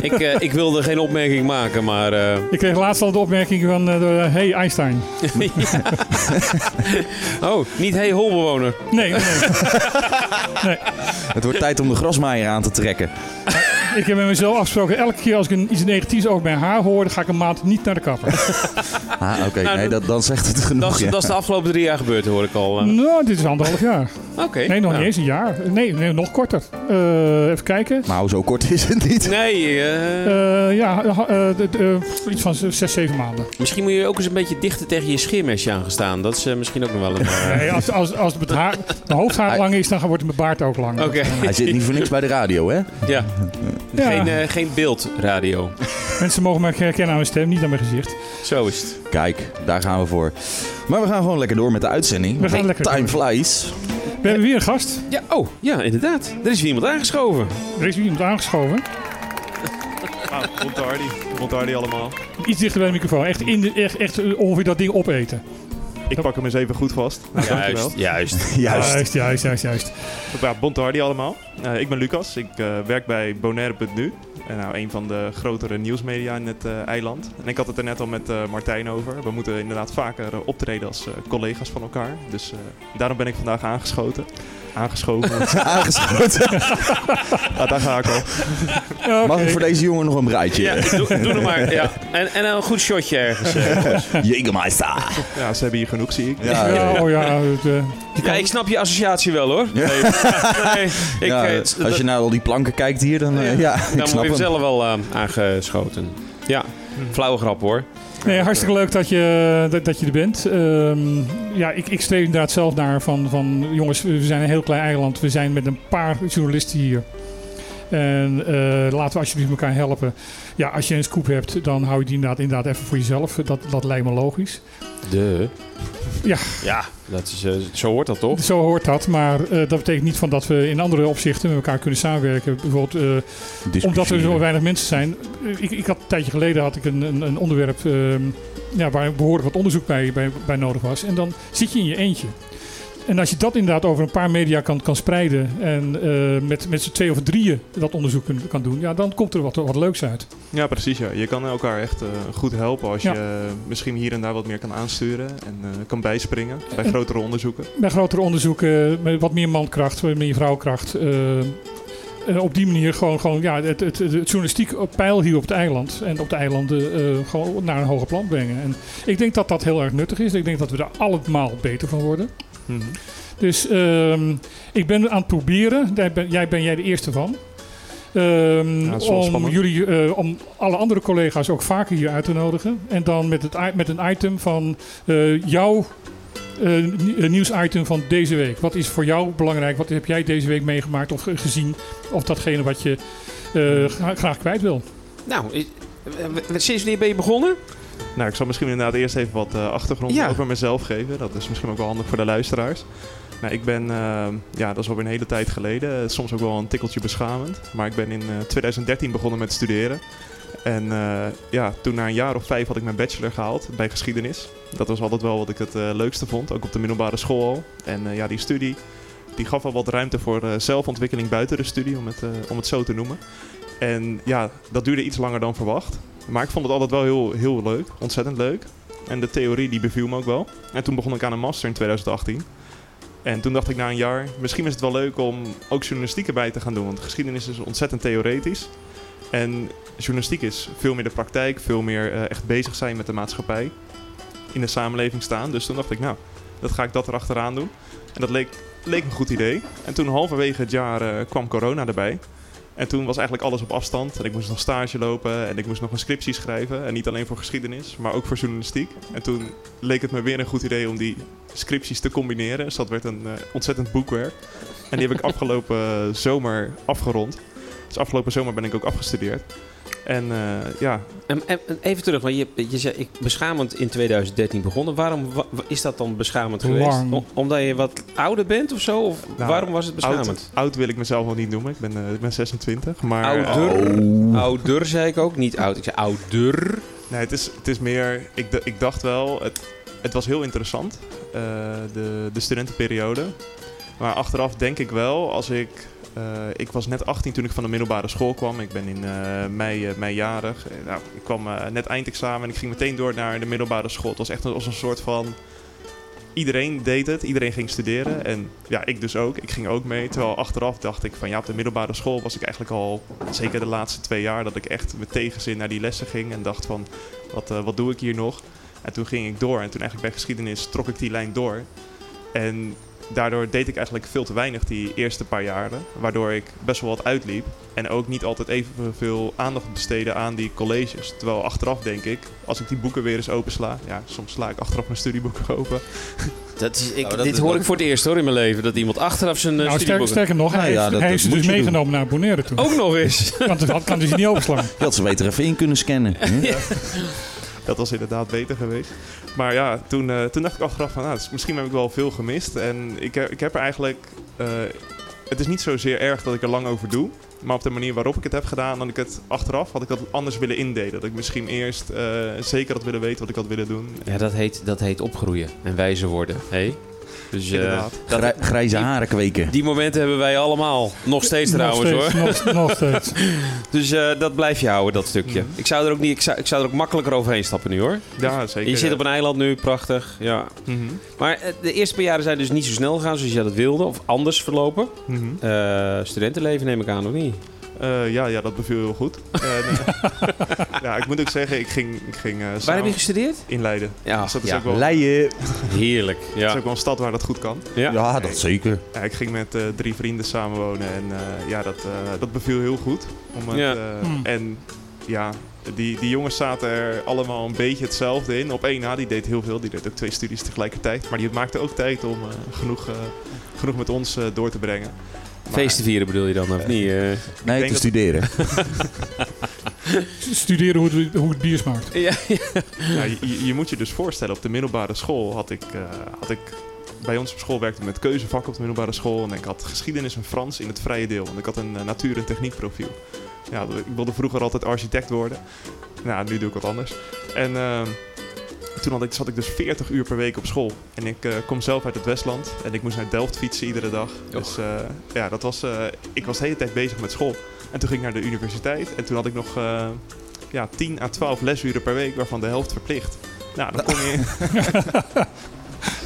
[SPEAKER 2] ik, eh, ik wilde geen opmerking maken, maar... eh,
[SPEAKER 3] Ik kreeg laatst al de opmerking van, eh, door, eh, hey Einstein.
[SPEAKER 2] oh, niet hey holbewoner.
[SPEAKER 3] Nee, nee, nee.
[SPEAKER 1] Het wordt tijd om de grasmaaier aan te trekken.
[SPEAKER 3] ik heb met mezelf afgesproken, elke keer als ik een, iets negatiefs over mijn haar hoor, dan ga ik een maand niet naar de kapper.
[SPEAKER 1] Ah, oké.
[SPEAKER 3] Nou,
[SPEAKER 1] nee, dat, dan zegt het genoeg.
[SPEAKER 2] Dat, is-
[SPEAKER 1] ja.
[SPEAKER 2] dat is de afgelopen drie jaar gebeurd, hoor ik al. eh.
[SPEAKER 3] nou, dit is anderhalf jaar.
[SPEAKER 2] Oké.
[SPEAKER 3] Nee, nog
[SPEAKER 2] Nou.
[SPEAKER 3] niet eens een jaar. Nee, nee nog korter. Eh, even kijken.
[SPEAKER 1] Nou, zo kort is het niet.
[SPEAKER 2] Nee, eh,
[SPEAKER 3] Eh, ja, eh, eh, d- eh, iets van z- zes, zeven maanden.
[SPEAKER 2] misschien moet je ook eens een beetje dichter tegen je scheermesje aan gaan staan. Dat is eh, misschien ook nog wel een... eh,
[SPEAKER 3] Nee, als, Dus als, als het haar, mijn hoofdhaar lang is, dan wordt mijn baard ook lang.
[SPEAKER 2] Oké,
[SPEAKER 1] Hij zit niet voor niks bij de radio, hè?
[SPEAKER 2] ja.
[SPEAKER 3] Ja.
[SPEAKER 2] Geen, eh, geen beeldradio.
[SPEAKER 3] Mensen mogen me herkennen aan mijn stem, niet aan mijn gezicht.
[SPEAKER 2] Zo is het.
[SPEAKER 1] Kijk, daar gaan we voor. Maar we gaan gewoon lekker door met de uitzending.
[SPEAKER 3] We gaan
[SPEAKER 1] Hey,
[SPEAKER 3] lekker
[SPEAKER 1] Time
[SPEAKER 3] door.
[SPEAKER 1] flies.
[SPEAKER 3] We hebben weer een gast.
[SPEAKER 2] Ja, oh, ja, inderdaad. Er is weer iemand aangeschoven.
[SPEAKER 3] Er is iemand aangeschoven.
[SPEAKER 4] Rond Hardy. Rond Hardy allemaal.
[SPEAKER 3] Iets dichter bij de microfoon. Echt, in de, echt, echt eh, ongeveer dat ding opeten.
[SPEAKER 4] Ik pak hem eens even goed vast. Dankjewel.
[SPEAKER 2] Juist, juist.
[SPEAKER 1] Juist.
[SPEAKER 3] Juist, juist, juist. juist.
[SPEAKER 4] Ja, Bonte Hardy allemaal. Eh, ik ben Lucas. Ik eh, werk bij Bonaire.nu. En nou, een van de grotere nieuwsmedia in het eh, eiland. En ik had het er net al met eh, Martijn over. We moeten inderdaad vaker eh, optreden als eh, collega's van elkaar. Dus eh, daarom ben ik vandaag aangeschoten. Aangeschoven.
[SPEAKER 1] Aangeschoten.
[SPEAKER 4] ja, daar ga ik al.
[SPEAKER 3] Oké.
[SPEAKER 1] Mag ik voor deze jongen nog een braadje?
[SPEAKER 2] Ja, doe, doe het maar. Ja. En, en een goed shotje ergens. eh.
[SPEAKER 1] Jägermeister.
[SPEAKER 4] Ja, ze hebben hier genoeg, zie ik.
[SPEAKER 1] Ja, ja.
[SPEAKER 3] Ja, oh ja. het, eh,
[SPEAKER 2] Ja, ik snap je associatie wel hoor. Nee, nee, ik,
[SPEAKER 1] Ja,
[SPEAKER 2] eh,
[SPEAKER 1] als
[SPEAKER 2] het-
[SPEAKER 1] je naar al die planken kijkt hier, dan... eh, ja, ik
[SPEAKER 2] Dan
[SPEAKER 1] snap
[SPEAKER 2] word je
[SPEAKER 1] hem.
[SPEAKER 2] zelf wel eh, aangeschoten. Ja, flauwe grap hoor.
[SPEAKER 3] Nee, hartstikke leuk dat je, dat, dat je er bent. Ehm, ja, ik, ik streef inderdaad zelf naar van, van... Jongens, we zijn een heel klein eiland. We zijn met een paar journalisten hier. En eh, laten we alsjeblieft elkaar helpen. Ja, als je een scoop hebt, dan hou je die inderdaad, inderdaad even voor jezelf. Dat, dat lijkt me logisch.
[SPEAKER 2] De.
[SPEAKER 3] Ja.
[SPEAKER 2] Ja, dat is, eh, zo hoort dat toch?
[SPEAKER 3] Zo hoort dat, maar eh, dat betekent niet van dat we in andere opzichten met elkaar kunnen samenwerken. Bijvoorbeeld eh, omdat er zo
[SPEAKER 1] Discussiëren.
[SPEAKER 3] weinig mensen zijn. Eh, Ik, ik had een tijdje geleden had ik een, een, een onderwerp ehm, ja, waar behoorlijk wat onderzoek bij, bij, bij nodig was. En dan zit je in je eentje. En als je dat inderdaad over een paar media kan, kan spreiden en eh, met, met z'n twee of drieën dat onderzoek kun- kan doen, ja, dan komt er wat, wat leuks uit.
[SPEAKER 4] Ja, precies. Ja. Je kan elkaar echt eh, goed helpen als
[SPEAKER 3] Ja.
[SPEAKER 4] je eh, misschien hier en daar wat meer kan aansturen en eh, kan bijspringen bij
[SPEAKER 3] En-
[SPEAKER 4] grotere onderzoeken.
[SPEAKER 3] Bij grotere onderzoeken, eh, met wat meer mankracht, wat meer vrouwkracht. eh, eh, op die manier gewoon, gewoon ja, het, het, het journalistiek op peil hier op het eiland en op de eilanden eh, gewoon naar een hoger plan brengen. En ik denk dat dat heel erg nuttig is. Ik denk dat we daar allemaal beter van worden.
[SPEAKER 4] Mhm.
[SPEAKER 3] Dus ehm, ik ben aan het proberen, daar ben, jij ben jij de eerste van. ehm,
[SPEAKER 4] Ja, dat is wel
[SPEAKER 3] om,
[SPEAKER 4] spannend.
[SPEAKER 3] jullie, eh, om alle andere collega's ook vaker hier uit te nodigen. En dan met, het, i- met een item van eh, jouw eh, nie- eh, nieuwsitem van deze week. Wat is voor jou belangrijk? Wat heb jij deze week meegemaakt of ge- gezien? Of datgene wat je eh, gra- graag kwijt wil?
[SPEAKER 2] Nou, is- eh, w- sinds wanneer ben je begonnen?
[SPEAKER 4] Nou, ik zal misschien inderdaad eerst even wat eh, achtergrond
[SPEAKER 2] Ja.
[SPEAKER 4] over mezelf geven. Dat is misschien ook wel handig voor de luisteraars. Nou, ik ben, eh, ja, dat is alweer een hele tijd geleden, eh, soms ook wel een tikkeltje beschamend. Maar ik ben in eh, 2013 begonnen met studeren. En eh, ja, toen na een jaar of vijf had ik mijn bachelor gehaald bij geschiedenis. Dat was altijd wel wat ik het eh, leukste vond, ook op de middelbare school al. En eh, ja, die studie die gaf al wat ruimte voor eh, zelfontwikkeling buiten de studie, om het, eh, om het zo te noemen. En ja, dat duurde iets langer dan verwacht. Maar ik vond het altijd wel heel, heel leuk, ontzettend leuk. En de theorie die beviel me ook wel. En toen begon ik aan een master in 2018. En toen dacht ik na een jaar, misschien is het wel leuk om ook journalistiek erbij te gaan doen. Want geschiedenis is ontzettend theoretisch. En journalistiek is veel meer de praktijk, veel meer eh, echt bezig zijn met de maatschappij. In de samenleving staan. Dus toen dacht ik, nou, dat ga ik dat erachteraan doen. En dat leek, leek me een goed idee. En toen halverwege het jaar eh, kwam corona erbij. En toen was eigenlijk alles op afstand. En ik moest nog stage lopen en ik moest nog een scriptie schrijven. En niet alleen voor geschiedenis, maar ook voor journalistiek. En toen leek het me weer een goed idee om die scripties te combineren. Dus dat werd een eh, ontzettend boekwerk. En die heb ik afgelopen zomer afgerond. Dus afgelopen zomer ben ik ook afgestudeerd. En eh, ja,
[SPEAKER 2] En, en- en Ehm, even terug, want je, je zei ik, beschamend in 2013 begonnen. Waarom wa- wa- is dat dan beschamend geweest?
[SPEAKER 3] Lang.
[SPEAKER 2] Om- omdat je wat ouder bent of zo? Of
[SPEAKER 4] Nou,
[SPEAKER 2] waarom was het
[SPEAKER 4] oud,
[SPEAKER 2] beschamend?
[SPEAKER 4] oud wil ik mezelf wel niet noemen. Ik ben, eh, ik ben 26. Maar eh,
[SPEAKER 1] Oh.
[SPEAKER 2] Ouder zei ik ook, niet oud. Ik zei ouder.
[SPEAKER 4] Nee, het is, het is meer. Ik, d- ik dacht wel, het, het was heel interessant, eh, de, de studentenperiode. Maar achteraf denk ik wel, als ik. eh, ik was net 18 toen ik van de middelbare school kwam. Ik ben in eh, mei, eh, mei jarig. Eh, nou, ik kwam eh, net eindexamen en ik ging meteen door naar de middelbare school. Het was echt als een soort van. Iedereen deed het, iedereen ging studeren. En ja, ik dus ook. Ik ging ook mee. Terwijl achteraf dacht ik van ja, op de middelbare school was ik eigenlijk al, zeker de laatste twee jaar, dat ik echt met tegenzin naar die lessen ging. En dacht van wat, eh, wat doe ik hier nog? En toen ging ik door. En toen eigenlijk bij geschiedenis trok ik die lijn door. En daardoor deed ik eigenlijk veel te weinig die eerste paar jaren. Waardoor ik best wel wat uitliep. En ook niet altijd evenveel aandacht besteedde aan die colleges. Terwijl achteraf denk ik, als ik die boeken weer eens opensla. Ja, soms sla ik achteraf mijn studieboeken open.
[SPEAKER 2] Dat is, ik,
[SPEAKER 1] Nou, dat-
[SPEAKER 2] dit
[SPEAKER 1] dat-
[SPEAKER 2] hoor ik voor het eerst hoor in mijn leven. Dat iemand achteraf zijn eh,
[SPEAKER 3] Nou, sterker,
[SPEAKER 2] studieboeken... Oh.
[SPEAKER 3] sterker nog, hij
[SPEAKER 1] Nou ja,
[SPEAKER 3] heeft,
[SPEAKER 1] dat-
[SPEAKER 3] hij heeft
[SPEAKER 1] dat
[SPEAKER 3] ze dus
[SPEAKER 1] moet je
[SPEAKER 3] meegenomen naar Bonaire toe.
[SPEAKER 2] Ook nog eens.
[SPEAKER 3] Want dat kan dus niet overslaan.
[SPEAKER 1] Je had ze beter even in kunnen scannen. hè?
[SPEAKER 4] Dat was inderdaad beter geweest. Maar ja, toen, eh, toen dacht ik achteraf van, nou, dus misschien heb ik wel veel gemist. En ik, he- ik heb er eigenlijk... eh, het is niet zozeer erg dat ik er lang over doe. Maar op de manier waarop ik het heb gedaan, dat ik het achteraf had ik dat anders willen indelen. Dat ik misschien eerst eh, zeker had willen weten wat ik had willen doen.
[SPEAKER 2] Ja, dat heet, dat heet opgroeien en wijzer worden. Hé? Dus eh,
[SPEAKER 4] Inderdaad.
[SPEAKER 2] dat-
[SPEAKER 1] Grij- grijze haren kweken.
[SPEAKER 2] die momenten hebben wij allemaal. Nog steeds trouwens
[SPEAKER 3] nog
[SPEAKER 2] hoor.
[SPEAKER 3] steeds, Nog, nog steeds.
[SPEAKER 2] Dus eh, dat blijf je houden, dat stukje. Ik, zou er ook niet, ik, zou, ik zou er ook makkelijker overheen stappen nu hoor.
[SPEAKER 4] Ja, zeker.
[SPEAKER 2] Je zit op een eiland nu, prachtig. Ja.
[SPEAKER 4] Mhm,
[SPEAKER 2] Maar eh, de eerste paar jaren zijn dus niet zo snel gegaan zoals jij dat wilde. Of anders verlopen.
[SPEAKER 4] mhm.
[SPEAKER 2] Eh, studentenleven neem ik aan, of niet?
[SPEAKER 4] Eh, ja, ja, dat beviel heel goed. Eh, nee. ja, ik moet ook zeggen, ik ging, ik ging eh,
[SPEAKER 2] Waar
[SPEAKER 4] samen
[SPEAKER 2] heb je gestudeerd?
[SPEAKER 4] in Leiden.
[SPEAKER 2] Ja,
[SPEAKER 4] Dus dat is
[SPEAKER 2] ja.
[SPEAKER 4] ook wel-
[SPEAKER 1] Leien.
[SPEAKER 2] heerlijk.
[SPEAKER 4] Dat
[SPEAKER 2] Ja.
[SPEAKER 4] is ook wel een stad waar dat goed kan.
[SPEAKER 2] Ja.
[SPEAKER 1] Ja, dat zeker.
[SPEAKER 4] Ja, ik ging met eh, drie vrienden samenwonen en eh, ja, dat, eh, dat beviel heel goed. Om het,
[SPEAKER 2] Ja.
[SPEAKER 4] eh,
[SPEAKER 3] Hmm.
[SPEAKER 4] En ja, die, die jongens zaten er allemaal een beetje hetzelfde in. Op één na, die deed heel veel, die deed ook twee studies tegelijkertijd. Maar die maakte ook tijd om eh, genoeg, eh, genoeg met ons eh, door te brengen. Maar
[SPEAKER 2] Feesten vieren bedoel je dan, of niet? Eh,
[SPEAKER 1] Nee, te
[SPEAKER 4] dat-
[SPEAKER 1] studeren.
[SPEAKER 3] Studeren hoe het, hoe het bier smaakt.
[SPEAKER 2] ja, ja.
[SPEAKER 4] Ja, je- je, je moet je dus voorstellen, op de middelbare school had ik, eh, had ik... Bij ons op school werkte ik met keuzevakken op de middelbare school. En ik had geschiedenis en Frans in het vrije deel. Want ik had een eh, natuur- en techniekprofiel. Ja, ik wilde vroeger altijd architect worden. Nou, nu doe ik wat anders. En eh, toen had ik, zat ik dus 40 uur per week op school. En ik eh, kom zelf uit het Westland. En ik moest naar Delft fietsen iedere dag. Dus eh, ja, dat was, eh, ik was de hele tijd bezig met school. En toen ging ik naar de universiteit. En toen had ik nog... eh, ja, 10 à 12 lesuren per week, waarvan de helft verplicht. Nou, dan kom je.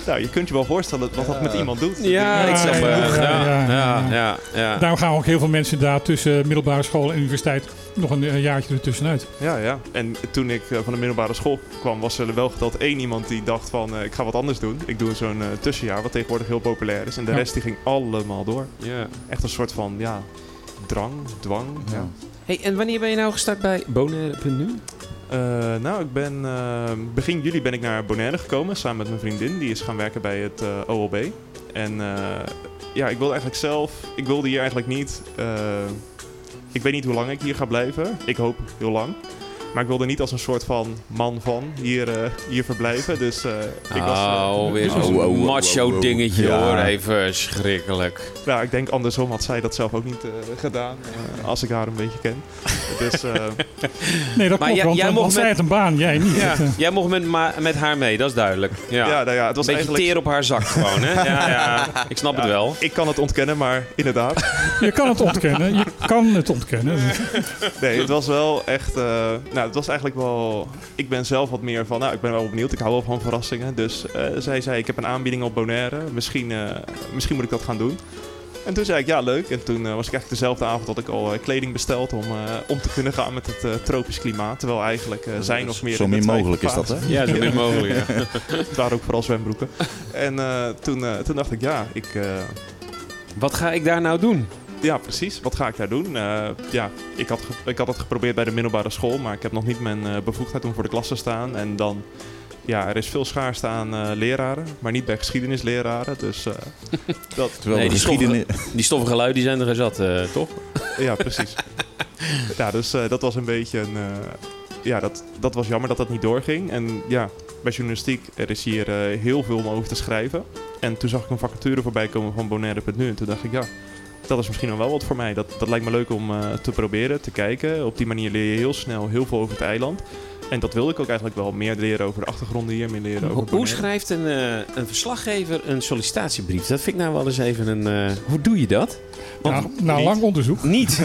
[SPEAKER 4] nou, je kunt je wel voorstellen wat dat met iemand doet.
[SPEAKER 2] Ja, ik snap het.
[SPEAKER 3] ja,
[SPEAKER 2] Ja,
[SPEAKER 3] ja, ja.
[SPEAKER 2] ja, ja, ja, ja.
[SPEAKER 3] Daarom gaan ook heel veel mensen daar tussen eh, middelbare school en universiteit nog een, eh, jaartje ertussenuit.
[SPEAKER 4] Ja, ja. En toen ik eh, van de middelbare school kwam, was er wel geteld één iemand die dacht van... eh, ik ga wat anders doen. Ik doe zo'n eh, tussenjaar, wat tegenwoordig heel populair Dus, is. En de
[SPEAKER 3] Ja.
[SPEAKER 4] rest die ging allemaal door.
[SPEAKER 2] Ja.
[SPEAKER 4] Echt een soort van, ja, drang, dwang. Ja.
[SPEAKER 2] Hey, en wanneer ben je nou gestart bij Bonaire.nu?
[SPEAKER 4] Eh, nou, ik ben, eh, begin juli ben ik naar Bonaire gekomen samen met mijn vriendin. Die is gaan werken bij het eh, OLB. En eh, ja, ik wilde eigenlijk zelf, ik wilde hier eigenlijk niet. eh, ik weet niet hoe lang ik hier ga blijven. Ik hoop heel lang. Maar ik wilde niet als een soort van man van hier, eh, hier verblijven. Dus eh, ik was. eh,
[SPEAKER 2] Oh, weer zo'n
[SPEAKER 1] Oh, oh, oh, oh,
[SPEAKER 2] macho
[SPEAKER 1] oh.
[SPEAKER 2] dingetje
[SPEAKER 1] Ja.
[SPEAKER 2] hoor. Even schrikkelijk.
[SPEAKER 4] Nou, ik denk andersom had zij dat zelf ook niet eh, gedaan. eh, als ik haar een beetje ken. Dus eh,
[SPEAKER 3] Nee, dat klopt,
[SPEAKER 2] Maar jij-
[SPEAKER 3] want, eh,
[SPEAKER 2] jij
[SPEAKER 3] want
[SPEAKER 2] mocht
[SPEAKER 3] zij
[SPEAKER 2] met-
[SPEAKER 3] had een baan, jij niet.
[SPEAKER 2] Ja,
[SPEAKER 3] Dat, eh,
[SPEAKER 2] jij mocht met, ma- met haar mee, dat is duidelijk. Ja.
[SPEAKER 4] ja. nou ja, het was
[SPEAKER 2] Een beetje
[SPEAKER 4] eigenlijk.
[SPEAKER 2] teer op haar zak gewoon, hè? Ja, ja. Ik snap het wel.
[SPEAKER 4] Ik kan het ontkennen, maar inderdaad.
[SPEAKER 3] Je kan het ontkennen, je kan het ontkennen.
[SPEAKER 4] Nee, het was wel echt. eh, nou, het was eigenlijk wel. Ik ben zelf wat meer van. Nou, ik ben wel benieuwd. Ik hou wel van verrassingen. Dus eh, zij zei: Ik heb een aanbieding op Bonaire. Misschien, eh, misschien moet ik dat gaan doen. En toen zei ik: Ja, leuk. En toen eh, was ik eigenlijk dezelfde avond dat ik al eh, kleding besteld. Om, eh, om te kunnen gaan met het eh, tropisch klimaat. Terwijl eigenlijk eh, zij nog meer.
[SPEAKER 1] Zo
[SPEAKER 4] in de
[SPEAKER 1] min
[SPEAKER 4] twijfel
[SPEAKER 1] mogelijk is dat, hè?
[SPEAKER 4] waren.
[SPEAKER 2] Ja, zo min mogelijk. ja.
[SPEAKER 4] Daar ook vooral zwembroeken. En eh, toen, eh, toen dacht ik: Ja, ik. eh,
[SPEAKER 2] Wat ga ik daar nou doen?
[SPEAKER 4] Ja, precies. Wat ga ik daar doen? Eh, ja, ik had, ge- ik had het geprobeerd bij de middelbare school, maar ik heb nog niet mijn eh, bevoegdheid om voor de klas te staan. En dan, ja, er is veel schaarste aan eh, leraren, maar niet bij geschiedenisleraren. Dus eh, dat,
[SPEAKER 1] Terwijl
[SPEAKER 2] Nee,
[SPEAKER 1] de
[SPEAKER 2] die stoffige-
[SPEAKER 1] geschiedenis...
[SPEAKER 2] Die stoffige lui die zijn er zat, eh, toch?
[SPEAKER 4] ja, precies. ja, dus eh, dat was een beetje een... eh, ja, dat, dat was jammer dat dat niet doorging. En ja, bij journalistiek, er is hier eh, heel veel om over te schrijven. En toen zag ik een vacature voorbij komen van Bonaire.nu. En toen dacht ik, ja, dat is misschien wel wat voor mij. Dat, dat lijkt me leuk om eh, te proberen, te kijken. Op die manier leer je heel snel heel veel over het eiland. En dat wilde ik ook eigenlijk wel. Meer leren over de achtergronden hier, meer leren over
[SPEAKER 2] Hoe, hoe
[SPEAKER 4] Bonaire.
[SPEAKER 2] schrijft een, eh, een verslaggever een sollicitatiebrief? Dat vind ik nou wel eens even een. eh, hoe doe je dat?
[SPEAKER 3] Nou, na lang onderzoek.
[SPEAKER 2] Niet.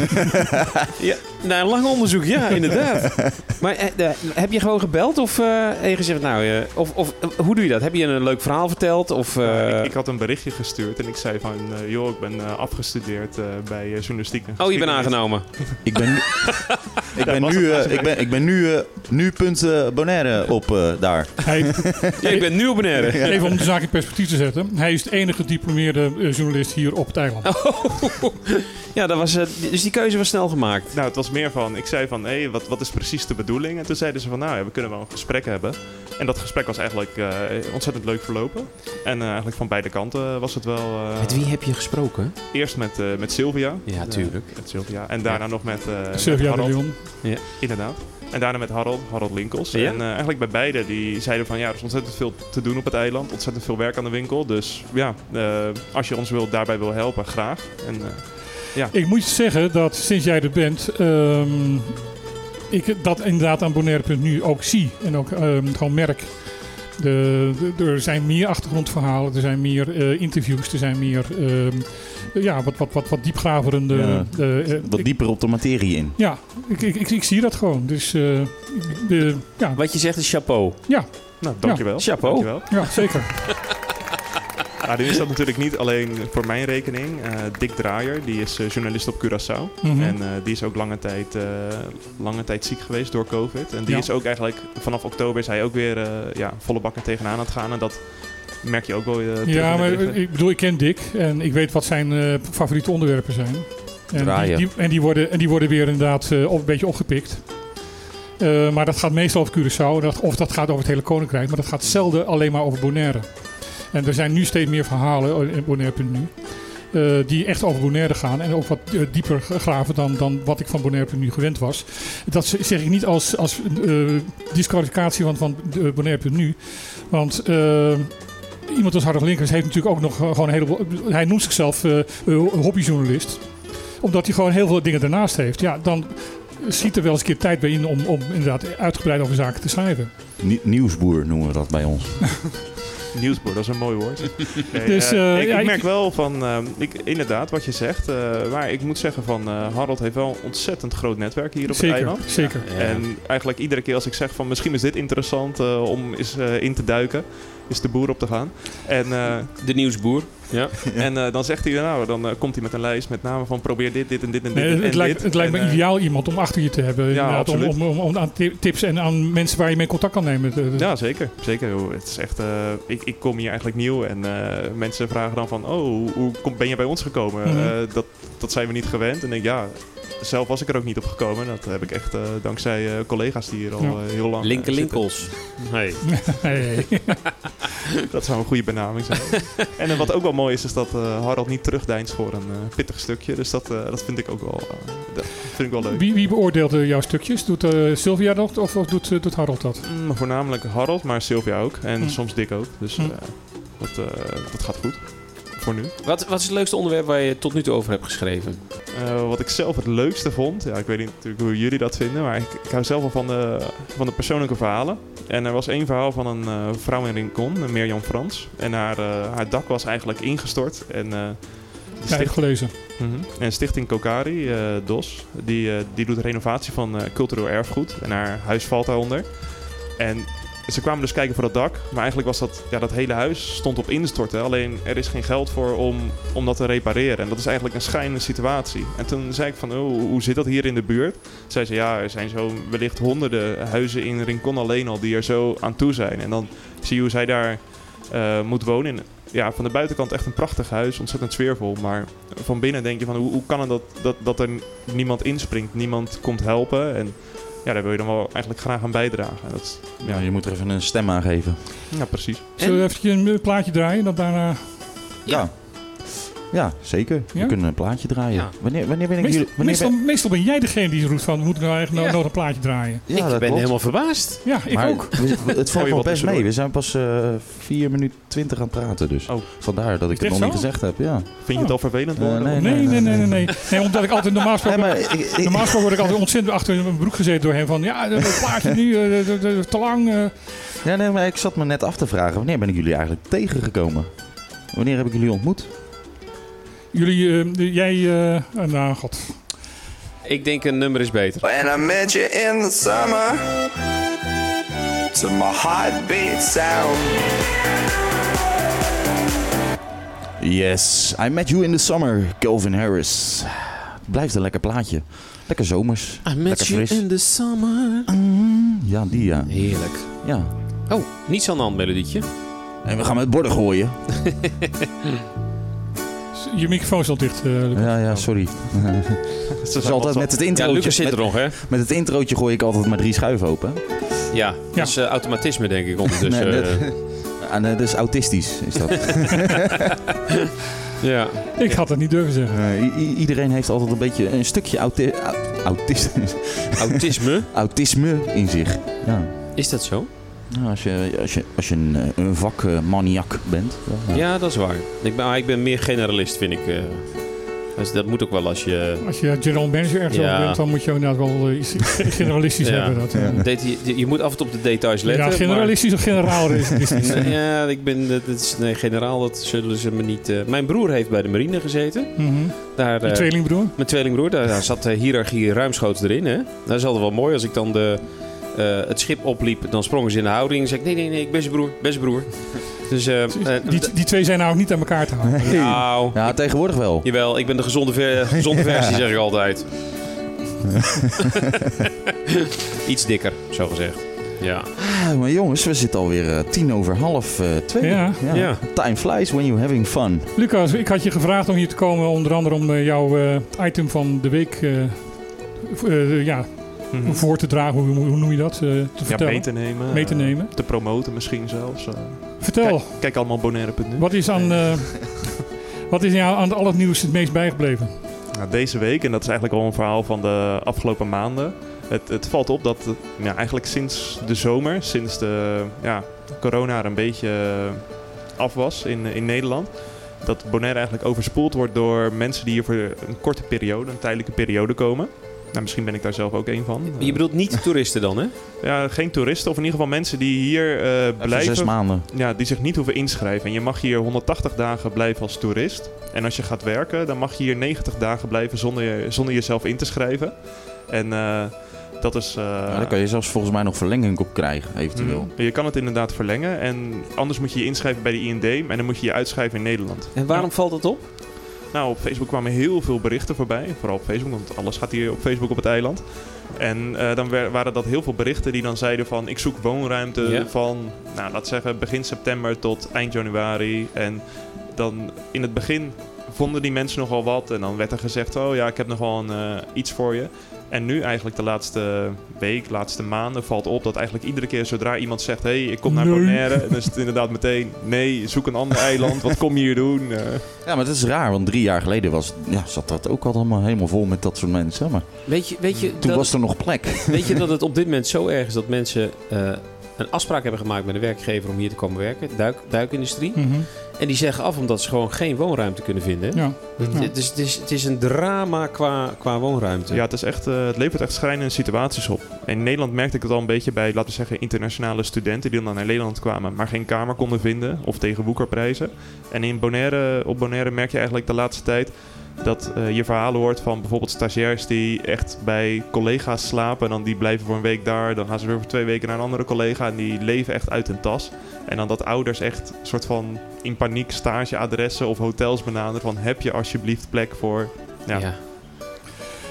[SPEAKER 2] ja, na een lang onderzoek, ja, inderdaad. Maar eh, eh, heb je gewoon gebeld of eh heb je gezegd, nou, eh, of, of eh, hoe doe je dat? Heb je een leuk verhaal verteld? Of,
[SPEAKER 4] Nou,
[SPEAKER 2] eh,
[SPEAKER 4] ik, ik had een berichtje gestuurd en ik zei van, eh, joh, ik ben eh, afgestudeerd eh, bij eh, journalistiek. en
[SPEAKER 2] Oh, je bent
[SPEAKER 4] geschiedenis.
[SPEAKER 2] aangenomen.
[SPEAKER 1] Ik ben, nu- ik ben
[SPEAKER 4] was het
[SPEAKER 1] nu, eh,
[SPEAKER 4] alsjeblieft.
[SPEAKER 1] ik ben, ik ben nu, eh nu punt eh, Bonaire op eh, daar.
[SPEAKER 2] Ja, ik ben nu op Bonaire.
[SPEAKER 3] Even om de zaak in perspectief te zetten. Hij is de enige gediplomeerde eh, journalist hier op het eiland.
[SPEAKER 2] Oh. Ja, dat was, eh, dus die keuze was snel gemaakt.
[SPEAKER 4] Nou, het was meer van, ik zei van, hé, wat, wat is precies de bedoeling? En toen zeiden ze van, nou ja, we kunnen wel een gesprek hebben. En dat gesprek was eigenlijk eh, ontzettend leuk verlopen. En eh, eigenlijk van beide kanten was het wel... eh,
[SPEAKER 2] Met wie heb je gesproken?
[SPEAKER 4] Eerst met, eh, met Sylvia.
[SPEAKER 2] Ja, tuurlijk.
[SPEAKER 4] met Sylvia. En daarna nog met, eh,
[SPEAKER 3] Sylvia
[SPEAKER 4] met
[SPEAKER 3] de
[SPEAKER 4] Harald.
[SPEAKER 3] Leon.
[SPEAKER 2] Ja.
[SPEAKER 4] Inderdaad. En daarna met Harald, Harald Linkels.
[SPEAKER 2] Ja?
[SPEAKER 4] En eh, eigenlijk bij beide, die zeiden van ja, er is ontzettend veel te doen op het eiland. Ontzettend veel werk aan de winkel. Dus ja, eh, als je ons wil, daarbij wil helpen, graag. En eh,
[SPEAKER 3] Ik moet zeggen dat sinds jij er bent, ehm, ik dat inderdaad aan Bonaire.nu ook zie en ook ehm, gewoon merk. De, de- er zijn meer achtergrondverhalen, er zijn meer eh, interviews, er zijn meer ehm, ja, wat, wat, wat, wat diepgraverende.
[SPEAKER 1] Ja,
[SPEAKER 3] eh, eh,
[SPEAKER 1] Wat
[SPEAKER 3] ik-
[SPEAKER 1] dieper op de materie in.
[SPEAKER 3] ja, ik, ik, ik, ik zie dat gewoon. Dus eh, ik- de, ja,
[SPEAKER 2] Wat je zegt is chapeau.
[SPEAKER 4] nou, dankjewel.
[SPEAKER 2] Chapeau.
[SPEAKER 4] Dankjewel.
[SPEAKER 3] ja, zeker.
[SPEAKER 4] Nou, nu is dat natuurlijk niet alleen voor mijn rekening. Eh, Dick Draaier, die is eh, journalist op Curaçao.
[SPEAKER 3] Mhm.
[SPEAKER 4] En eh, die is ook lange tijd, eh, lange tijd ziek geweest door COVID. En die
[SPEAKER 3] Ja.
[SPEAKER 4] is ook eigenlijk, vanaf oktober is hij ook weer eh, ja, volle bakken tegenaan aan het gaan. En dat merk je ook wel. eh, terug in
[SPEAKER 3] Ja,
[SPEAKER 4] de
[SPEAKER 3] maar
[SPEAKER 4] berichten.
[SPEAKER 3] ik bedoel, ik ken Dick en ik weet wat zijn eh, favoriete onderwerpen zijn. En die,
[SPEAKER 1] Draaien.
[SPEAKER 3] die- en, die worden, en die worden weer inderdaad eh, op, een beetje opgepikt. Eh, maar dat gaat meestal over Curaçao dat, of dat gaat over het hele Koninkrijk. Maar dat gaat zelden alleen maar over Bonaire. En er zijn nu steeds meer verhalen oh, in Bonaire.nu. eh, die echt over Bonaire gaan en ook wat eh, dieper graven dan, dan wat ik van Bonaire.nu gewend was. Dat z- zeg ik niet als, als eh, disqualificatie van, van eh, Bonaire.nu. Want eh, iemand als Harald Linkers heeft natuurlijk ook nog eh, gewoon een heleboel. Hij noemt zichzelf eh, eh, hobbyjournalist. Omdat hij gewoon heel veel dingen daarnaast heeft. Ja, dan schiet er wel eens een keer tijd bij in om, om inderdaad uitgebreid over zaken te schrijven.
[SPEAKER 1] Nie- nieuwsboer noemen we dat bij ons.
[SPEAKER 4] Nieuwsboer, dat is een mooi woord. Nee,
[SPEAKER 3] Dus,
[SPEAKER 4] eh,
[SPEAKER 3] eh,
[SPEAKER 4] ik,
[SPEAKER 3] ja,
[SPEAKER 4] ik
[SPEAKER 3] ik-
[SPEAKER 4] merk wel van, eh, ik, inderdaad, wat je zegt. eh, maar ik moet zeggen van, eh, Harald heeft wel een ontzettend groot netwerk hier op het
[SPEAKER 3] zeker,
[SPEAKER 4] eiland.
[SPEAKER 3] zeker.
[SPEAKER 4] En eigenlijk iedere keer als ik zeg van misschien is dit interessant eh, om eens eh, in te duiken, is de boer op te gaan. En, eh,
[SPEAKER 2] De nieuwsboer. Ja.
[SPEAKER 4] en eh, dan zegt hij nou, dan eh, komt hij met een lijst met namen van probeer dit, dit en dit en dit.
[SPEAKER 3] Nee, het,
[SPEAKER 4] en
[SPEAKER 3] lijkt,
[SPEAKER 4] dit.
[SPEAKER 3] het lijkt
[SPEAKER 4] En,
[SPEAKER 3] me
[SPEAKER 4] eh,
[SPEAKER 3] ideaal iemand om achter je te hebben. inderdaad, om,
[SPEAKER 4] absoluut.
[SPEAKER 3] om, om, om aan ti- tips en aan mensen waar je mee contact kan nemen. te- te-
[SPEAKER 4] Ja, zeker. zeker. joh. Het is echt, eh, ik, ik kom hier eigenlijk nieuw en eh, mensen vragen dan van, oh, hoe- hoe kom, ben je bij ons gekomen?
[SPEAKER 3] Mhm.
[SPEAKER 4] Eh, dat, dat zijn we niet gewend. En ik denk, ja, zelf was ik er ook niet op gekomen. Dat heb ik echt eh, dankzij eh, collega's die hier al
[SPEAKER 3] Ja.
[SPEAKER 4] eh, heel lang eh,
[SPEAKER 2] Linker
[SPEAKER 4] zitten.
[SPEAKER 2] Linkels. Hey.
[SPEAKER 3] Hey.
[SPEAKER 4] Dat zou Nou, een goede benaming zijn. en eh, wat ook wel mooi is, is dat eh, Harald niet terugdeinst voor een eh, pittig stukje. Dus dat, eh, dat vind ik ook wel, eh, dat vind ik wel leuk.
[SPEAKER 3] Wie, wie beoordeelt eh, jouw stukjes? Doet eh, Sylvia dat of, of doet, eh, doet Harold dat?
[SPEAKER 4] Mm, voornamelijk Harald, maar Sylvia ook. En
[SPEAKER 3] Hm.
[SPEAKER 4] soms Dick ook. Dus
[SPEAKER 3] Hm.
[SPEAKER 4] eh, dat, eh, dat gaat goed. Voor nu.
[SPEAKER 2] Wat, wat is het leukste onderwerp waar je tot nu toe over hebt geschreven?
[SPEAKER 4] Eh, wat ik zelf het leukste vond, ja, ik weet niet natuurlijk hoe jullie dat vinden, maar ik, ik hou zelf wel van de, van de persoonlijke verhalen. En er was één verhaal van een eh, vrouw in Rincon, eh, Mirjam Frans. En haar, eh, haar dak was eigenlijk ingestort. En, eh, de
[SPEAKER 3] Ja, ik heb
[SPEAKER 4] sticht-
[SPEAKER 3] gelezen.
[SPEAKER 4] Mhm. en Stichting Kokari, eh, DOS, die, eh, die doet renovatie van eh, cultureel erfgoed. En haar huis valt daaronder. En ze kwamen dus kijken voor dat dak. Maar eigenlijk was dat, ja, dat hele huis stond op instorten. Alleen er is geen geld voor om, om dat te repareren. En dat is eigenlijk een schijnende situatie. En toen zei ik van, oh, hoe zit dat hier in de buurt? Zei ze, ja, er zijn zo wellicht honderden huizen in Rincon alleen al die er zo aan toe zijn. En dan zie je hoe zij daar eh, moet wonen. En Ja, van de buitenkant echt een prachtig huis, ontzettend sfeervol. Maar van binnen denk je van, hoe, hoe kan het dat, dat, dat er niemand inspringt? Niemand komt helpen en... Ja, daar wil je dan wel eigenlijk graag aan bijdragen. En dat is-
[SPEAKER 1] Ja, je moet er even een stem aan geven.
[SPEAKER 4] ja, precies.
[SPEAKER 3] Zullen we even een eh, plaatje draaien? Dan daarna...
[SPEAKER 1] Ja. Ja, zeker.
[SPEAKER 3] Ja?
[SPEAKER 1] We kunnen een plaatje draaien.
[SPEAKER 3] Ja.
[SPEAKER 1] Wanneer, wanneer ben ik
[SPEAKER 3] Meestal,
[SPEAKER 1] jullie... Wanneer
[SPEAKER 3] meestal,
[SPEAKER 1] ben-
[SPEAKER 3] meestal ben jij degene die roept van, moet ik nou eigenlijk
[SPEAKER 1] Ja.
[SPEAKER 3] nog een plaatje draaien?
[SPEAKER 1] Ja, dat klopt.
[SPEAKER 2] verbaasd.
[SPEAKER 3] Ja, ik
[SPEAKER 1] Maar
[SPEAKER 3] ook.
[SPEAKER 1] we- we- Het
[SPEAKER 3] Gooi
[SPEAKER 1] valt
[SPEAKER 3] je
[SPEAKER 1] wel
[SPEAKER 3] wat
[SPEAKER 1] best
[SPEAKER 3] tussendoor.
[SPEAKER 1] mee. We zijn pas eh 4 minuten 20 aan het praten dus. Vandaar dat ik het
[SPEAKER 3] Is
[SPEAKER 1] nog
[SPEAKER 3] dit
[SPEAKER 1] niet
[SPEAKER 3] zo?
[SPEAKER 1] gezegd heb. Ja. Eh,
[SPEAKER 10] Vind je het al vervelend
[SPEAKER 1] worden?
[SPEAKER 3] Nee, nee, nee, nee, nee. nee. omdat ik altijd normaal gesproken, normaal gesproken word ik altijd ontzettend achter mijn broek gezeten door hem van ja, dat plaatje nu eh, dat- dat- dat- te lang. eh.
[SPEAKER 1] Ja, nee, maar ik zat me net af te vragen. Wanneer ben ik jullie eigenlijk tegengekomen? Wanneer heb ik jullie ontmoet?
[SPEAKER 3] Jullie, eh, jij, eh, eh, nou god.
[SPEAKER 2] Ik denk een nummer is beter.
[SPEAKER 6] When I met you in the summer, to my heartbeat sound.
[SPEAKER 1] Yes, I met you in the summer, Calvin Harris. Blijft een lekker plaatje. Lekker zomers.
[SPEAKER 2] I met
[SPEAKER 1] lekker
[SPEAKER 2] you
[SPEAKER 1] fris.
[SPEAKER 2] in the summer.
[SPEAKER 1] Ja, die ja.
[SPEAKER 2] Heerlijk.
[SPEAKER 1] Ja.
[SPEAKER 2] Oh, niet zo'n handmelodietje.
[SPEAKER 1] En we gaan met borden gooien.
[SPEAKER 3] Je microfoon is al dicht. eh, Lucas.
[SPEAKER 1] Ja, ja, sorry. Het is altijd met het introotje.
[SPEAKER 2] Ja, Lucas zit
[SPEAKER 1] met,
[SPEAKER 2] er nog, hè?
[SPEAKER 1] Met het introotje gooi ik altijd maar drie schuiven open.
[SPEAKER 2] Ja, dat is eh, automatisme, denk ik,
[SPEAKER 1] nee,
[SPEAKER 2] ondertussen.
[SPEAKER 1] dat,
[SPEAKER 2] eh.
[SPEAKER 1] Ah, nee, dat is autistisch, is dat.
[SPEAKER 2] ja.
[SPEAKER 3] Ik had het niet durven zeggen.
[SPEAKER 1] Eh, i- i- iedereen heeft altijd een beetje een stukje auti au- autistisch-
[SPEAKER 2] autisme.
[SPEAKER 1] autisme in zich. Ja.
[SPEAKER 2] Is dat zo?
[SPEAKER 1] Nou, als je, als je, als je een, eh, een vak eh, maniak bent.
[SPEAKER 2] Ja. dat is waar. Ik ben, maar ik ben meer generalist, vind ik. eh. dus dat moet ook wel als je...
[SPEAKER 3] Als je general manager ergens
[SPEAKER 2] Ja.
[SPEAKER 3] over bent, dan moet je inderdaad wel eh, iets generalistisch
[SPEAKER 2] Ja.
[SPEAKER 3] hebben. Dat, eh.
[SPEAKER 2] Deta- je, je moet af en toe op de details letten.
[SPEAKER 3] Ja, generalistisch
[SPEAKER 2] maar-
[SPEAKER 3] of generaal realistisch?
[SPEAKER 2] Nee, ja, ik ben... Dat is, nee, generaal, dat zullen ze me niet... eh, Mijn broer heeft bij de marine gezeten.
[SPEAKER 3] Mhm.
[SPEAKER 2] Daar,
[SPEAKER 3] Je
[SPEAKER 2] eh,
[SPEAKER 3] tweelingbroer?
[SPEAKER 2] Mijn tweelingbroer, daar, daar zat de hiërarchie ruimschoots erin. Hè? Dat is altijd wel mooi. Als ik dan de, eh, het schip opliep, dan sprongen ze in de houding. En zei ik, nee, nee, nee, ik ben zijn broer, ben zijn broer. Dus, eh, eh,
[SPEAKER 3] Die, die twee zijn nou ook niet aan elkaar te houden.
[SPEAKER 2] nou,
[SPEAKER 1] Ja, tegenwoordig wel.
[SPEAKER 2] jawel, ik ben de gezonde, ver- gezonde versie, zeg ik altijd. Iets dikker, zo gezegd. Ja.
[SPEAKER 1] Ah, maar jongens, we zitten alweer eh, tien over half eh, twee.
[SPEAKER 3] Ja. Ja.
[SPEAKER 1] Time flies when you're having fun.
[SPEAKER 3] Lucas, ik had je gevraagd om hier te komen, onder andere om eh, jouw eh, item van de week eh, v- eh, ja,
[SPEAKER 10] Mhm.
[SPEAKER 3] voor te dragen, hoe, hoe noem je dat? eh, te
[SPEAKER 10] Ja,
[SPEAKER 3] vertellen.
[SPEAKER 10] mee te nemen.
[SPEAKER 3] Mee te
[SPEAKER 10] eh,
[SPEAKER 3] nemen.
[SPEAKER 10] te promoten misschien zelfs. eh.
[SPEAKER 3] Vertel.
[SPEAKER 10] Kijk, kijk allemaal bonaire.nu.
[SPEAKER 3] Wat is, aan, eh, wat is jou aan al het nieuws het meest bijgebleven?
[SPEAKER 10] Nou, deze week, en dat is eigenlijk al een verhaal van de afgelopen maanden. Het, het valt op dat eh, ja, eigenlijk sinds de zomer, sinds de ja, corona er een beetje eh, af was in, in Nederland. Dat Bonaire eigenlijk overspoeld wordt door mensen die hier voor een korte periode, een tijdelijke periode komen. Nou, misschien ben ik daar zelf ook een van.
[SPEAKER 2] Je bedoelt niet toeristen dan, hè?
[SPEAKER 10] Ja, geen toeristen, of in ieder geval mensen die hier eh, blijven.
[SPEAKER 1] zes maanden.
[SPEAKER 10] Ja, die zich niet hoeven inschrijven. En je mag hier 180 dagen blijven als toerist. En als je gaat werken, dan mag je hier 90 dagen blijven zonder, je- zonder jezelf in te schrijven. En eh, dat is. eh,
[SPEAKER 1] Ja, daar kan je zelfs volgens mij nog verlenging op krijgen, eventueel.
[SPEAKER 10] mm, je kan het inderdaad verlengen. En anders moet je je inschrijven bij de IND. En dan moet je je uitschrijven in Nederland.
[SPEAKER 2] En waarom valt dat op?
[SPEAKER 10] Nou, op Facebook kwamen heel veel berichten voorbij. Vooral op Facebook, want alles gaat hier op Facebook op het eiland. En eh, dan wer- waren dat heel veel berichten die dan zeiden van... ik zoek woonruimte
[SPEAKER 2] Ja.
[SPEAKER 10] van, nou, laat zeggen, begin september tot eind januari. En dan in het begin vonden die mensen nogal wat. En dan werd er gezegd, oh ja, ik heb nog wel een, eh, iets voor je. En nu eigenlijk de laatste week, laatste maanden valt op... dat eigenlijk iedere keer zodra iemand zegt... hé, hey, ik kom naar
[SPEAKER 3] Nee.
[SPEAKER 10] Bonaire, dan is het inderdaad meteen... nee, zoek een ander eiland, wat kom je hier doen? Eh,
[SPEAKER 1] Ja, maar dat is raar, want drie jaar geleden was, ja, zat dat ook allemaal helemaal vol met dat soort mensen. Maar
[SPEAKER 2] Weet je, weet je,
[SPEAKER 1] toen
[SPEAKER 2] dat-
[SPEAKER 1] was er nog plek.
[SPEAKER 2] Weet je dat het op dit moment zo erg is dat mensen eh, een afspraak hebben gemaakt met een werkgever om hier te komen werken, duik, duikindustrie.
[SPEAKER 3] Mhm.
[SPEAKER 2] En die zeggen af omdat ze gewoon geen woonruimte kunnen vinden.
[SPEAKER 3] Ja.
[SPEAKER 2] Het,
[SPEAKER 3] Ja.
[SPEAKER 2] het is, het, is, het is een drama qua, qua woonruimte.
[SPEAKER 10] Ja, het, is echt, eh, het levert echt schrijnende situaties op. In Nederland merkte ik het al een beetje bij, laten we zeggen, internationale studenten die dan naar Nederland kwamen, maar geen kamer konden vinden of tegen woekerprijzen. En in Bonaire, op Bonaire merk je eigenlijk de laatste tijd dat eh, je verhalen hoort van bijvoorbeeld stagiairs die echt bij collega's slapen. En dan die blijven voor een week daar, dan gaan ze weer voor twee weken naar een andere collega en die leven echt uit hun tas. En dan dat ouders echt soort van in paniek stageadressen of hotels benaderen van heb je alsjeblieft plek voor... Ja.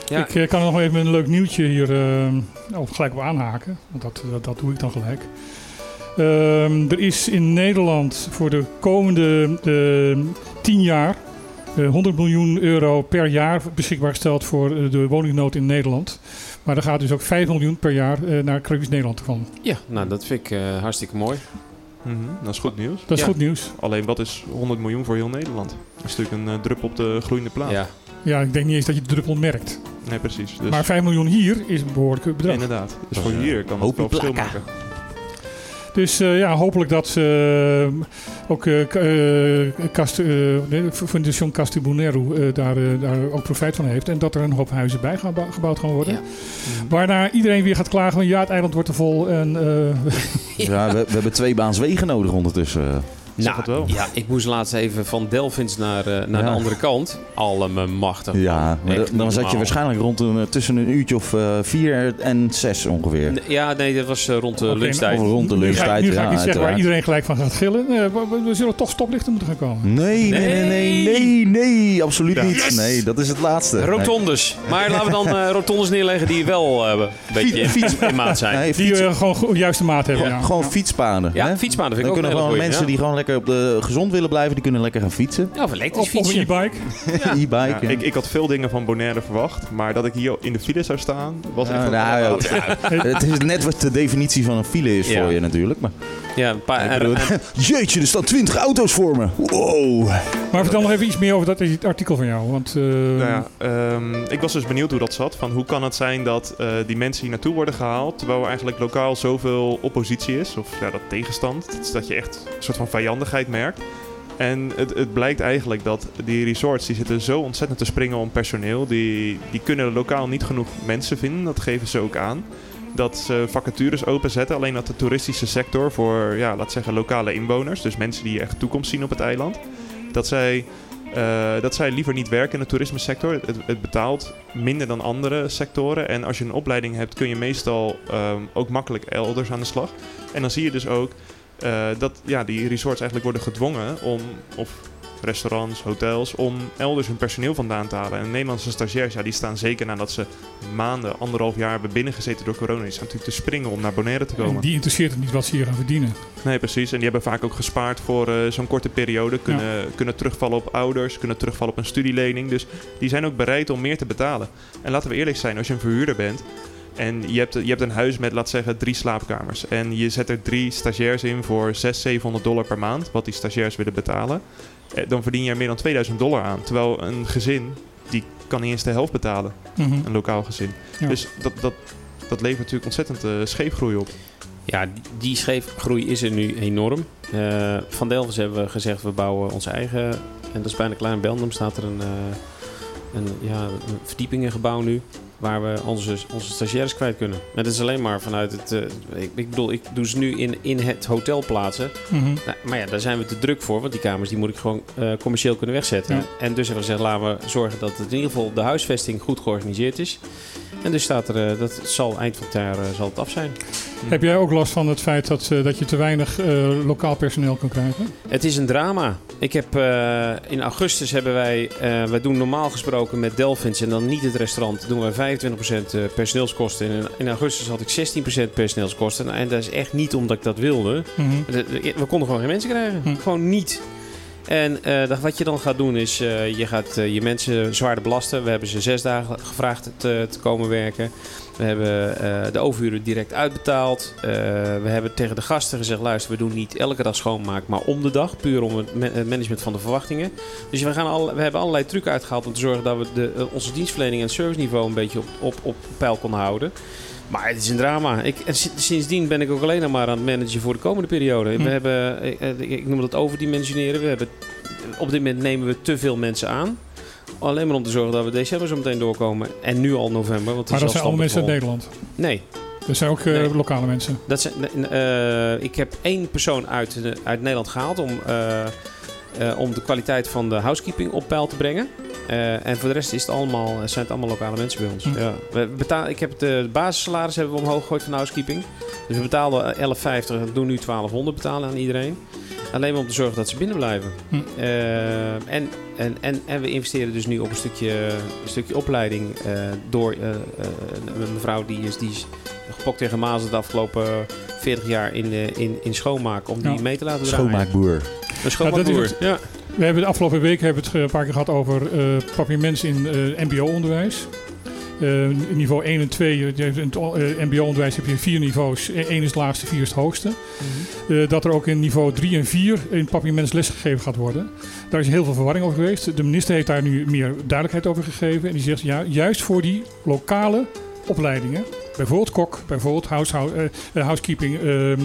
[SPEAKER 2] Ja.
[SPEAKER 3] Ik eh, kan er nog even een leuk nieuwtje hier eh, of gelijk op aanhaken. Want dat, dat, dat doe ik dan gelijk. Ehm, er is in Nederland voor de komende eh, 10 jaar eh, 100 miljoen euro per jaar beschikbaar gesteld voor eh, de woningnood in Nederland. Maar er gaat dus ook 5 miljoen per jaar eh, naar Caribisch Nederland van.
[SPEAKER 2] Ja, nou dat vind ik eh, hartstikke mooi.
[SPEAKER 10] Mhm, dat is goed nieuws.
[SPEAKER 3] Dat is goed nieuws.
[SPEAKER 10] Alleen wat is 100 miljoen voor heel Nederland? Dat is natuurlijk een eh, druppel op de groeiende plaat.
[SPEAKER 2] Ja.
[SPEAKER 3] Ja, ik denk niet eens dat je de druppel merkt.
[SPEAKER 10] Nee, precies. Dus
[SPEAKER 3] Maar 5 miljoen hier is een behoorlijk bedrag.
[SPEAKER 10] Inderdaad. Dus
[SPEAKER 1] Dat
[SPEAKER 10] voor
[SPEAKER 1] is, eh,
[SPEAKER 10] hier kan het
[SPEAKER 1] hoopie
[SPEAKER 10] wel verschil
[SPEAKER 1] plakka.
[SPEAKER 10] maken.
[SPEAKER 3] Dus eh, ja, hopelijk dat ze eh, ook eh, k- eh, Cast- eh, nee, Fundación Castibuneru eh, daar, eh, daar ook profijt van heeft. En dat er een hoop huizen bij gaan bou- gebouwd gaan worden.
[SPEAKER 2] Ja.
[SPEAKER 1] Mhm.
[SPEAKER 3] Waarna iedereen weer gaat klagen van ja, het eiland wordt te vol. En, eh,
[SPEAKER 1] Ja, we, we hebben twee baans wegen nodig ondertussen.
[SPEAKER 10] Zeg het wel.
[SPEAKER 2] Nou, ja, ik moest laatst even van Delphins naar, eh, naar
[SPEAKER 1] Ja.
[SPEAKER 2] de andere kant. Allemaal machtig.
[SPEAKER 1] Ja, maar
[SPEAKER 2] Echt
[SPEAKER 1] dan- dan zat
[SPEAKER 2] normaal.
[SPEAKER 1] je waarschijnlijk rond een, eh, tussen een uurtje of eh, vier en zes ongeveer.
[SPEAKER 2] N- Ja, nee, dat was eh, rond de
[SPEAKER 3] Oké,
[SPEAKER 2] lunchtijd.
[SPEAKER 1] Of rond de
[SPEAKER 3] nou, nu ga, ik-
[SPEAKER 1] lunchtijd,
[SPEAKER 3] nu ga
[SPEAKER 1] ja,
[SPEAKER 3] ik niet zeggen waar
[SPEAKER 1] uiteraard.
[SPEAKER 3] iedereen gelijk van gaat gillen. Eh, we, we- we zullen toch stoplichten moeten gaan komen.
[SPEAKER 1] Nee, nee, nee, nee, nee, nee, absoluut niet. Nee, dat is het laatste.
[SPEAKER 2] Rotondes. Maar laten we dan eh, rotondes neerleggen die wel eh, een beetje
[SPEAKER 1] fiets-
[SPEAKER 2] in maat zijn.
[SPEAKER 1] Nee, nee
[SPEAKER 3] Die
[SPEAKER 1] fiets-
[SPEAKER 3] eh, gewoon go- juiste maat hebben. Ja.
[SPEAKER 1] gewoon fietspaden.
[SPEAKER 2] Ja,
[SPEAKER 1] hè?
[SPEAKER 2] fietspaden vind
[SPEAKER 1] Dan
[SPEAKER 2] ik ook
[SPEAKER 1] kunnen
[SPEAKER 2] een hele
[SPEAKER 1] gewoon
[SPEAKER 2] goeie,
[SPEAKER 1] mensen
[SPEAKER 2] ja.
[SPEAKER 1] die gewoon lekker op de gezond willen blijven, die kunnen lekker gaan fietsen.
[SPEAKER 2] Ja, of elektrisch
[SPEAKER 3] Of, of een
[SPEAKER 2] fietsen.
[SPEAKER 3] e-bike.
[SPEAKER 1] E-bike.
[SPEAKER 10] Ja,
[SPEAKER 1] ja.
[SPEAKER 10] ik, ik had veel dingen van Bonaire verwacht, maar dat ik hier in de file zou staan, was echt...
[SPEAKER 1] Ja,
[SPEAKER 10] een-
[SPEAKER 1] nou, ja, het is net wat de definitie van een file is
[SPEAKER 2] Ja.
[SPEAKER 1] voor je natuurlijk. Maar,
[SPEAKER 2] Ja, een paar,
[SPEAKER 1] Ik bedoel,
[SPEAKER 2] en- en-
[SPEAKER 1] jeetje, er staan 20 auto's voor me. Wow.
[SPEAKER 3] Maar vertel nog even iets meer over dat is het artikel van jou. Want eh,
[SPEAKER 10] Nou ja, ehm, ik was dus benieuwd hoe dat zat. Van hoe kan het zijn dat eh, die mensen hier naartoe worden gehaald, terwijl er eigenlijk lokaal zoveel oppositie is, of ja, dat tegenstand, dat, is dat je echt een soort van vijandigheid merkt. En het, het blijkt eigenlijk dat die resorts die zitten zo ontzettend te springen om personeel. Die, die kunnen lokaal niet genoeg mensen vinden, dat geven ze ook aan. Dat ze vacatures openzetten, alleen dat de toeristische sector voor, ja, laat zeggen, lokale inwoners, dus mensen die echt toekomst zien op het eiland, dat zij eh, dat zij liever niet werken in de toerisme sector. Het, het betaalt minder dan andere sectoren. En als je een opleiding hebt, kun je meestal ehm, ook makkelijk elders aan de slag. En dan zie je dus ook eh, dat ja, die resorts eigenlijk worden gedwongen om, of restaurants, hotels, om elders hun personeel vandaan te halen. En Nederlandse stagiairs, ja, die staan zeker nadat ze maanden, anderhalf jaar hebben binnengezeten door corona. Die staan natuurlijk te springen om naar Bonaire te komen.
[SPEAKER 3] die interesseert het niet wat ze hier gaan verdienen.
[SPEAKER 10] Nee, precies. En die hebben vaak ook gespaard voor eh, zo'n korte periode. Kunnen, kunnen terugvallen op ouders, kunnen terugvallen op een studielening. Dus die zijn ook bereid om meer te betalen. En laten we eerlijk zijn, als je een verhuurder bent en je hebt, je hebt een huis met, laat zeggen, drie slaapkamers. En je zet er drie stagiairs in voor 600, 700 dollar per maand, wat die stagiairs willen betalen. eh, Dan verdien je er meer dan 2000 dollar aan. Terwijl een gezin, die kan niet eens de helft betalen.
[SPEAKER 3] Mhm.
[SPEAKER 10] Een lokaal gezin.
[SPEAKER 3] Ja.
[SPEAKER 10] Dus dat, dat, dat levert natuurlijk ontzettend eh, scheefgroei op.
[SPEAKER 2] ja, die scheefgroei is er nu enorm. Eh, van Delvens hebben we gezegd, we bouwen onze eigen... En dat is bijna klein. In Belgium staat er een, eh, een, ja, een verdiepingengebouw nu... waar we onze, onze stagiaires kwijt kunnen. En dat is alleen maar vanuit het... eh, ik, ik bedoel, ik doe ze nu in, in het hotel plaatsen.
[SPEAKER 3] Mhm.
[SPEAKER 2] Nou, maar ja, daar zijn we te druk voor, want die kamers die moet ik gewoon eh, commercieel kunnen wegzetten.
[SPEAKER 3] Ja.
[SPEAKER 2] En dus hebben we gezegd, laten we zorgen dat het in ieder geval de huisvesting goed georganiseerd is. En dus staat er, eh, dat zal eind van het jaar eh, zal het af zijn.
[SPEAKER 3] Heb jij ook last van het feit dat, eh, dat je te weinig eh, lokaal personeel kan krijgen?
[SPEAKER 2] Het is een drama. Ik heb, eh, in augustus hebben wij, eh, wij doen normaal gesproken met Delphins en dan niet het restaurant, doen wij 25% eh, personeelskosten. En in, in augustus had ik 16% personeelskosten. Nou, En dat is echt niet omdat ik dat wilde. De- de- We konden gewoon geen mensen krijgen.
[SPEAKER 3] Hm.
[SPEAKER 2] Gewoon niet. En eh, dat- wat je dan gaat doen is, eh, je gaat eh, je mensen zwaarder belasten. We hebben ze zes dagen gevraagd te, te komen werken. We hebben eh, de overuren direct uitbetaald. Eh, we hebben tegen de gasten gezegd, luister, we doen niet elke dag schoonmaak, maar om de dag. Puur om het ma- eh, management van de verwachtingen. Dus we, gaan al, we hebben allerlei trucs uitgehaald om te zorgen dat we de, eh, onze dienstverlening en het serviceniveau een beetje op, op, op peil konden houden. Maar het is een drama. Ik, en si- sindsdien ben ik ook alleen nog maar aan het managen voor de komende periode.
[SPEAKER 3] Hm.
[SPEAKER 2] We hebben, eh, eh, ik, noem dat overdimensioneren. We hebben, op dit moment nemen we te veel mensen aan. Alleen maar om te zorgen dat we december zo meteen doorkomen. En nu al november. Want het
[SPEAKER 3] Maar
[SPEAKER 2] is
[SPEAKER 3] dat zijn
[SPEAKER 2] al
[SPEAKER 3] allemaal mensen uit
[SPEAKER 2] standaard
[SPEAKER 3] Nederland.
[SPEAKER 2] vol. Nee,
[SPEAKER 3] Dat zijn ook eh,
[SPEAKER 2] Nee.
[SPEAKER 3] lokale mensen.
[SPEAKER 2] dat zijn, eh, ik heb één persoon uit, de- uit Nederland gehaald om, eh, eh, om de kwaliteit van de housekeeping op peil te brengen. Eh, en voor de rest is het allemaal, eh, zijn het allemaal lokale mensen bij ons.
[SPEAKER 3] Hm.
[SPEAKER 2] Ja. We betaal, ik heb de basissalaris hebben we omhoog gegooid van de housekeeping. Dus we betaalden 11,50, we doen nu 1200 betalen aan iedereen. Alleen maar om te zorgen dat ze binnen blijven.
[SPEAKER 3] Hm.
[SPEAKER 2] Eh, en, en, en, en we investeren dus nu op een stukje, een stukje opleiding eh, door eh, eh, een mevrouw die is, die is gepokt tegen mazen de afgelopen 40 jaar in, eh, in, in schoonmaak. Om die
[SPEAKER 3] Ja.
[SPEAKER 2] mee te laten draaien.
[SPEAKER 1] Schoonmaakboer.
[SPEAKER 2] Een schoonmaakboer.
[SPEAKER 3] Ja,
[SPEAKER 2] Ja,
[SPEAKER 3] dat is We hebben de afgelopen week hebben we het eh, een paar keer gehad over eh, papiermens in eh, MBO-onderwijs. Eh, niveau 1 en 2, je- je hebt in het o- eh, mbo-onderwijs heb je vier niveaus. Eh, Eén is het laagste, vier is het hoogste. Eh, dat er ook in niveau 3 en 4 in papiermens lesgegeven gaat worden. Daar is heel veel verwarring over geweest. De minister heeft daar nu meer duidelijkheid over gegeven. En die zegt, ja, juist voor die lokale opleidingen... Bijvoorbeeld kok, bijvoorbeeld huishoud, eh, eh, housekeeping, ehm, ehm,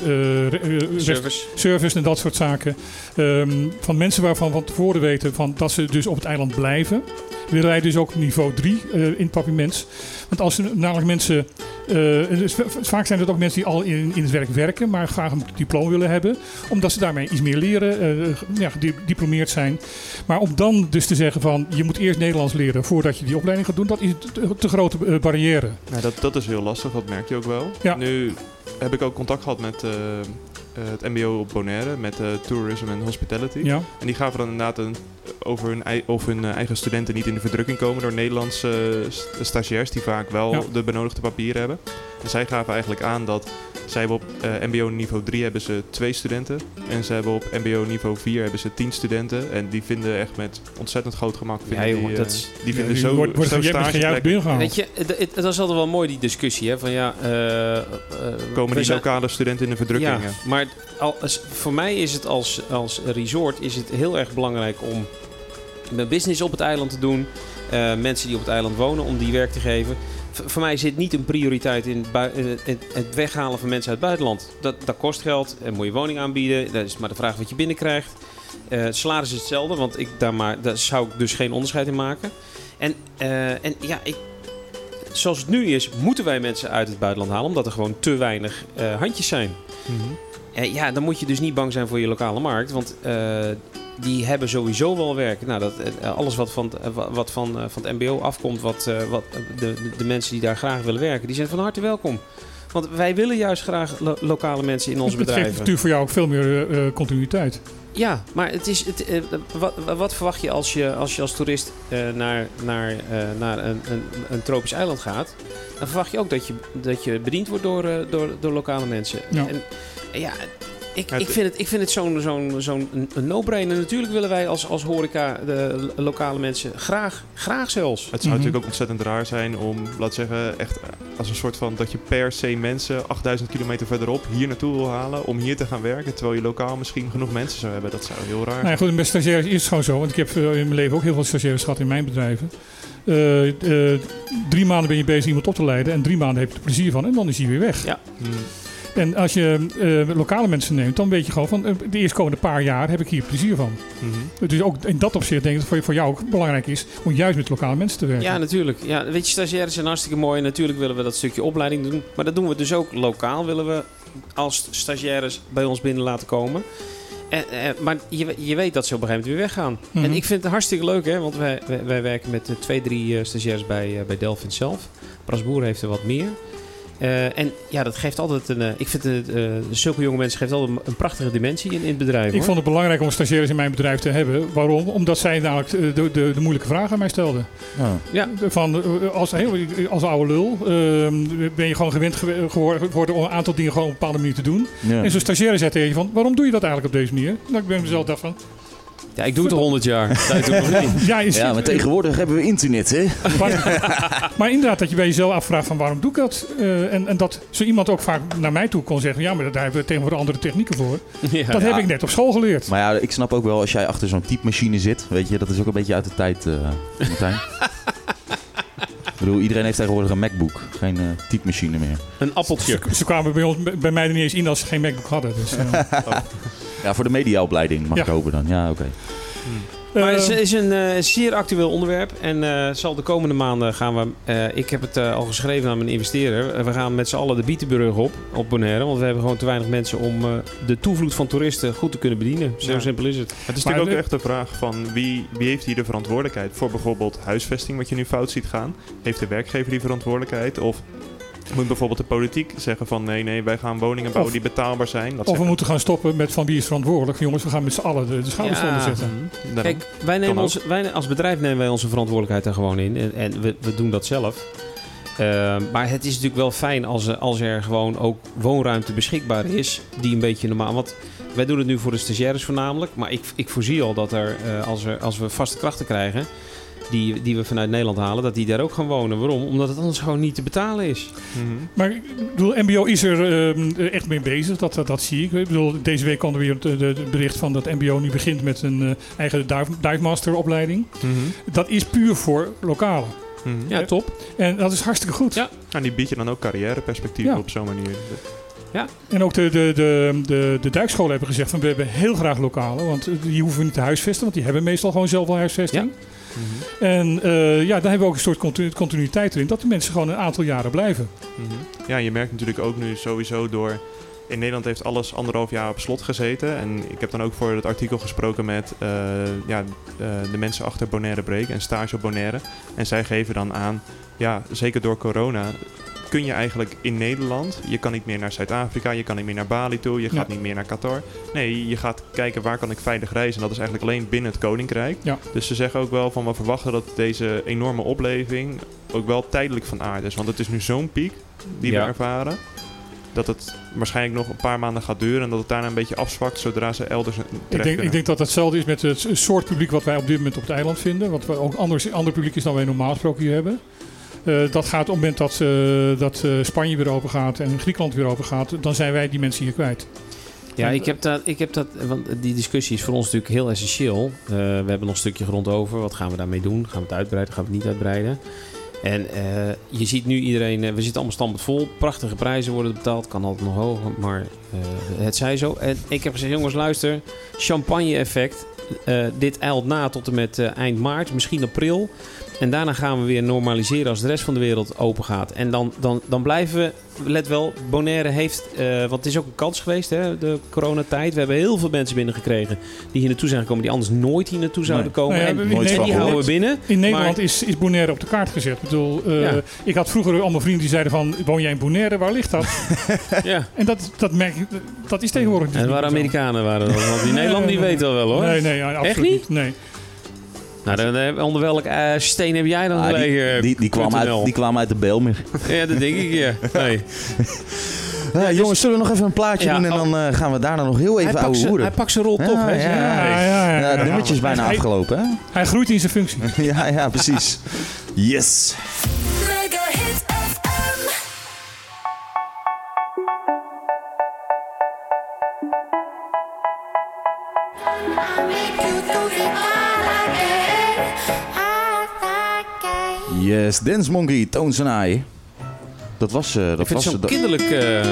[SPEAKER 3] eh, re- eh, rest-
[SPEAKER 2] Service.
[SPEAKER 3] service en dat soort zaken. Ehm, van mensen waarvan van tevoren weten van dat ze dus op het eiland blijven. Willen wij dus ook niveau 3 eh, in het papiermens. Want als er namelijk mensen. eh, dus v- v- vaak zijn het ook mensen die al in, in het werk werken, maar graag een diploma willen hebben. Omdat ze daarmee iets meer leren, eh, ge- ja, gediplomeerd zijn. Maar om dan dus te zeggen van je moet eerst Nederlands leren voordat je die opleiding gaat doen, dat is een te, te grote eh, barrière.
[SPEAKER 10] Ja, Nou, dat, dat is heel lastig, dat merk je ook wel. Nu heb ik ook contact gehad met eh, eh, het MBO op Bonaire, met eh, Tourism and Hospitality.
[SPEAKER 3] Ja.
[SPEAKER 10] En die gaven dan inderdaad een, over hun, ei- of hun eh, eigen studenten niet in de verdrukking komen door Nederlandse eh, st- stagiairs die vaak wel
[SPEAKER 3] Ja.
[SPEAKER 10] de benodigde papieren hebben. En zij gaven eigenlijk aan dat zij hebben op eh, MBO niveau 3 hebben ze twee studenten en ze hebben op MBO niveau 4 hebben ze 10 studenten en die vinden echt met ontzettend groot gemak vinden
[SPEAKER 2] Ja, jongen,
[SPEAKER 10] die, eh,
[SPEAKER 2] dat is-
[SPEAKER 10] die vinden
[SPEAKER 3] Ja, die
[SPEAKER 10] zo,
[SPEAKER 3] wordt- wordt
[SPEAKER 10] zo
[SPEAKER 3] gejuicht-
[SPEAKER 10] stage
[SPEAKER 3] gejuicht binnengehaald.
[SPEAKER 2] Weet je, het- het- dat is altijd wel mooi die discussie, hè? Van ja, eh, eh, we
[SPEAKER 10] komen die
[SPEAKER 2] zijn-
[SPEAKER 10] lokale studenten in de verdrukking.
[SPEAKER 2] Ja, maar al- als, voor mij is het als, als resort is het heel erg belangrijk om mijn business op het eiland te doen. eh, mensen die op het eiland wonen, om die werk te geven. V- voor mij zit niet een prioriteit in het, bui- eh, het- het weghalen van mensen uit het buitenland. Dat, dat kost geld, en moet je woning aanbieden. Dat is maar de vraag wat je binnenkrijgt. Eh, het salaris is hetzelfde, want ik daar, maar, daar zou ik dus geen onderscheid in maken. En, eh, en ja, ik, zoals het nu is, moeten wij mensen uit het buitenland halen, omdat er gewoon te weinig eh, handjes zijn. Eh, ja, dan moet je dus niet bang zijn voor je lokale markt, want eh, die hebben sowieso wel werk. Nou, dat, eh, alles wat van, eh, wa- wat van, eh, van het MBO afkomt, wat, eh, wat eh, de, de mensen die daar graag willen werken, die zijn van harte welkom. Want wij willen juist graag lo- lokale mensen in onze
[SPEAKER 3] Het geeft
[SPEAKER 2] bedrijven.
[SPEAKER 3] natuurlijk voor jou ook veel meer eh, eh, continuïteit.
[SPEAKER 2] Ja, maar het is, het, eh, wat, wat verwacht je als je als, je als toerist eh, naar, naar, eh, naar een, een, een tropisch eiland gaat? Dan verwacht je ook dat je, dat je bediend wordt door, eh, door, door lokale mensen.
[SPEAKER 3] Ja.
[SPEAKER 2] En, eh, ja, ik,
[SPEAKER 10] Het-
[SPEAKER 2] ik vind het, ik vind het zo'n zo'n zo'n een- een no-brainer. Natuurlijk willen wij als, als horeca de lo- lokale mensen graag, graag zelfs.
[SPEAKER 10] Het zou natuurlijk ook ontzettend raar zijn om, laat zeggen, echt als een soort van dat je per se mensen 8000 kilometer verderop hier naartoe wil halen om hier te gaan werken, terwijl je lokaal misschien genoeg mensen zou hebben. Dat zou heel raar
[SPEAKER 3] Nou ja,
[SPEAKER 10] zijn.
[SPEAKER 3] goed, en bij stagiaires is het gewoon zo. Want ik heb eh, in mijn leven ook heel veel stagiaires gehad in mijn bedrijven. Eh, eh, drie maanden ben je bezig iemand op te leiden. En drie maanden heb je er plezier van. En dan is hij weer weg.
[SPEAKER 2] Ja.
[SPEAKER 10] Mhm.
[SPEAKER 3] En als je eh, lokale mensen neemt, dan weet je gewoon van eh, de eerstkomende paar jaar heb ik hier plezier van.
[SPEAKER 10] Mhm.
[SPEAKER 3] Dus ook in dat opzicht denk ik dat het voor- voor jou ook belangrijk is om juist met lokale mensen te werken.
[SPEAKER 2] Ja, natuurlijk. Ja, weet je, stagiaires zijn hartstikke mooi. Natuurlijk willen we dat stukje opleiding doen. Maar dat doen we dus ook lokaal. Willen we als stagiaires bij ons binnen laten komen. En, eh, maar je, je weet dat ze op een gegeven moment weer weggaan.
[SPEAKER 3] Mhm.
[SPEAKER 2] En ik vind het hartstikke leuk, hè. Want wij, wij, wij werken met eh, twee, drie eh, stagiaires bij, eh, bij Delphin zelf. Brasboer heeft er wat meer. Eh, en ja, dat geeft altijd een... eh, ik vind het, eh, zulke jonge mensen geeft altijd een, een prachtige dimensie in, in het bedrijf,
[SPEAKER 3] Ik
[SPEAKER 2] hoor.
[SPEAKER 3] vond het belangrijk om stagiaires in mijn bedrijf te hebben. Waarom? Omdat zij namelijk eh, de, de, de moeilijke vragen aan mij stelden.
[SPEAKER 1] Ja.
[SPEAKER 3] Van, eh, als, heel, als oude lul ehm, ben je gewoon gewend gewe- geworden geworden om een aantal dingen gewoon op een bepaalde manier te doen.
[SPEAKER 2] Ja.
[SPEAKER 3] En zo'n stagiaire zei tegen je van, waarom doe je dat eigenlijk op deze manier? Nou, ik ben mezelf daarvan.
[SPEAKER 2] Ja, ik doe het al 100 jaar. Dat doe ik nog niet.
[SPEAKER 3] Ja, je ziet-
[SPEAKER 1] Ja, maar tegenwoordig hebben we internet, hè?
[SPEAKER 3] Maar inderdaad, dat je bij jezelf afvraagt van waarom doe ik dat? Eh, en, en dat zo iemand ook vaak naar mij toe kon zeggen, ja, maar daar hebben we tegenwoordig andere technieken voor. dat heb
[SPEAKER 1] Ja.
[SPEAKER 3] ik net op school geleerd.
[SPEAKER 1] Maar ja, ik snap ook wel als jij achter zo'n typemachine zit. Weet je, dat is ook een beetje uit de tijd, eh Martijn. ik bedoel, iedereen heeft tegenwoordig een MacBook. Geen eh typemachine meer.
[SPEAKER 2] Een appeltje.
[SPEAKER 3] Ze kwamen bij, ons, bij mij er niet eens in als ze geen MacBook hadden. Dus, eh.
[SPEAKER 1] Ja, voor de mediaopleiding mag
[SPEAKER 3] Ja.
[SPEAKER 1] ik hopen dan. Ja, oké.
[SPEAKER 2] Maar het is, is een eh, zeer actueel onderwerp. En eh, zal de komende maanden gaan we... eh, ik heb het eh, al geschreven aan mijn investeerder. Eh, We gaan met z'n allen de Bietenburg op, op Bonaire. Want we hebben gewoon te weinig mensen om eh, de toevloed van toeristen goed te kunnen bedienen. Zo
[SPEAKER 10] Ja.
[SPEAKER 2] simpel is het.
[SPEAKER 10] Het is natuurlijk ook echt de vraag van wie, wie heeft hier de verantwoordelijkheid voor bijvoorbeeld huisvesting, wat je nu fout ziet gaan. Heeft de werkgever die verantwoordelijkheid? Of moet bijvoorbeeld de politiek zeggen van nee, nee, wij gaan woningen bouwen
[SPEAKER 3] Of-
[SPEAKER 10] die betaalbaar zijn? Dat
[SPEAKER 3] Of we
[SPEAKER 10] zeggen-
[SPEAKER 3] moeten gaan stoppen met van wie is verantwoordelijk. Jongens, we gaan met z'n allen de, de schouders
[SPEAKER 2] Ja.
[SPEAKER 3] onder zetten.
[SPEAKER 10] Mhm. Daarom.
[SPEAKER 2] Kijk, wij nemen
[SPEAKER 10] Kan ook.
[SPEAKER 2] ons, wij, als bedrijf nemen wij onze verantwoordelijkheid daar gewoon in. En, en we, we doen dat zelf. Ehm, maar het is natuurlijk wel fijn als, er- als er gewoon ook woonruimte beschikbaar is. Die een beetje normaal. Want wij doen het nu voor de stagiaires voornamelijk. Maar ik, ik voorzie al dat er, eh, als, er, als we vaste krachten krijgen. Die, die we vanuit Nederland halen, dat die daar ook gaan wonen. Waarom? Omdat het anders gewoon niet te betalen is.
[SPEAKER 10] Mhm.
[SPEAKER 3] Maar ik bedoel, MBO is er ehm, echt mee bezig, dat, dat, dat zie ik. Ik bedoel, deze week kwam er weer het, eh, de- het bericht van dat MBO nu begint met een eh, eigen dive, dive master opleiding.
[SPEAKER 10] Mhm.
[SPEAKER 3] Dat is puur voor lokalen.
[SPEAKER 10] Mhm.
[SPEAKER 2] Ja, top.
[SPEAKER 3] En dat is hartstikke goed.
[SPEAKER 2] Ja.
[SPEAKER 10] En Nou, die biedt je dan ook carrièreperspectieven
[SPEAKER 3] Ja.
[SPEAKER 10] op zo'n manier.
[SPEAKER 2] Ja.
[SPEAKER 3] En ook de, de, de, de, de dijkscholen hebben gezegd van we hebben heel graag lokalen. Want eh, die hoeven we niet te huisvesten, want die hebben meestal gewoon zelf al huisvesting.
[SPEAKER 10] Mhm.
[SPEAKER 3] En eh, ja, dan hebben we ook een soort continu- continuïteit erin. Dat de mensen gewoon een aantal jaren blijven.
[SPEAKER 10] Mhm. Ja, je merkt natuurlijk ook nu sowieso door. In Nederland heeft alles anderhalf jaar op slot gezeten. En ik heb dan ook voor het artikel gesproken met eh, ja, eh, de mensen achter Bonaire Break en stage op Bonaire. En zij geven dan aan, ja, zeker door corona kun je eigenlijk in Nederland, je kan niet meer naar Zuid-Afrika, je kan niet meer naar Bali toe, je
[SPEAKER 3] Ja.
[SPEAKER 10] gaat niet meer naar Qatar. Nee, je gaat kijken waar kan ik veilig reizen. En dat is eigenlijk alleen binnen het Koninkrijk.
[SPEAKER 3] Ja.
[SPEAKER 10] Dus ze zeggen ook wel van we verwachten dat deze enorme opleving ook wel tijdelijk van aard is. Want het is nu zo'n piek die
[SPEAKER 2] Ja.
[SPEAKER 10] we ervaren. Dat het waarschijnlijk nog een paar maanden gaat duren en dat het daarna een beetje afzwakt zodra ze elders terecht
[SPEAKER 3] Ik denk, ik denk dat dat hetzelfde is met het soort publiek wat wij op dit moment op het eiland vinden. Wat we ook anders, ander publiek is dan wij normaal gesproken hier hebben. Eh, dat gaat op het moment dat, eh, dat eh, Spanje weer open gaat en Griekenland weer open gaat, dan zijn wij die mensen hier kwijt.
[SPEAKER 2] Ja,
[SPEAKER 3] En-
[SPEAKER 2] ik heb, dat, ik heb dat, want die discussie is voor ons natuurlijk heel essentieel. Eh, we hebben nog een stukje grond over. Wat gaan we daarmee doen? Gaan we het uitbreiden? Gaan we het niet uitbreiden? En eh, je ziet nu iedereen, eh, we zitten allemaal standaard vol. Prachtige prijzen worden betaald, kan altijd nog hoger, maar eh, het zij zo. En ik heb gezegd, jongens, luister, champagne-effect. Eh, dit eilt na tot en met eh, eind maart, misschien april. En daarna gaan we weer normaliseren als de rest van de wereld open gaat. En dan, dan, dan blijven we, let wel, Bonaire heeft, eh, want het is ook een kans geweest, hè, de coronatijd. We hebben heel veel mensen binnengekregen die hier naartoe zijn gekomen, die anders nooit hier naartoe zouden
[SPEAKER 3] Nou
[SPEAKER 2] komen.
[SPEAKER 3] ja,
[SPEAKER 2] en,
[SPEAKER 3] in
[SPEAKER 2] en die
[SPEAKER 3] Nederland-
[SPEAKER 2] houden we binnen.
[SPEAKER 3] In Nederland
[SPEAKER 2] maar-
[SPEAKER 3] is, is Bonaire op de kaart gezet. Ik bedoel, eh,
[SPEAKER 2] Ja.
[SPEAKER 3] ik had vroeger allemaal vrienden die zeiden van, woon jij in Bonaire? Waar ligt dat?
[SPEAKER 2] Ja.
[SPEAKER 3] en dat, dat merk ik, dat is tegenwoordig dus
[SPEAKER 2] En
[SPEAKER 3] niet
[SPEAKER 2] waar
[SPEAKER 3] meer zo.
[SPEAKER 2] Amerikanen waren dat? Want die Nederland die weet dat wel hoor.
[SPEAKER 3] Nee, nee, ja, absoluut
[SPEAKER 2] Echt niet?
[SPEAKER 3] Nee.
[SPEAKER 2] Nou, dan, eh, onder welk eh, steen heb jij dan eh,
[SPEAKER 1] Ah, die,
[SPEAKER 2] gelegen?
[SPEAKER 1] die, die, kwam
[SPEAKER 2] Krutenel?
[SPEAKER 1] uit, die kwam uit de Belmer.
[SPEAKER 2] Ja, dat denk ik, ja. Nee.
[SPEAKER 1] Ja, jongens, zullen we nog even een plaatje
[SPEAKER 2] Ja,
[SPEAKER 1] doen en
[SPEAKER 2] oh.
[SPEAKER 1] dan eh, gaan we daarna nog heel
[SPEAKER 2] Hij
[SPEAKER 1] even
[SPEAKER 2] pakt
[SPEAKER 1] oude
[SPEAKER 2] zijn-
[SPEAKER 1] hoeren.
[SPEAKER 2] hij pakt zijn rol toch, hè?
[SPEAKER 1] Ja, ja,
[SPEAKER 3] Ja, ja, ja,
[SPEAKER 1] Ja,
[SPEAKER 3] ja.
[SPEAKER 1] het nummertje is bijna
[SPEAKER 3] Hij-
[SPEAKER 1] afgelopen,
[SPEAKER 3] Hij groeit in zijn functie.
[SPEAKER 1] hè? ja, ja, precies. Yes.
[SPEAKER 7] Mega Hit FM. I make you do it all again, all again.
[SPEAKER 1] Yes, Dance Monkey, Toons en I. Dat was... eh, dat
[SPEAKER 2] Ik
[SPEAKER 1] was
[SPEAKER 2] vind het zo'n
[SPEAKER 1] dat-
[SPEAKER 2] kinderlijk... eh,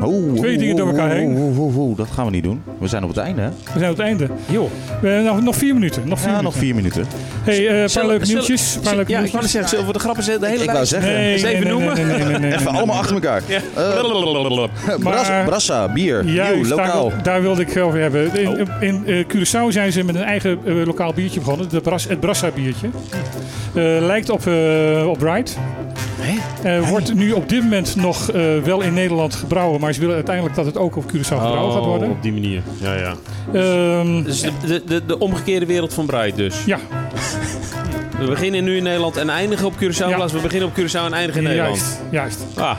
[SPEAKER 1] Oh, oh,
[SPEAKER 3] Twee dingen door
[SPEAKER 1] oh,
[SPEAKER 3] elkaar
[SPEAKER 1] oh,
[SPEAKER 3] heen.
[SPEAKER 1] oh, oh, oh, dat gaan we niet doen. We zijn op het einde, hè?
[SPEAKER 3] We zijn op het einde.
[SPEAKER 2] joh.
[SPEAKER 3] We hebben nog, nog vier minuten. Nog vier
[SPEAKER 1] Ja,
[SPEAKER 3] minuten.
[SPEAKER 1] nog vier minuten.
[SPEAKER 3] Hey, eh, een paar
[SPEAKER 2] zullen-
[SPEAKER 3] leuke
[SPEAKER 2] zullen-
[SPEAKER 3] nieuwtjes. Een paar leuke
[SPEAKER 2] ja, ik
[SPEAKER 3] nieuwtjes.
[SPEAKER 2] wou net zeggen, zullen we de grappen zetten? De hele
[SPEAKER 1] Ik wou
[SPEAKER 2] lijst?
[SPEAKER 1] zeggen,
[SPEAKER 2] Eens even noemen.
[SPEAKER 3] Nee, nee, nee, nee, nee,
[SPEAKER 1] even
[SPEAKER 3] nee.
[SPEAKER 1] allemaal achter elkaar. Eh,
[SPEAKER 2] Blablabla.
[SPEAKER 1] Bras-
[SPEAKER 3] Maar-
[SPEAKER 1] brassa, bier, nieuw,
[SPEAKER 3] Juist,
[SPEAKER 1] lokaal.
[SPEAKER 3] Daar, daar wilde ik over hebben. In, in eh, Curaçao zijn ze met een eigen eh, lokaal biertje begonnen. De Bras, het Brassa biertje. Eh, lijkt op, eh op Bright. Eh, wordt nu op dit moment nog eh, wel in Nederland gebrouwen. Maar ze willen uiteindelijk dat het ook op Curaçao gebrouwen gaat
[SPEAKER 2] Oh,
[SPEAKER 3] worden.
[SPEAKER 2] op die manier. Ja, ja.
[SPEAKER 1] Oh.
[SPEAKER 3] Ehm,
[SPEAKER 2] Dus de, de, de, de omgekeerde wereld van Bright dus.
[SPEAKER 3] ja,
[SPEAKER 2] We beginnen nu in Nederland en eindigen op Curaçao. In
[SPEAKER 3] Ja.
[SPEAKER 2] plaats van we beginnen op Curaçao en eindigen in Nederland.
[SPEAKER 3] juist. juist.
[SPEAKER 2] Ah,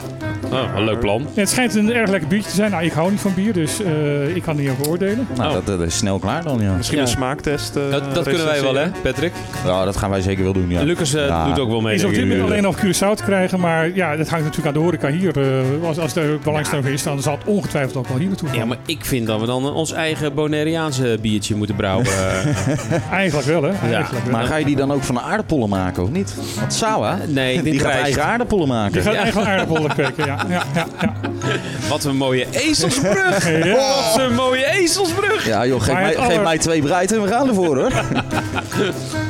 [SPEAKER 2] ah, een leuk plan.
[SPEAKER 3] En het schijnt een erg lekker biertje te zijn. Nou, ik hou niet van bier, dus eh, ik kan er niet over oordelen.
[SPEAKER 1] Nou,
[SPEAKER 2] Oh.
[SPEAKER 1] dat, dat is snel klaar dan, ja.
[SPEAKER 10] Misschien
[SPEAKER 2] Ja.
[SPEAKER 10] een smaaktest. eh,
[SPEAKER 2] Dat, dat kunnen wij wel, hè,
[SPEAKER 10] recenseren.
[SPEAKER 2] Patrick?
[SPEAKER 1] Ja, dat gaan wij zeker wel doen, ja.
[SPEAKER 2] Lucas eh,
[SPEAKER 1] Ja.
[SPEAKER 2] doet ook wel mee.
[SPEAKER 3] Is op
[SPEAKER 2] denk
[SPEAKER 3] dit
[SPEAKER 2] ik.
[SPEAKER 3] moment alleen
[SPEAKER 1] eh,
[SPEAKER 3] op Curaçao te krijgen, maar ja, dat hangt natuurlijk aan de horeca hier. eh, als, als er belangstelling voor is, dan zal het ongetwijfeld ook wel hier naartoe gaan.
[SPEAKER 2] Ja, maar ik vind dat we dan eh, ons eigen Bonaireaanse biertje moeten brouwen. Eh,
[SPEAKER 3] Eigenlijk wel, hè? Eigenlijk
[SPEAKER 2] Ja,
[SPEAKER 3] wel.
[SPEAKER 1] Maar ga je die dan ook van aardappelen maken, of niet? Want Sawa,
[SPEAKER 2] Nee, ik denk
[SPEAKER 1] die gaat
[SPEAKER 2] rijst.
[SPEAKER 1] eigen aardappelen maken.
[SPEAKER 3] Je gaat echt wel aardappelen kweken, ja. ja, ja, ja.
[SPEAKER 2] wat een mooie ezelsbrug!
[SPEAKER 3] Ja.
[SPEAKER 2] Wat een mooie ezelsbrug!
[SPEAKER 1] Ja joh, geef
[SPEAKER 3] Maar het
[SPEAKER 1] mij, geef
[SPEAKER 3] aller-
[SPEAKER 1] mij twee breid en we gaan ervoor hoor.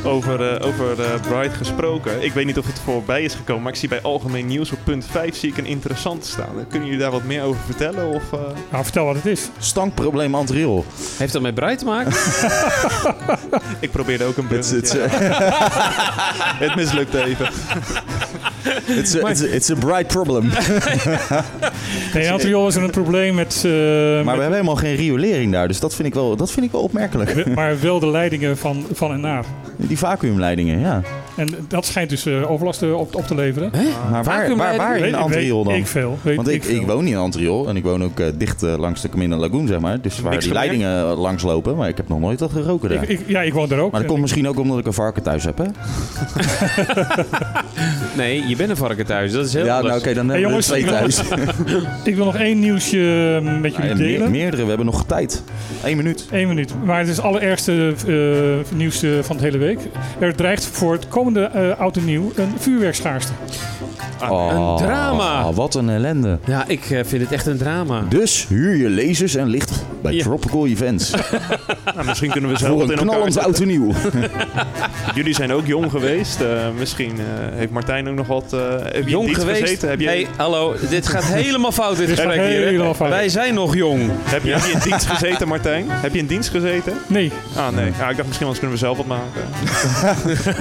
[SPEAKER 10] Over, eh, over eh, Bright gesproken. Ik weet niet of het voorbij is gekomen, maar ik zie bij algemeen nieuws op punt 5 zie ik een interessant staan. Kunnen jullie daar wat meer over vertellen? Of, eh,
[SPEAKER 3] Nou, vertel wat het is.
[SPEAKER 1] Stankprobleem Antriel.
[SPEAKER 2] Heeft dat met Bright te maken?
[SPEAKER 10] ik probeerde ook een
[SPEAKER 1] Het
[SPEAKER 10] bruggetje.
[SPEAKER 1] het-
[SPEAKER 2] eh,
[SPEAKER 10] het mislukt even.
[SPEAKER 1] it's a- it's a- it's a bright problem.
[SPEAKER 3] Nee, Antriol was er een probleem met, eh,
[SPEAKER 1] Maar
[SPEAKER 3] met-
[SPEAKER 1] we hebben helemaal geen riolering daar, dus dat vind ik wel, dat vind ik wel opmerkelijk.
[SPEAKER 3] maar wel de leidingen van, van en naar.
[SPEAKER 1] Die vacuümleidingen, ja.
[SPEAKER 3] En dat schijnt dus eh, overlast eh, op, op te leveren.
[SPEAKER 1] Maar waar, waar, waar
[SPEAKER 3] Weet-
[SPEAKER 1] in
[SPEAKER 3] weet-
[SPEAKER 1] Antriol dan?
[SPEAKER 3] Ik veel. Weet
[SPEAKER 1] Want ik,
[SPEAKER 3] veel.
[SPEAKER 1] ik woon in Antriol en ik woon ook eh, dicht eh, langs de Camino Lagoon, zeg maar. Dus waar die
[SPEAKER 3] gemerkt.
[SPEAKER 1] leidingen eh, langs lopen. Maar ik heb nog nooit wat geroken daar.
[SPEAKER 3] Ik- ik- ja, ik woon daar ook.
[SPEAKER 1] Maar dat
[SPEAKER 3] En
[SPEAKER 1] komt misschien ook omdat ik een varken thuis heb, hè?
[SPEAKER 2] Nee, je bent een varken thuis. Dat is heel
[SPEAKER 1] Ja, nou,
[SPEAKER 2] anders.
[SPEAKER 1] oké, dan
[SPEAKER 3] Hey, jongens, ik wil, ik wil nog één nieuwsje eh, met jullie
[SPEAKER 1] en
[SPEAKER 3] delen.
[SPEAKER 1] meer- meerdere, we hebben nog tijd. Eén minuut.
[SPEAKER 3] Eén minuut. Maar het is het allerergste eh, nieuws eh, van de hele week. Er dreigt voor het komende eh oud en nieuw een vuurwerkschaarste. Ah,
[SPEAKER 1] Oh,
[SPEAKER 2] drama.
[SPEAKER 1] Wat een ellende.
[SPEAKER 2] Ja, ik eh, vind het echt een drama.
[SPEAKER 1] Dus huur je lasers en licht bij Tropical Events.
[SPEAKER 10] Nou, misschien kunnen we zo
[SPEAKER 1] voor
[SPEAKER 10] wat
[SPEAKER 1] een
[SPEAKER 10] in elkaar
[SPEAKER 1] knallend
[SPEAKER 10] zetten.
[SPEAKER 1] oud en nieuw.
[SPEAKER 10] Jullie zijn ook jong geweest. eh, misschien eh, heeft Martijn ook nog wat... eh, heb je
[SPEAKER 2] Jong
[SPEAKER 10] niet
[SPEAKER 2] geweest.
[SPEAKER 10] gezeten? Heb je,
[SPEAKER 2] Hey, hallo. Dit gaat helemaal fout, dit gesprek hier. hè?
[SPEAKER 3] Helemaal fout.
[SPEAKER 2] Wij zijn nog jong.
[SPEAKER 10] heb, je, heb je in dienst gezeten, Martijn? Heb je in dienst gezeten?
[SPEAKER 3] Nee,
[SPEAKER 10] Ah, nee. Ja, ik dacht misschien anders kunnen we zelf wat maken.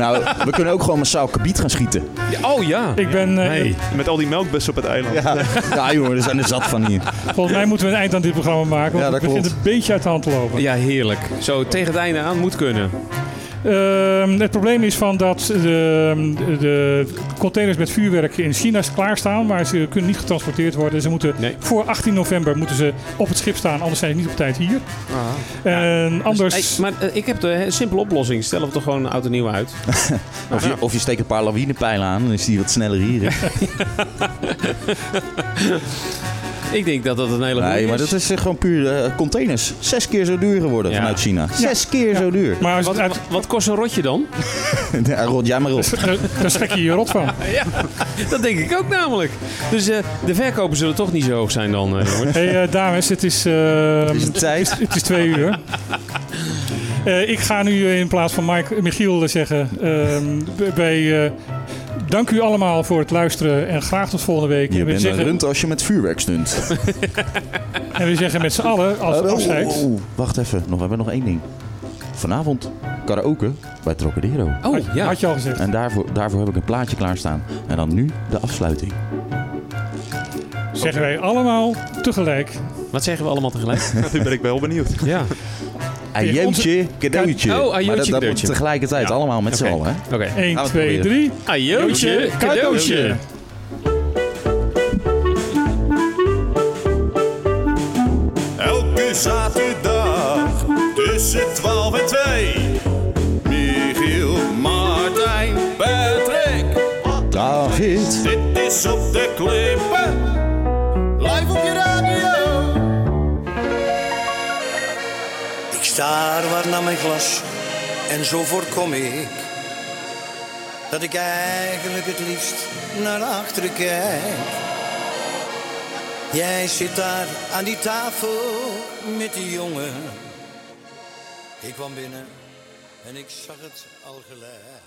[SPEAKER 1] nou, we kunnen ook gewoon massaal kabiet gaan schieten.
[SPEAKER 2] Oh ja.
[SPEAKER 3] ik ben... eh,
[SPEAKER 2] Nee.
[SPEAKER 10] Met al die melkbussen op het eiland.
[SPEAKER 1] Ja, ja jongen, er zijn er zat van hier.
[SPEAKER 3] Volgens mij moeten we een eind aan dit programma maken. Want
[SPEAKER 1] Ja, dat
[SPEAKER 3] het begint
[SPEAKER 1] klopt.
[SPEAKER 3] een beetje uit de hand te lopen.
[SPEAKER 2] Ja, heerlijk. Zo, tegen het einde aan moet kunnen.
[SPEAKER 3] Ehm, het probleem is van dat de, de containers met vuurwerk in China klaarstaan, maar ze kunnen niet getransporteerd worden. Ze moeten
[SPEAKER 2] Nee.
[SPEAKER 3] voor 18 november moeten ze op het schip staan, anders zijn ze niet op tijd hier.
[SPEAKER 1] Ah.
[SPEAKER 3] En anders.
[SPEAKER 2] Hey, maar eh, ik heb de eh, simpele oplossing. Stel we toch gewoon oud en nieuw uit.
[SPEAKER 1] Of je, of je steekt een paar lawinepijlen aan, dan is die wat sneller hier. hè?
[SPEAKER 2] Ik denk dat dat een hele goede
[SPEAKER 1] Nee, maar
[SPEAKER 2] is.
[SPEAKER 1] dat is eh, gewoon puur eh, containers. Zes keer zo duur geworden
[SPEAKER 2] Ja.
[SPEAKER 1] vanuit China. Zes keer zo duur.
[SPEAKER 3] maar als
[SPEAKER 2] Wat,
[SPEAKER 3] het uit,
[SPEAKER 2] wat- wat kost een rotje dan?
[SPEAKER 1] Ja, rot jij maar op.
[SPEAKER 3] eh, daar schrik je je rot van.
[SPEAKER 2] Dat denk ik ook namelijk. Dus eh, de verkopen zullen toch niet zo hoog zijn dan, eh, jongens.
[SPEAKER 3] Hey, eh, dames, het is, ehm,
[SPEAKER 1] Is het tijd?
[SPEAKER 3] het is twee uur. Eh, ik ga nu in plaats van Mike, Michiel zeggen: ehm, b- bij, eh, dank u allemaal voor het luisteren en graag tot volgende week.
[SPEAKER 1] Je
[SPEAKER 3] En we
[SPEAKER 1] bent een
[SPEAKER 3] zeggen-
[SPEAKER 1] runt als je met vuurwerk stunt.
[SPEAKER 3] En we zeggen met z'n allen als
[SPEAKER 1] Oh,
[SPEAKER 3] afscheid.
[SPEAKER 1] oh, oh. Wacht even, nog, we hebben nog één ding. Vanavond karaoke bij Trocadero.
[SPEAKER 2] Oh, ja.
[SPEAKER 3] Had je al gezegd.
[SPEAKER 1] En daarvoor, daarvoor heb ik een plaatje klaarstaan. En dan nu de afsluiting.
[SPEAKER 3] Zeggen wij allemaal tegelijk.
[SPEAKER 2] Wat zeggen we allemaal tegelijk?
[SPEAKER 10] Nu ben ik wel benieuwd.
[SPEAKER 2] ja.
[SPEAKER 1] Ajentje, cadeautje.
[SPEAKER 2] Oh,
[SPEAKER 1] Maar dat- dat,
[SPEAKER 2] cadeautje.
[SPEAKER 1] moet tegelijkertijd, allemaal met z'n allen. Hè?
[SPEAKER 2] Oké.
[SPEAKER 3] 1,
[SPEAKER 1] Gaan we
[SPEAKER 3] 2,
[SPEAKER 1] proberen.
[SPEAKER 3] 3.
[SPEAKER 2] Ajootje, cadeautje.
[SPEAKER 4] Elke zaterdag tussen 12 en 2. Michiel, Martijn, Patrick.
[SPEAKER 1] David.
[SPEAKER 4] Dit is op de klippen. Live op je radio.
[SPEAKER 5] Ik staar waar naar mijn glas en zo voorkom ik dat ik eigenlijk het liefst naar achteren kijk. Jij zit daar aan die tafel met die jongen. Ik kwam binnen en ik zag het al gelijk.